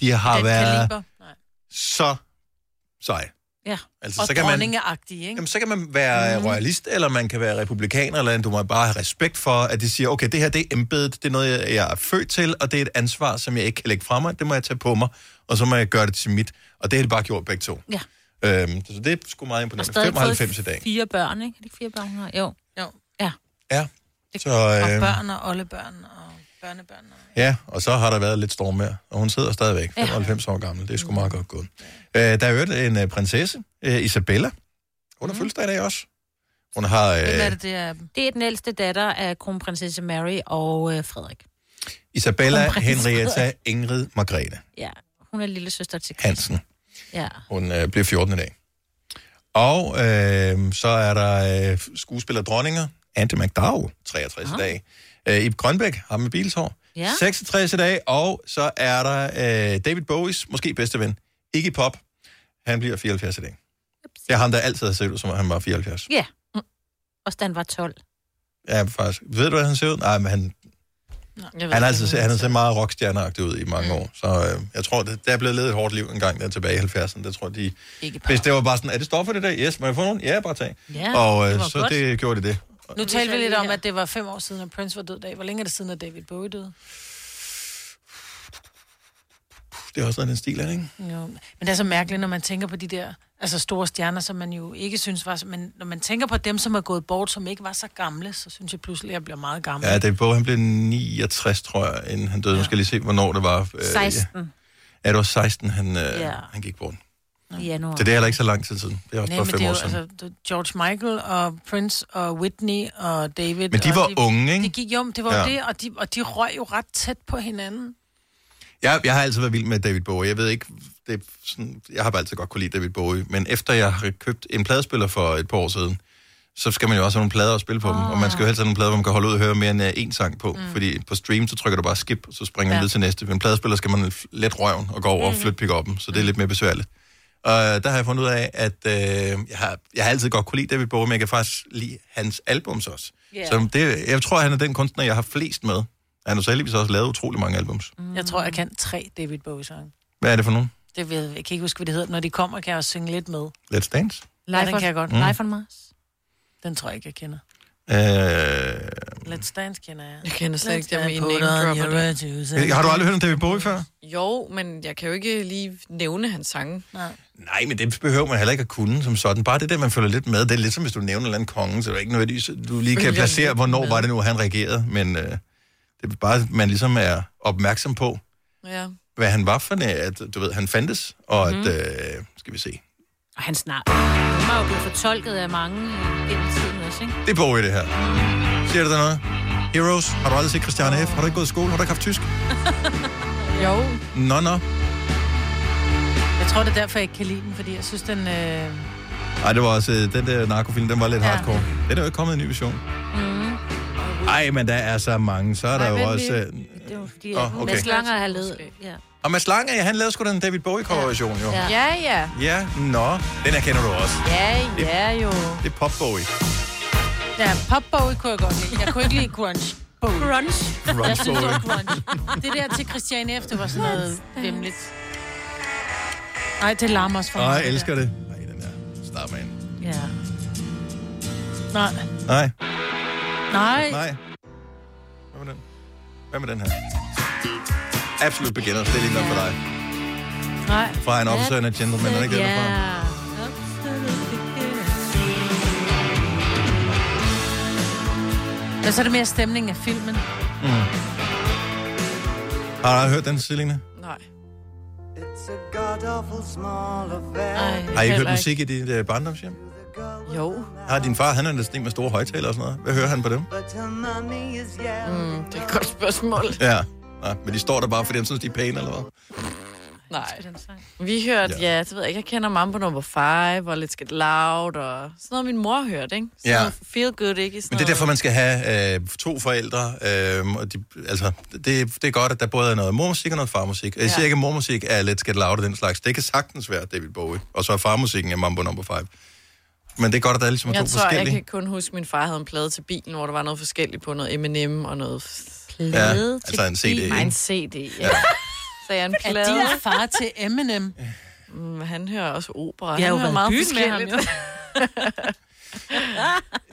[SPEAKER 1] De har
[SPEAKER 4] Den
[SPEAKER 1] været
[SPEAKER 4] kaliber.
[SPEAKER 1] så seje.
[SPEAKER 2] Ja.
[SPEAKER 1] Altså,
[SPEAKER 4] og
[SPEAKER 1] så kan man-
[SPEAKER 4] dronningeagtig, ikke?
[SPEAKER 1] Jamen, så kan man være mm. royalist, eller man kan være republikaner, eller andet. du må bare have respekt for, at de siger, okay, det her det er embedet, det er noget, jeg- jeg er født til, og det er et ansvar, som jeg ikke kan lægge fra mig, det må jeg tage på mig, og så må jeg gøre det til mit. Og det har de bare gjort begge to.
[SPEAKER 2] Ja.
[SPEAKER 1] Øhm, så det er sgu meget imponerende. 95 i dag.
[SPEAKER 2] fire børn, ikke? Er det ikke fire børn, hun har? Jo.
[SPEAKER 4] jo.
[SPEAKER 2] Ja.
[SPEAKER 1] Ja. Så,
[SPEAKER 4] Og
[SPEAKER 1] øh,
[SPEAKER 4] børn og oldebørn og børnebørn.
[SPEAKER 1] ja, og så har der været lidt storm mere, og hun sidder stadigvæk, 95 år gammel, det er sgu meget godt gået. Øh, der er jo en øh, prinsesse, øh, Isabella, hun har mm. fødselsdag i dag også. Hun har... Øh,
[SPEAKER 2] er det, det er? Det er den ældste datter af kronprinsesse Mary og øh, Frederik.
[SPEAKER 1] Isabella,
[SPEAKER 2] Kronprins
[SPEAKER 1] Henrietta,
[SPEAKER 2] Frederik.
[SPEAKER 1] Ingrid, Margrethe
[SPEAKER 2] Ja, hun er lille søster til Chris.
[SPEAKER 1] Hansen.
[SPEAKER 2] Ja.
[SPEAKER 1] Hun øh, bliver 14 i dag. Og øh, så er der øh, skuespiller dronninger, Ante McDowell, 63 i dag. Øh, Ib Grønbæk, ham med bilshår, Ja. 66 i dag, og så er der øh, David Bowies, måske bedste ven, Iggy Pop. Han bliver 74 i dag. Det er ham, der altid har set ud, som om han var 74.
[SPEAKER 2] Ja. Mm. Også da han var 12.
[SPEAKER 1] Ja, faktisk. Ved du, hvordan han ser ud? Nej, men han,
[SPEAKER 2] Jeg
[SPEAKER 1] han har altid set, han har set meget rockstjerneagtig ud i mange år. Så øh, jeg tror, det, der er blevet levet et hårdt liv engang der tilbage i 70'erne. Det tror jeg, de...
[SPEAKER 4] Ikke bare.
[SPEAKER 1] Hvis det var bare sådan, er det stoffer det der? Yes, må jeg få nogen? Ja, bare tag.
[SPEAKER 4] Ja,
[SPEAKER 1] og
[SPEAKER 4] det
[SPEAKER 1] øh,
[SPEAKER 4] var
[SPEAKER 1] så
[SPEAKER 4] godt.
[SPEAKER 1] det gjorde de det.
[SPEAKER 4] Nu talte vi lidt om, at det var fem år siden, at Prince var død dag. Hvor længe er det siden, at David Bowie døde?
[SPEAKER 1] Det er også noget af den stil, er det, ikke?
[SPEAKER 4] Jo. Men det er så mærkeligt, når man tænker på de der altså store stjerner, som man jo ikke synes var... Men når man tænker på dem, som er gået bort, som ikke var så gamle, så synes jeg pludselig, at jeg bliver meget gammel.
[SPEAKER 1] Ja, David Bowie, han blev 69, tror jeg, inden han døde. Nu skal jeg lige se, hvornår det var. Øh, ja.
[SPEAKER 2] 16
[SPEAKER 1] Ja, det var 16, han, øh,
[SPEAKER 4] Ja.
[SPEAKER 1] han gik bort.
[SPEAKER 2] i januar.
[SPEAKER 1] Så det er heller ikke så lang tid siden. Det er også
[SPEAKER 4] Nej,
[SPEAKER 1] bare
[SPEAKER 4] men
[SPEAKER 1] fem
[SPEAKER 4] det er
[SPEAKER 1] år
[SPEAKER 4] jo,
[SPEAKER 1] siden.
[SPEAKER 4] altså, det- George Michael og Prince og Whitney og David.
[SPEAKER 1] Men de
[SPEAKER 4] og
[SPEAKER 1] var unge, ikke?
[SPEAKER 4] De gik jo, det var ja.
[SPEAKER 1] Ja.
[SPEAKER 4] det, og de, og de røg jo ret tæt på hinanden.
[SPEAKER 1] Jeg, jeg har altid været vild med David Bowie. Jeg ved ikke, det er sådan, jeg har bare altid godt kunne lide David Bowie. Men efter jeg har købt en pladespiller for et par år siden, så skal man jo også have nogle plader at spille på dem. Og man skal jo helst have nogle plader, hvor man kan holde ud og høre mere end én sang på. Ah. Mm. Fordi på stream, så trykker du bare skip, og så springer
[SPEAKER 3] Ja.
[SPEAKER 1] ja. den ned til næste. Men en pladespiller skal man let røven og gå over mm. og flytte pick upen, så det er lidt mere besværligt. Og der har jeg fundet ud af, at øh, jeg, har, jeg har altid godt kunne lide David Bowie, men jeg kan faktisk lide hans albums også.
[SPEAKER 4] Ja.
[SPEAKER 1] Yeah. Så det, jeg tror, han er den kunstner, jeg har flest med. Han har så heldigvis også lavet utrolig mange albums.
[SPEAKER 4] Mm. Jeg tror, jeg kan tre David Bowie-sange.
[SPEAKER 1] Hvad er det for nogen?
[SPEAKER 4] Det ved jeg, jeg kan ikke huske, hvad det hedder. Når de kommer, kan jeg også synge lidt med.
[SPEAKER 1] Let's Dance?
[SPEAKER 4] Life ja, den kan jeg godt.
[SPEAKER 1] Mm. Life
[SPEAKER 4] on Mars. Den tror jeg ikke, jeg kender.
[SPEAKER 1] Øh,
[SPEAKER 4] Let's Dance kender jeg.
[SPEAKER 6] Jeg kender slet
[SPEAKER 4] Let's
[SPEAKER 6] ikke dem
[SPEAKER 4] dance,
[SPEAKER 6] i
[SPEAKER 4] put
[SPEAKER 6] name
[SPEAKER 4] on
[SPEAKER 6] dropper
[SPEAKER 4] your
[SPEAKER 6] der.
[SPEAKER 4] red shoes and-
[SPEAKER 1] har du aldrig hørt om David Bowie før?
[SPEAKER 6] Jo, men jeg kan jo ikke lige nævne hans sange.
[SPEAKER 4] Nej.
[SPEAKER 1] Nej, men det behøver man heller ikke at kunne som sådan. Bare det der, man følger lidt med. Det er lidt som, hvis du nævner en eller anden konge, så er det ikke nødvendigvis, at du lige kan
[SPEAKER 6] Følger
[SPEAKER 1] placere,
[SPEAKER 6] lidt
[SPEAKER 1] hvornår
[SPEAKER 6] med.
[SPEAKER 1] var det nu, han reagerede. Men øh, det er bare, at man ligesom er opmærksom på,
[SPEAKER 6] Ja.
[SPEAKER 1] hvad han var for en, at du ved, han fandtes, og mm.
[SPEAKER 2] Mhm.
[SPEAKER 1] at, øh, skal vi se.
[SPEAKER 2] Og han snart. Han var jo blevet fortolket af mange øh, gennem tiden også, ikke?
[SPEAKER 1] Det er Bowie, det her. Siger det der noget? Heroes, har du aldrig set Christiane F? Har du ikke gået i skole? Har du ikke haft tysk?
[SPEAKER 6] Jo.
[SPEAKER 1] Nå, nå.
[SPEAKER 4] Jeg tror, det er derfor, jeg ikke kan lide den, fordi jeg synes, den... Øh...
[SPEAKER 1] Ej, det var også, øh, den der narkofilm, den var lidt ja. hardcore. Den er jo ikke kommet en ny version.
[SPEAKER 4] Mm.
[SPEAKER 1] Ej, men der er så mange. Så er der
[SPEAKER 2] Ej,
[SPEAKER 1] jo
[SPEAKER 2] vent
[SPEAKER 1] også...
[SPEAKER 2] lige.
[SPEAKER 1] Øh,
[SPEAKER 2] Det er jo fordi,
[SPEAKER 1] Åh,
[SPEAKER 2] at oh,
[SPEAKER 1] okay.
[SPEAKER 2] okay. Mads Langer har lavet... Ja.
[SPEAKER 1] Og Mads Lange, ja, han lavede sgu da den David Bowie-coverversion, jo.
[SPEAKER 6] Ja, ja.
[SPEAKER 1] Ja, nå. Den her kender du også.
[SPEAKER 6] Ja, ja, jo.
[SPEAKER 1] Det er Pop Bowie.
[SPEAKER 4] Ja, pop Bowie kunne jeg godt lide. Jeg kunne ikke lide grunge. Bowie. Grunge?
[SPEAKER 1] Grunge
[SPEAKER 4] jeg synes, det var
[SPEAKER 1] Bowie.
[SPEAKER 4] grunge. Det der til Christiane F, det var sådan noget vemmeligt. Nej, det larmer også for
[SPEAKER 1] Åh,
[SPEAKER 4] mig.
[SPEAKER 1] jeg elsker det. Nej, den der. Start med en.
[SPEAKER 4] Ja. Nej.
[SPEAKER 1] Nej.
[SPEAKER 4] Nej.
[SPEAKER 1] Nej. Hvad med den? Hvad med den her? Absolut beginner. Det er lige noget for dig.
[SPEAKER 4] Nej.
[SPEAKER 1] Fra en officer and a gentleman. Er det ikke det, den er fra?
[SPEAKER 2] Ja.
[SPEAKER 4] Men så er det mere stemningen af filmen.
[SPEAKER 1] Mm. Har du hørt den, Selina?
[SPEAKER 4] Nej.
[SPEAKER 1] Har I ikke hørt musik i dit øh, barndomshjem?
[SPEAKER 6] Jo.
[SPEAKER 1] Har din far, han er sådan en med store højtaler og sådan noget. Hvad hører han på dem?
[SPEAKER 6] Mm, det er et godt spørgsmål.
[SPEAKER 1] Ja. Nej, men de står der bare, fordi han synes, de er pæne, eller hvad?
[SPEAKER 6] Nej. Vi hørte, ja, det ved jeg ikke, jeg kender Mambo number 5 og lidt Get Loud og sådan noget, min mor hørte, ikke? Sådan
[SPEAKER 1] Ja.
[SPEAKER 6] noget Feel Good, ikke? Sådan
[SPEAKER 1] Men det er derfor, man skal have øh, to forældre. Øh, og de, altså, det, det er godt, at der både er noget mormusik og noget farmusik. Og Jeg siger
[SPEAKER 6] Ja.
[SPEAKER 1] ikke, at mormusik er lidt skal loud og den slags. Det kan sagtens være David Bowie. Og så er farmusikken af Mambo Number 5. Men det er godt, at der er ligesom er
[SPEAKER 6] jeg
[SPEAKER 1] to
[SPEAKER 6] tror, jeg
[SPEAKER 1] forskellige.
[SPEAKER 6] kan kun huske, at min far havde en plade til bilen, hvor der var noget forskelligt på noget M&M og noget...
[SPEAKER 1] Ja, altså en CD, ikke?
[SPEAKER 6] Nej, en CD, ja.
[SPEAKER 1] Ja.
[SPEAKER 6] Så jeg er en
[SPEAKER 4] Er
[SPEAKER 6] plade.
[SPEAKER 4] din far til Eminem?
[SPEAKER 6] Mm, han hører også opera.
[SPEAKER 4] Jeg har jo
[SPEAKER 6] han hører
[SPEAKER 4] været i
[SPEAKER 6] meget
[SPEAKER 4] byen med ham,
[SPEAKER 6] forskelligt.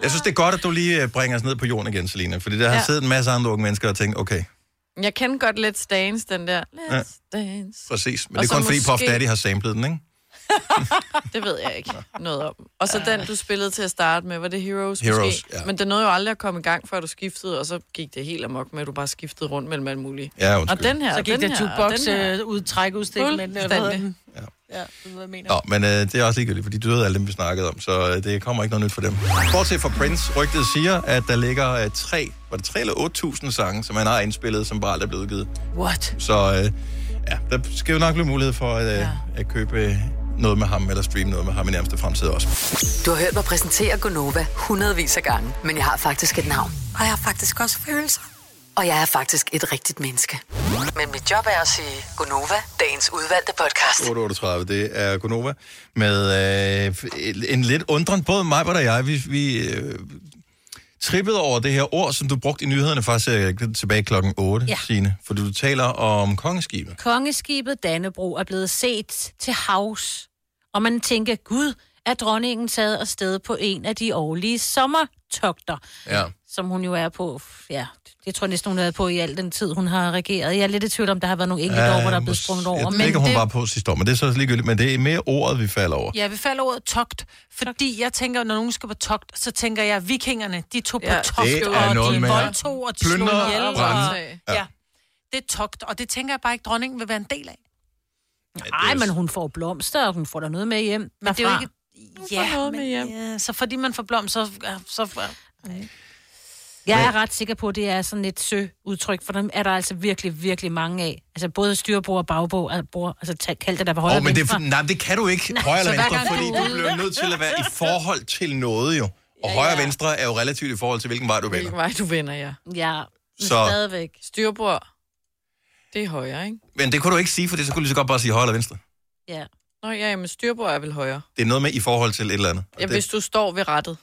[SPEAKER 1] Jeg synes, det er godt, at du lige øh, bringer os ned på jorden igen, Selina. Fordi der ja. har
[SPEAKER 6] Ja.
[SPEAKER 1] siddet en masse andre unge mennesker og tænkt, okay,
[SPEAKER 6] Jeg kan godt Let's Dance, den der.
[SPEAKER 1] Ja.
[SPEAKER 6] Let's ja. Dance.
[SPEAKER 1] præcis. Men
[SPEAKER 6] Og
[SPEAKER 1] det er
[SPEAKER 6] så
[SPEAKER 1] kun fordi Puff
[SPEAKER 6] måske-
[SPEAKER 1] Daddy har samlet den, ikke?
[SPEAKER 6] Det ved jeg ikke noget om. Og så den, du spillede til at starte med, var det Heroes,
[SPEAKER 1] Heroes,
[SPEAKER 6] måske? Ja. Men det nåede jo aldrig at komme i gang, før du skiftede, og så gik det helt amok med, at du bare skiftede rundt mellem alt muligt.
[SPEAKER 1] Ja, undskyld.
[SPEAKER 6] Og den her,
[SPEAKER 4] Så
[SPEAKER 6] og
[SPEAKER 4] gik
[SPEAKER 6] den
[SPEAKER 4] der
[SPEAKER 6] her, og
[SPEAKER 4] jukebox
[SPEAKER 6] den her.
[SPEAKER 4] øh, ud, træk udstilling. Ja.
[SPEAKER 6] Fuldstændig.
[SPEAKER 4] ja, du ved, hvad jeg mener.
[SPEAKER 1] Nå, men øh, det er også ligegyldigt, fordi du ved alle dem, vi snakkede om, så øh, det kommer ikke noget nyt for dem. Bortset fra Prince, rygtet siger, at der ligger øh, tre, var det tre eller 8.000 sange, som han har indspillet, som bare aldrig er blevet udgivet.
[SPEAKER 4] What?
[SPEAKER 1] Så øh, ja, der skal jo nok blive mulighed for at, øh, ja. at købe øh, noget med ham, eller streame noget med ham i nærmeste fremtid også.
[SPEAKER 5] Du har hørt mig præsentere Gonova hundredvis af gange, men jeg har faktisk et navn.
[SPEAKER 19] Og jeg har faktisk også følelser.
[SPEAKER 5] og jeg er faktisk et rigtigt menneske. Men mit job er at sige Gonova, dagens udvalgte podcast.
[SPEAKER 1] 8.38, det er Gunova, med øh, en lidt undren, både mig og jeg, vi, vi øh, trippede over det her ord, som du brugte i nyhederne faktisk øh, tilbage klokken 8,
[SPEAKER 2] Ja.
[SPEAKER 1] ja. Signe, for du taler om kongeskibet.
[SPEAKER 2] Kongeskibet Dannebro er blevet set til havs, og man tænker, gud, er dronningen taget afsted på en af de årlige sommertogter,
[SPEAKER 1] Ja.
[SPEAKER 2] som hun jo er på, ja, det tror jeg næsten, hun har været på i al den tid, hun har regeret. Jeg er lidt i tvivl om, der har været nogle enkelte år, hvor der er blevet sprunget over.
[SPEAKER 1] Jeg ved ikke, om hun
[SPEAKER 2] det,
[SPEAKER 1] var på sidste år, men det er så også ligegyldigt, men det er mere ordet, vi falder over.
[SPEAKER 4] Ja, vi falder ordet togt, fordi jeg tænker, når nogen skal på togt, så tænker jeg, vikingerne, de tog på
[SPEAKER 1] Ja,
[SPEAKER 4] togt,
[SPEAKER 1] det er
[SPEAKER 4] og
[SPEAKER 1] noget
[SPEAKER 4] de
[SPEAKER 1] med
[SPEAKER 4] voldtog og de slog
[SPEAKER 1] plyndre og
[SPEAKER 4] ihjel. Og,
[SPEAKER 1] brænde.
[SPEAKER 4] ja. ja, det er togt, og det tænker jeg bare ikke, dronningen vil være en del af.
[SPEAKER 2] Nej, men hun får blomster, og hun får der noget med hjem.
[SPEAKER 4] Men det er jo ikke...
[SPEAKER 2] Hun får
[SPEAKER 4] Ja,
[SPEAKER 2] noget
[SPEAKER 4] men,
[SPEAKER 2] med hjem.
[SPEAKER 4] ja, så fordi man får blom, så... ja, så
[SPEAKER 2] Jeg er ret sikker på, at det er sådan et søudtryk, for dem er der altså virkelig, virkelig mange af. Altså både styrbord og bagbord, altså, bord, altså tag- kald det der på højre
[SPEAKER 1] Åh, men det,
[SPEAKER 2] venstre.
[SPEAKER 1] nej, det kan du ikke,
[SPEAKER 2] Nej,
[SPEAKER 1] højre eller
[SPEAKER 2] så hver
[SPEAKER 1] venstre,
[SPEAKER 2] gang
[SPEAKER 1] fordi
[SPEAKER 2] du er
[SPEAKER 1] du bliver
[SPEAKER 2] ude.
[SPEAKER 1] nødt til at være i forhold til noget jo. Og højre og venstre er jo relativt i forhold til, hvilken vej du vælger.
[SPEAKER 6] Hvilken vej du vender, ja.
[SPEAKER 2] Ja,
[SPEAKER 1] men Så-
[SPEAKER 2] stadigvæk.
[SPEAKER 6] Styrbord, det er højre, ikke?
[SPEAKER 1] Men det kunne du ikke sige, for det så kunne du lige så godt bare sige højre eller venstre.
[SPEAKER 2] Ja.
[SPEAKER 6] Nå ja, ja, men styrbord er vel højre.
[SPEAKER 1] Det er noget med i forhold til et eller andet. Og
[SPEAKER 6] Ja,
[SPEAKER 1] det,
[SPEAKER 6] hvis du står ved rettet.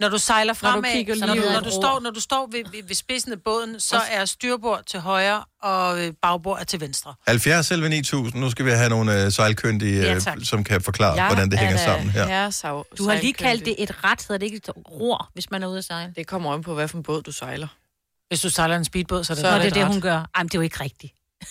[SPEAKER 4] Når du sejler fremad, når du,
[SPEAKER 6] kigger
[SPEAKER 4] kigger,
[SPEAKER 6] lige
[SPEAKER 4] når, du,
[SPEAKER 6] ud.
[SPEAKER 4] når, du står, når du står ved, ved, ved spidsen af båden, så er styrbord til højre, og øh, bagbord er til venstre.
[SPEAKER 1] 70 selv 9000, nu skal vi have nogle øh, sejlkyndige,
[SPEAKER 4] Ja,
[SPEAKER 1] øh,
[SPEAKER 4] tak.
[SPEAKER 1] som kan forklare, hvordan det hænger
[SPEAKER 2] øh,
[SPEAKER 1] sammen her.
[SPEAKER 2] Du har lige kaldt det et ret, hedder det ikke et ror, hvis man er ude at sejle?
[SPEAKER 6] Det kommer an på, hvad for en båd du sejler.
[SPEAKER 4] Hvis du sejler en speedbåd, så er det,
[SPEAKER 2] Så er det,
[SPEAKER 4] et
[SPEAKER 2] det
[SPEAKER 4] ret.
[SPEAKER 2] hun gør. Jamen, det er jo ikke rigtigt. det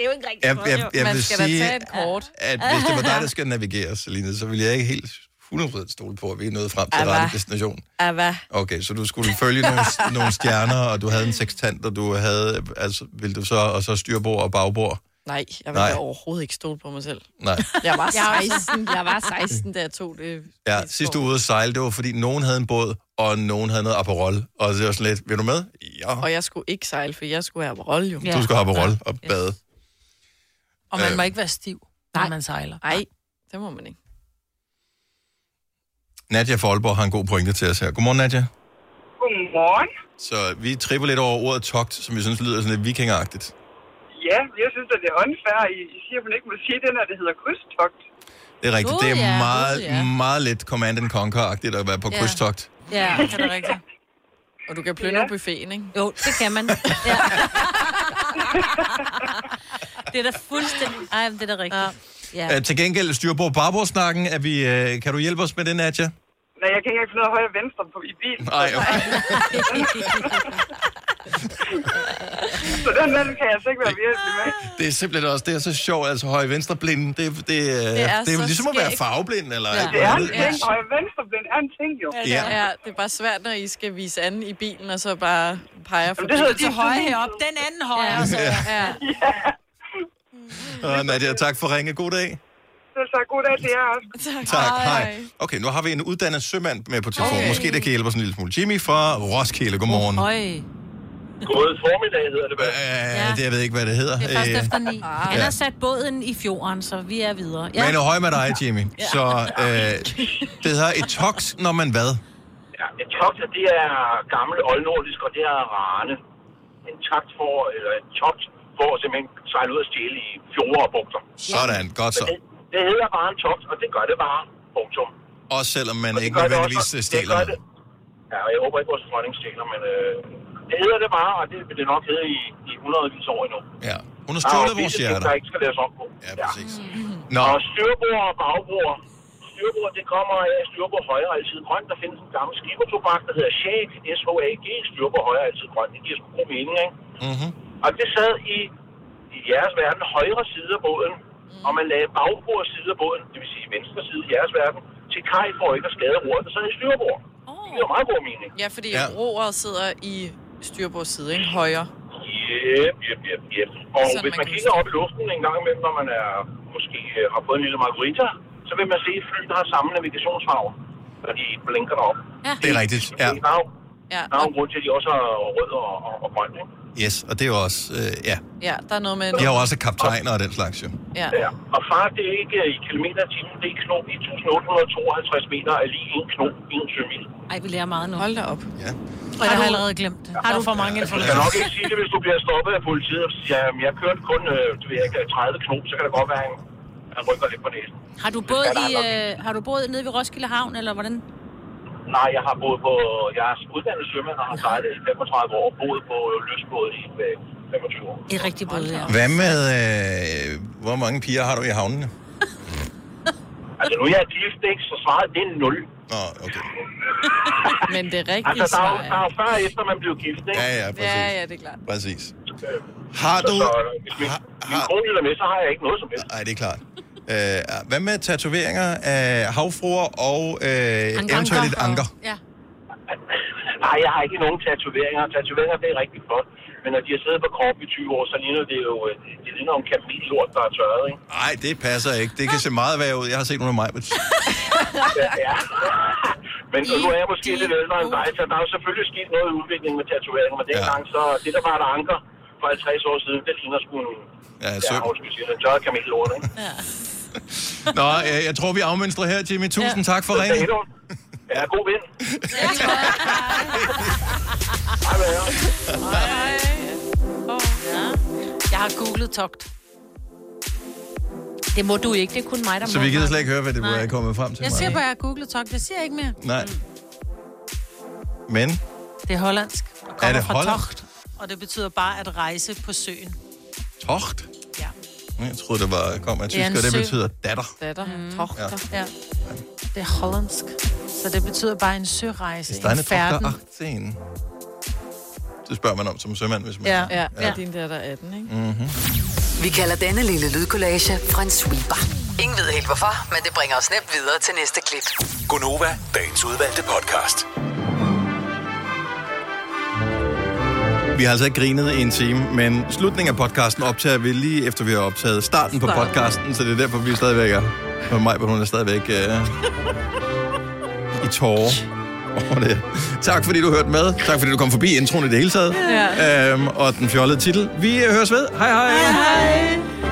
[SPEAKER 2] er jo ikke rigtigt.
[SPEAKER 1] Jeg, jeg, jeg vil sige,
[SPEAKER 6] kort.
[SPEAKER 1] at hvis det var dig, der skal navigere, Selina, så ville jeg ikke helt 100% stole på, at vi er nået frem til
[SPEAKER 6] Ah,
[SPEAKER 1] rette
[SPEAKER 6] hva?
[SPEAKER 1] destination.
[SPEAKER 6] Ah, hvad?
[SPEAKER 1] Okay, så du skulle følge nogle, nogle stjerner, og du havde en sextant, og du havde, altså, ville du så, og så styrbord og bagbord.
[SPEAKER 6] Nej, jeg vil
[SPEAKER 1] Nej.
[SPEAKER 6] da overhovedet ikke stole på mig selv.
[SPEAKER 1] Nej.
[SPEAKER 6] Jeg var
[SPEAKER 4] Jeg er også-
[SPEAKER 6] 16, jeg var 16 da jeg tog det.
[SPEAKER 1] Ja, sidste uge ude at sejle, det var fordi, nogen havde en båd, og nogen havde noget Aperol. Og det var sådan lidt, vil du med? Ja.
[SPEAKER 6] Og jeg skulle ikke sejle, for jeg skulle have rolle jo.
[SPEAKER 1] Du skal have Aperol og bade.
[SPEAKER 4] Og man
[SPEAKER 1] Øh.
[SPEAKER 4] må ikke være stiv, når man sejler.
[SPEAKER 6] Nej, det må man ikke.
[SPEAKER 1] Nadja Folborg har en god pointe til os her. Godmorgen, Nadja.
[SPEAKER 20] Godmorgen.
[SPEAKER 1] Så vi tripper lidt over ordet togt, som vi synes lyder sådan lidt vikingagtigt.
[SPEAKER 20] Ja, jeg synes, at det er unfair. I, I siger, at man ikke må sige det, når det hedder krydstogt.
[SPEAKER 1] Det er rigtigt.
[SPEAKER 20] Gud,
[SPEAKER 1] det er
[SPEAKER 20] ja.
[SPEAKER 1] meget,
[SPEAKER 20] Gud, ja.
[SPEAKER 1] meget lidt Command and Conquer-agtigt at være på
[SPEAKER 20] Ja.
[SPEAKER 1] krydstogt.
[SPEAKER 2] Ja,
[SPEAKER 6] det er rigtigt. Og du kan plønne ja. buffeten, ikke?
[SPEAKER 2] Jo, det kan man. Ja. det er da fuldstændig... Ej, men det er da rigtigt. Ja.
[SPEAKER 1] Ja. Øh, Til gengæld, styrbord bagbord-snakken, er vi, øh, kan du hjælpe os med det, Nadja?
[SPEAKER 20] Nej, jeg kan ikke finde noget højre og venstre på, i bilen.
[SPEAKER 1] Nej, okay.
[SPEAKER 20] så den, den kan jeg altså ikke være virkelig med.
[SPEAKER 1] Det er simpelthen også, det er så sjovt, altså høje venstre blinde, det, det, det, er,
[SPEAKER 20] Det
[SPEAKER 1] det
[SPEAKER 20] er
[SPEAKER 1] er, det er
[SPEAKER 20] så
[SPEAKER 1] ligesom at være
[SPEAKER 20] skægt.
[SPEAKER 1] farveblind, eller
[SPEAKER 20] Ja.
[SPEAKER 1] alt
[SPEAKER 20] Det er en
[SPEAKER 1] muligt andet.
[SPEAKER 20] ting, og venstre blind er en ting jo.
[SPEAKER 1] Ja.
[SPEAKER 6] ja. det er bare svært, når I skal vise anden i bilen, og så bare peger for
[SPEAKER 20] Jamen, det hedder
[SPEAKER 6] til
[SPEAKER 20] din
[SPEAKER 6] højre
[SPEAKER 20] side.
[SPEAKER 6] herop,
[SPEAKER 4] den anden højre. Ja.
[SPEAKER 6] Så,
[SPEAKER 1] Ja.
[SPEAKER 6] ja.
[SPEAKER 1] Og Nadia, Øh, tak for ringe. God dag.
[SPEAKER 20] Så, så god dag til jer også.
[SPEAKER 1] Tak, hej. Okay, nu har vi en uddannet sømand med på telefonen.
[SPEAKER 20] Okay.
[SPEAKER 1] Måske det kan hjælpe os en lille smule. Jimmy fra Roskilde, godmorgen.
[SPEAKER 2] Høj.
[SPEAKER 16] God formiddag hedder det, vel?
[SPEAKER 1] Ja. Det, jeg ved ikke, hvad det hedder.
[SPEAKER 2] Det er først
[SPEAKER 1] Øh,
[SPEAKER 2] efter ni. Han
[SPEAKER 1] ja.
[SPEAKER 2] har sat båden i fjorden, så vi er videre.
[SPEAKER 1] Men høj med dig, Jimmy. Så øh, det hedder et tox, når man hvad?
[SPEAKER 3] Ja, et togt, det er gammel oldnordisk, og det er rane. En takt for, eller en togt for at simpelthen sejle ud og stjæle i fjorde og bugter.
[SPEAKER 1] Sådan, godt så.
[SPEAKER 3] Men Det, det hedder bare en togt, og det gør det bare. Punktum.
[SPEAKER 1] Også selvom man ikke
[SPEAKER 3] gør det
[SPEAKER 1] nødvendigvis
[SPEAKER 3] også. Det
[SPEAKER 1] stjæler
[SPEAKER 3] gør
[SPEAKER 1] noget.
[SPEAKER 3] det. Ja, og jeg håber ikke, vores dronning stjæler, men øh, det hedder det bare, og det vil det nok hedde i, i hundredvis år endnu.
[SPEAKER 1] Ja. Hun har
[SPEAKER 3] Der Ah, er
[SPEAKER 1] stjålet
[SPEAKER 3] jo
[SPEAKER 1] vores
[SPEAKER 3] visse ting,
[SPEAKER 1] hjerter.
[SPEAKER 3] Der ikke skal laves om på. Ja, præcis.
[SPEAKER 1] Nå.
[SPEAKER 3] Og styrbord og bagbord. Styrbord, det kommer af styrbord højre altid grønt. Der findes en gammel skibertobak, der hedder Shag, S-H-A-G, styrbord højre altid grønt. Det giver sgu god mening, ikke?
[SPEAKER 1] Mm-hmm.
[SPEAKER 3] Og det sad i, i jeres verden højre side af båden, og man lagde bagbord side af båden, det vil sige venstre side i jeres verden, til kaj for ikke at skade roret, der sad i styrbord. Det giver meget god mening.
[SPEAKER 6] ja, fordi
[SPEAKER 3] Ja.
[SPEAKER 6] ja. roret sidder i styrbords side, ikke? Højre.
[SPEAKER 3] Yep, yep, yep, yep. Og
[SPEAKER 6] Sådan,
[SPEAKER 3] Sådan, hvis
[SPEAKER 6] man
[SPEAKER 3] man
[SPEAKER 6] kan
[SPEAKER 3] kigger op i luften en gang imellem, når man er, måske øh, har fået en lille margarita, så vil man se et fly, der har samme navigationsfarve, når de blinker op.
[SPEAKER 1] Det er rigtigt, ja.
[SPEAKER 3] Der er jo, der er jo en grund til, at de også har rød og, og, og grøn, ikke?
[SPEAKER 1] Yes, og det er jo også, øh, ja.
[SPEAKER 6] Ja, der er noget med...
[SPEAKER 1] De har jo også kaptajner og den slags, jo.
[SPEAKER 6] Ja.
[SPEAKER 3] ja. Og fart, det er ikke øh, i kilometer i timen, det er knop 1852 meter, er lige en knop i en sømil.
[SPEAKER 2] Ej, vi lærer meget nu.
[SPEAKER 6] Hold da op.
[SPEAKER 1] Ja.
[SPEAKER 4] Og jeg har allerede glemt det. Har du for mange
[SPEAKER 3] Du kan
[SPEAKER 4] informationer?
[SPEAKER 3] nok ikke sige det, hvis du bliver stoppet af politiet og siger, at jeg kørte kun øh, du ved ikke, 30 knop, så kan det godt være, at han, han rykker lidt på næsen.
[SPEAKER 2] Har du boet, i, øh, har du boet nede ved Roskilde Havn, eller hvordan?
[SPEAKER 3] Nej, jeg har boet på... Jeg er uddannet sømand og har sejlet i 35 år og boet på løsbåd i øh, 25 år.
[SPEAKER 2] Et rigtigt båd, ja.
[SPEAKER 1] Hvad med, øh, hvor mange piger har du i havnene?
[SPEAKER 3] Altså, nu er jeg gift, ikke? Så svaret, det er 0.
[SPEAKER 1] Nå, okay.
[SPEAKER 6] Men det er rigtigt
[SPEAKER 3] Altså, der er, jo,
[SPEAKER 6] svar,
[SPEAKER 3] der er jo før og efter, man blev gift, ikke?
[SPEAKER 1] Ja, ja, præcis.
[SPEAKER 6] Ja, ja, det er klart.
[SPEAKER 1] Præcis. Har
[SPEAKER 3] Så,
[SPEAKER 1] du...
[SPEAKER 3] så, hvis min, min kone lytter med, så har jeg ikke noget som helst.
[SPEAKER 1] Nej, det er klart. Øh, hvad med tatoveringer af havfruer og øh, eventuelt et anker?
[SPEAKER 4] Ja.
[SPEAKER 3] Nej, jeg har ikke nogen tatoveringer. Tatoveringer, det er rigtig flot. Men når de har siddet på kroppen i 20 år, så ligner det jo... øh, Det ligner en kamillort, der er tørret, ikke?
[SPEAKER 1] Nej, det passer ikke. Det kan se meget værre ud. Jeg har set nogle af mig.
[SPEAKER 3] Ja, ja. Men så nu er jeg måske lidt ældre end dig, så der er jo selvfølgelig sket noget i udviklingen med tatoveringer, men dengang så... Det, der var der anker for 50 år siden, det ligner sgu en...
[SPEAKER 1] Ja,
[SPEAKER 3] så...
[SPEAKER 1] søm.
[SPEAKER 3] Ja, en tørret kamillort, ikke?
[SPEAKER 1] Nå, øh, jeg tror, vi afmønstrer her, Jimmy. Tusind ja. tak for
[SPEAKER 3] Det er
[SPEAKER 1] ringen.
[SPEAKER 3] helt Ja, god vind.
[SPEAKER 4] Jeg har googlet togt.
[SPEAKER 2] Det må du ikke, det er kun mig, der
[SPEAKER 1] Så
[SPEAKER 2] må.
[SPEAKER 1] vi gider slet ikke høre, hvad det
[SPEAKER 4] Nej.
[SPEAKER 1] er kommet frem til.
[SPEAKER 4] Jeg siger
[SPEAKER 1] Maja.
[SPEAKER 4] bare, at jeg har googlet togt. Jeg siger ikke mere.
[SPEAKER 1] Nej. Men
[SPEAKER 4] Det er hollandsk. Og kommer
[SPEAKER 1] er det
[SPEAKER 4] fra
[SPEAKER 1] Holland?
[SPEAKER 4] togt. Og det betyder bare at rejse på søen.
[SPEAKER 1] Tocht?
[SPEAKER 4] Ja.
[SPEAKER 1] Jeg troede, det var, kom af
[SPEAKER 4] Det er
[SPEAKER 1] tysk,
[SPEAKER 4] en
[SPEAKER 1] og det
[SPEAKER 4] sø.
[SPEAKER 1] betyder datter.
[SPEAKER 6] Datter. Mm.
[SPEAKER 1] Ja.
[SPEAKER 4] Ja. Det er hollandsk. Så det betyder bare en sørejse.
[SPEAKER 1] Ist deine
[SPEAKER 4] en færden.
[SPEAKER 1] Tochter 18? Ah, Det spørger man om som sømand, hvis man...
[SPEAKER 4] Ja.
[SPEAKER 6] Ja, ja.
[SPEAKER 1] Ja.
[SPEAKER 6] Og din datter er 18, ikke?
[SPEAKER 1] Mm-hmm.
[SPEAKER 5] Vi kalder denne lille lydkollage en sweeper. Ingen ved helt hvorfor, men det bringer os nemt videre til næste klip.
[SPEAKER 11] Gonova, dagens udvalgte podcast.
[SPEAKER 1] Vi har altså ikke grinet i en time, men slutningen af podcasten optager vi lige efter, vi har optaget starten på
[SPEAKER 11] Starten.
[SPEAKER 1] podcasten, så det er derfor, vi stadigvæk er... Og mig, hun er stadigvæk øh, i tårer. over det. Tak fordi du hørte med. Tak fordi du kom forbi introen i det hele taget.
[SPEAKER 7] Ja.
[SPEAKER 1] Øhm, og den fjollede titel. Vi øh, høres ved. Hej hej. hej, hej.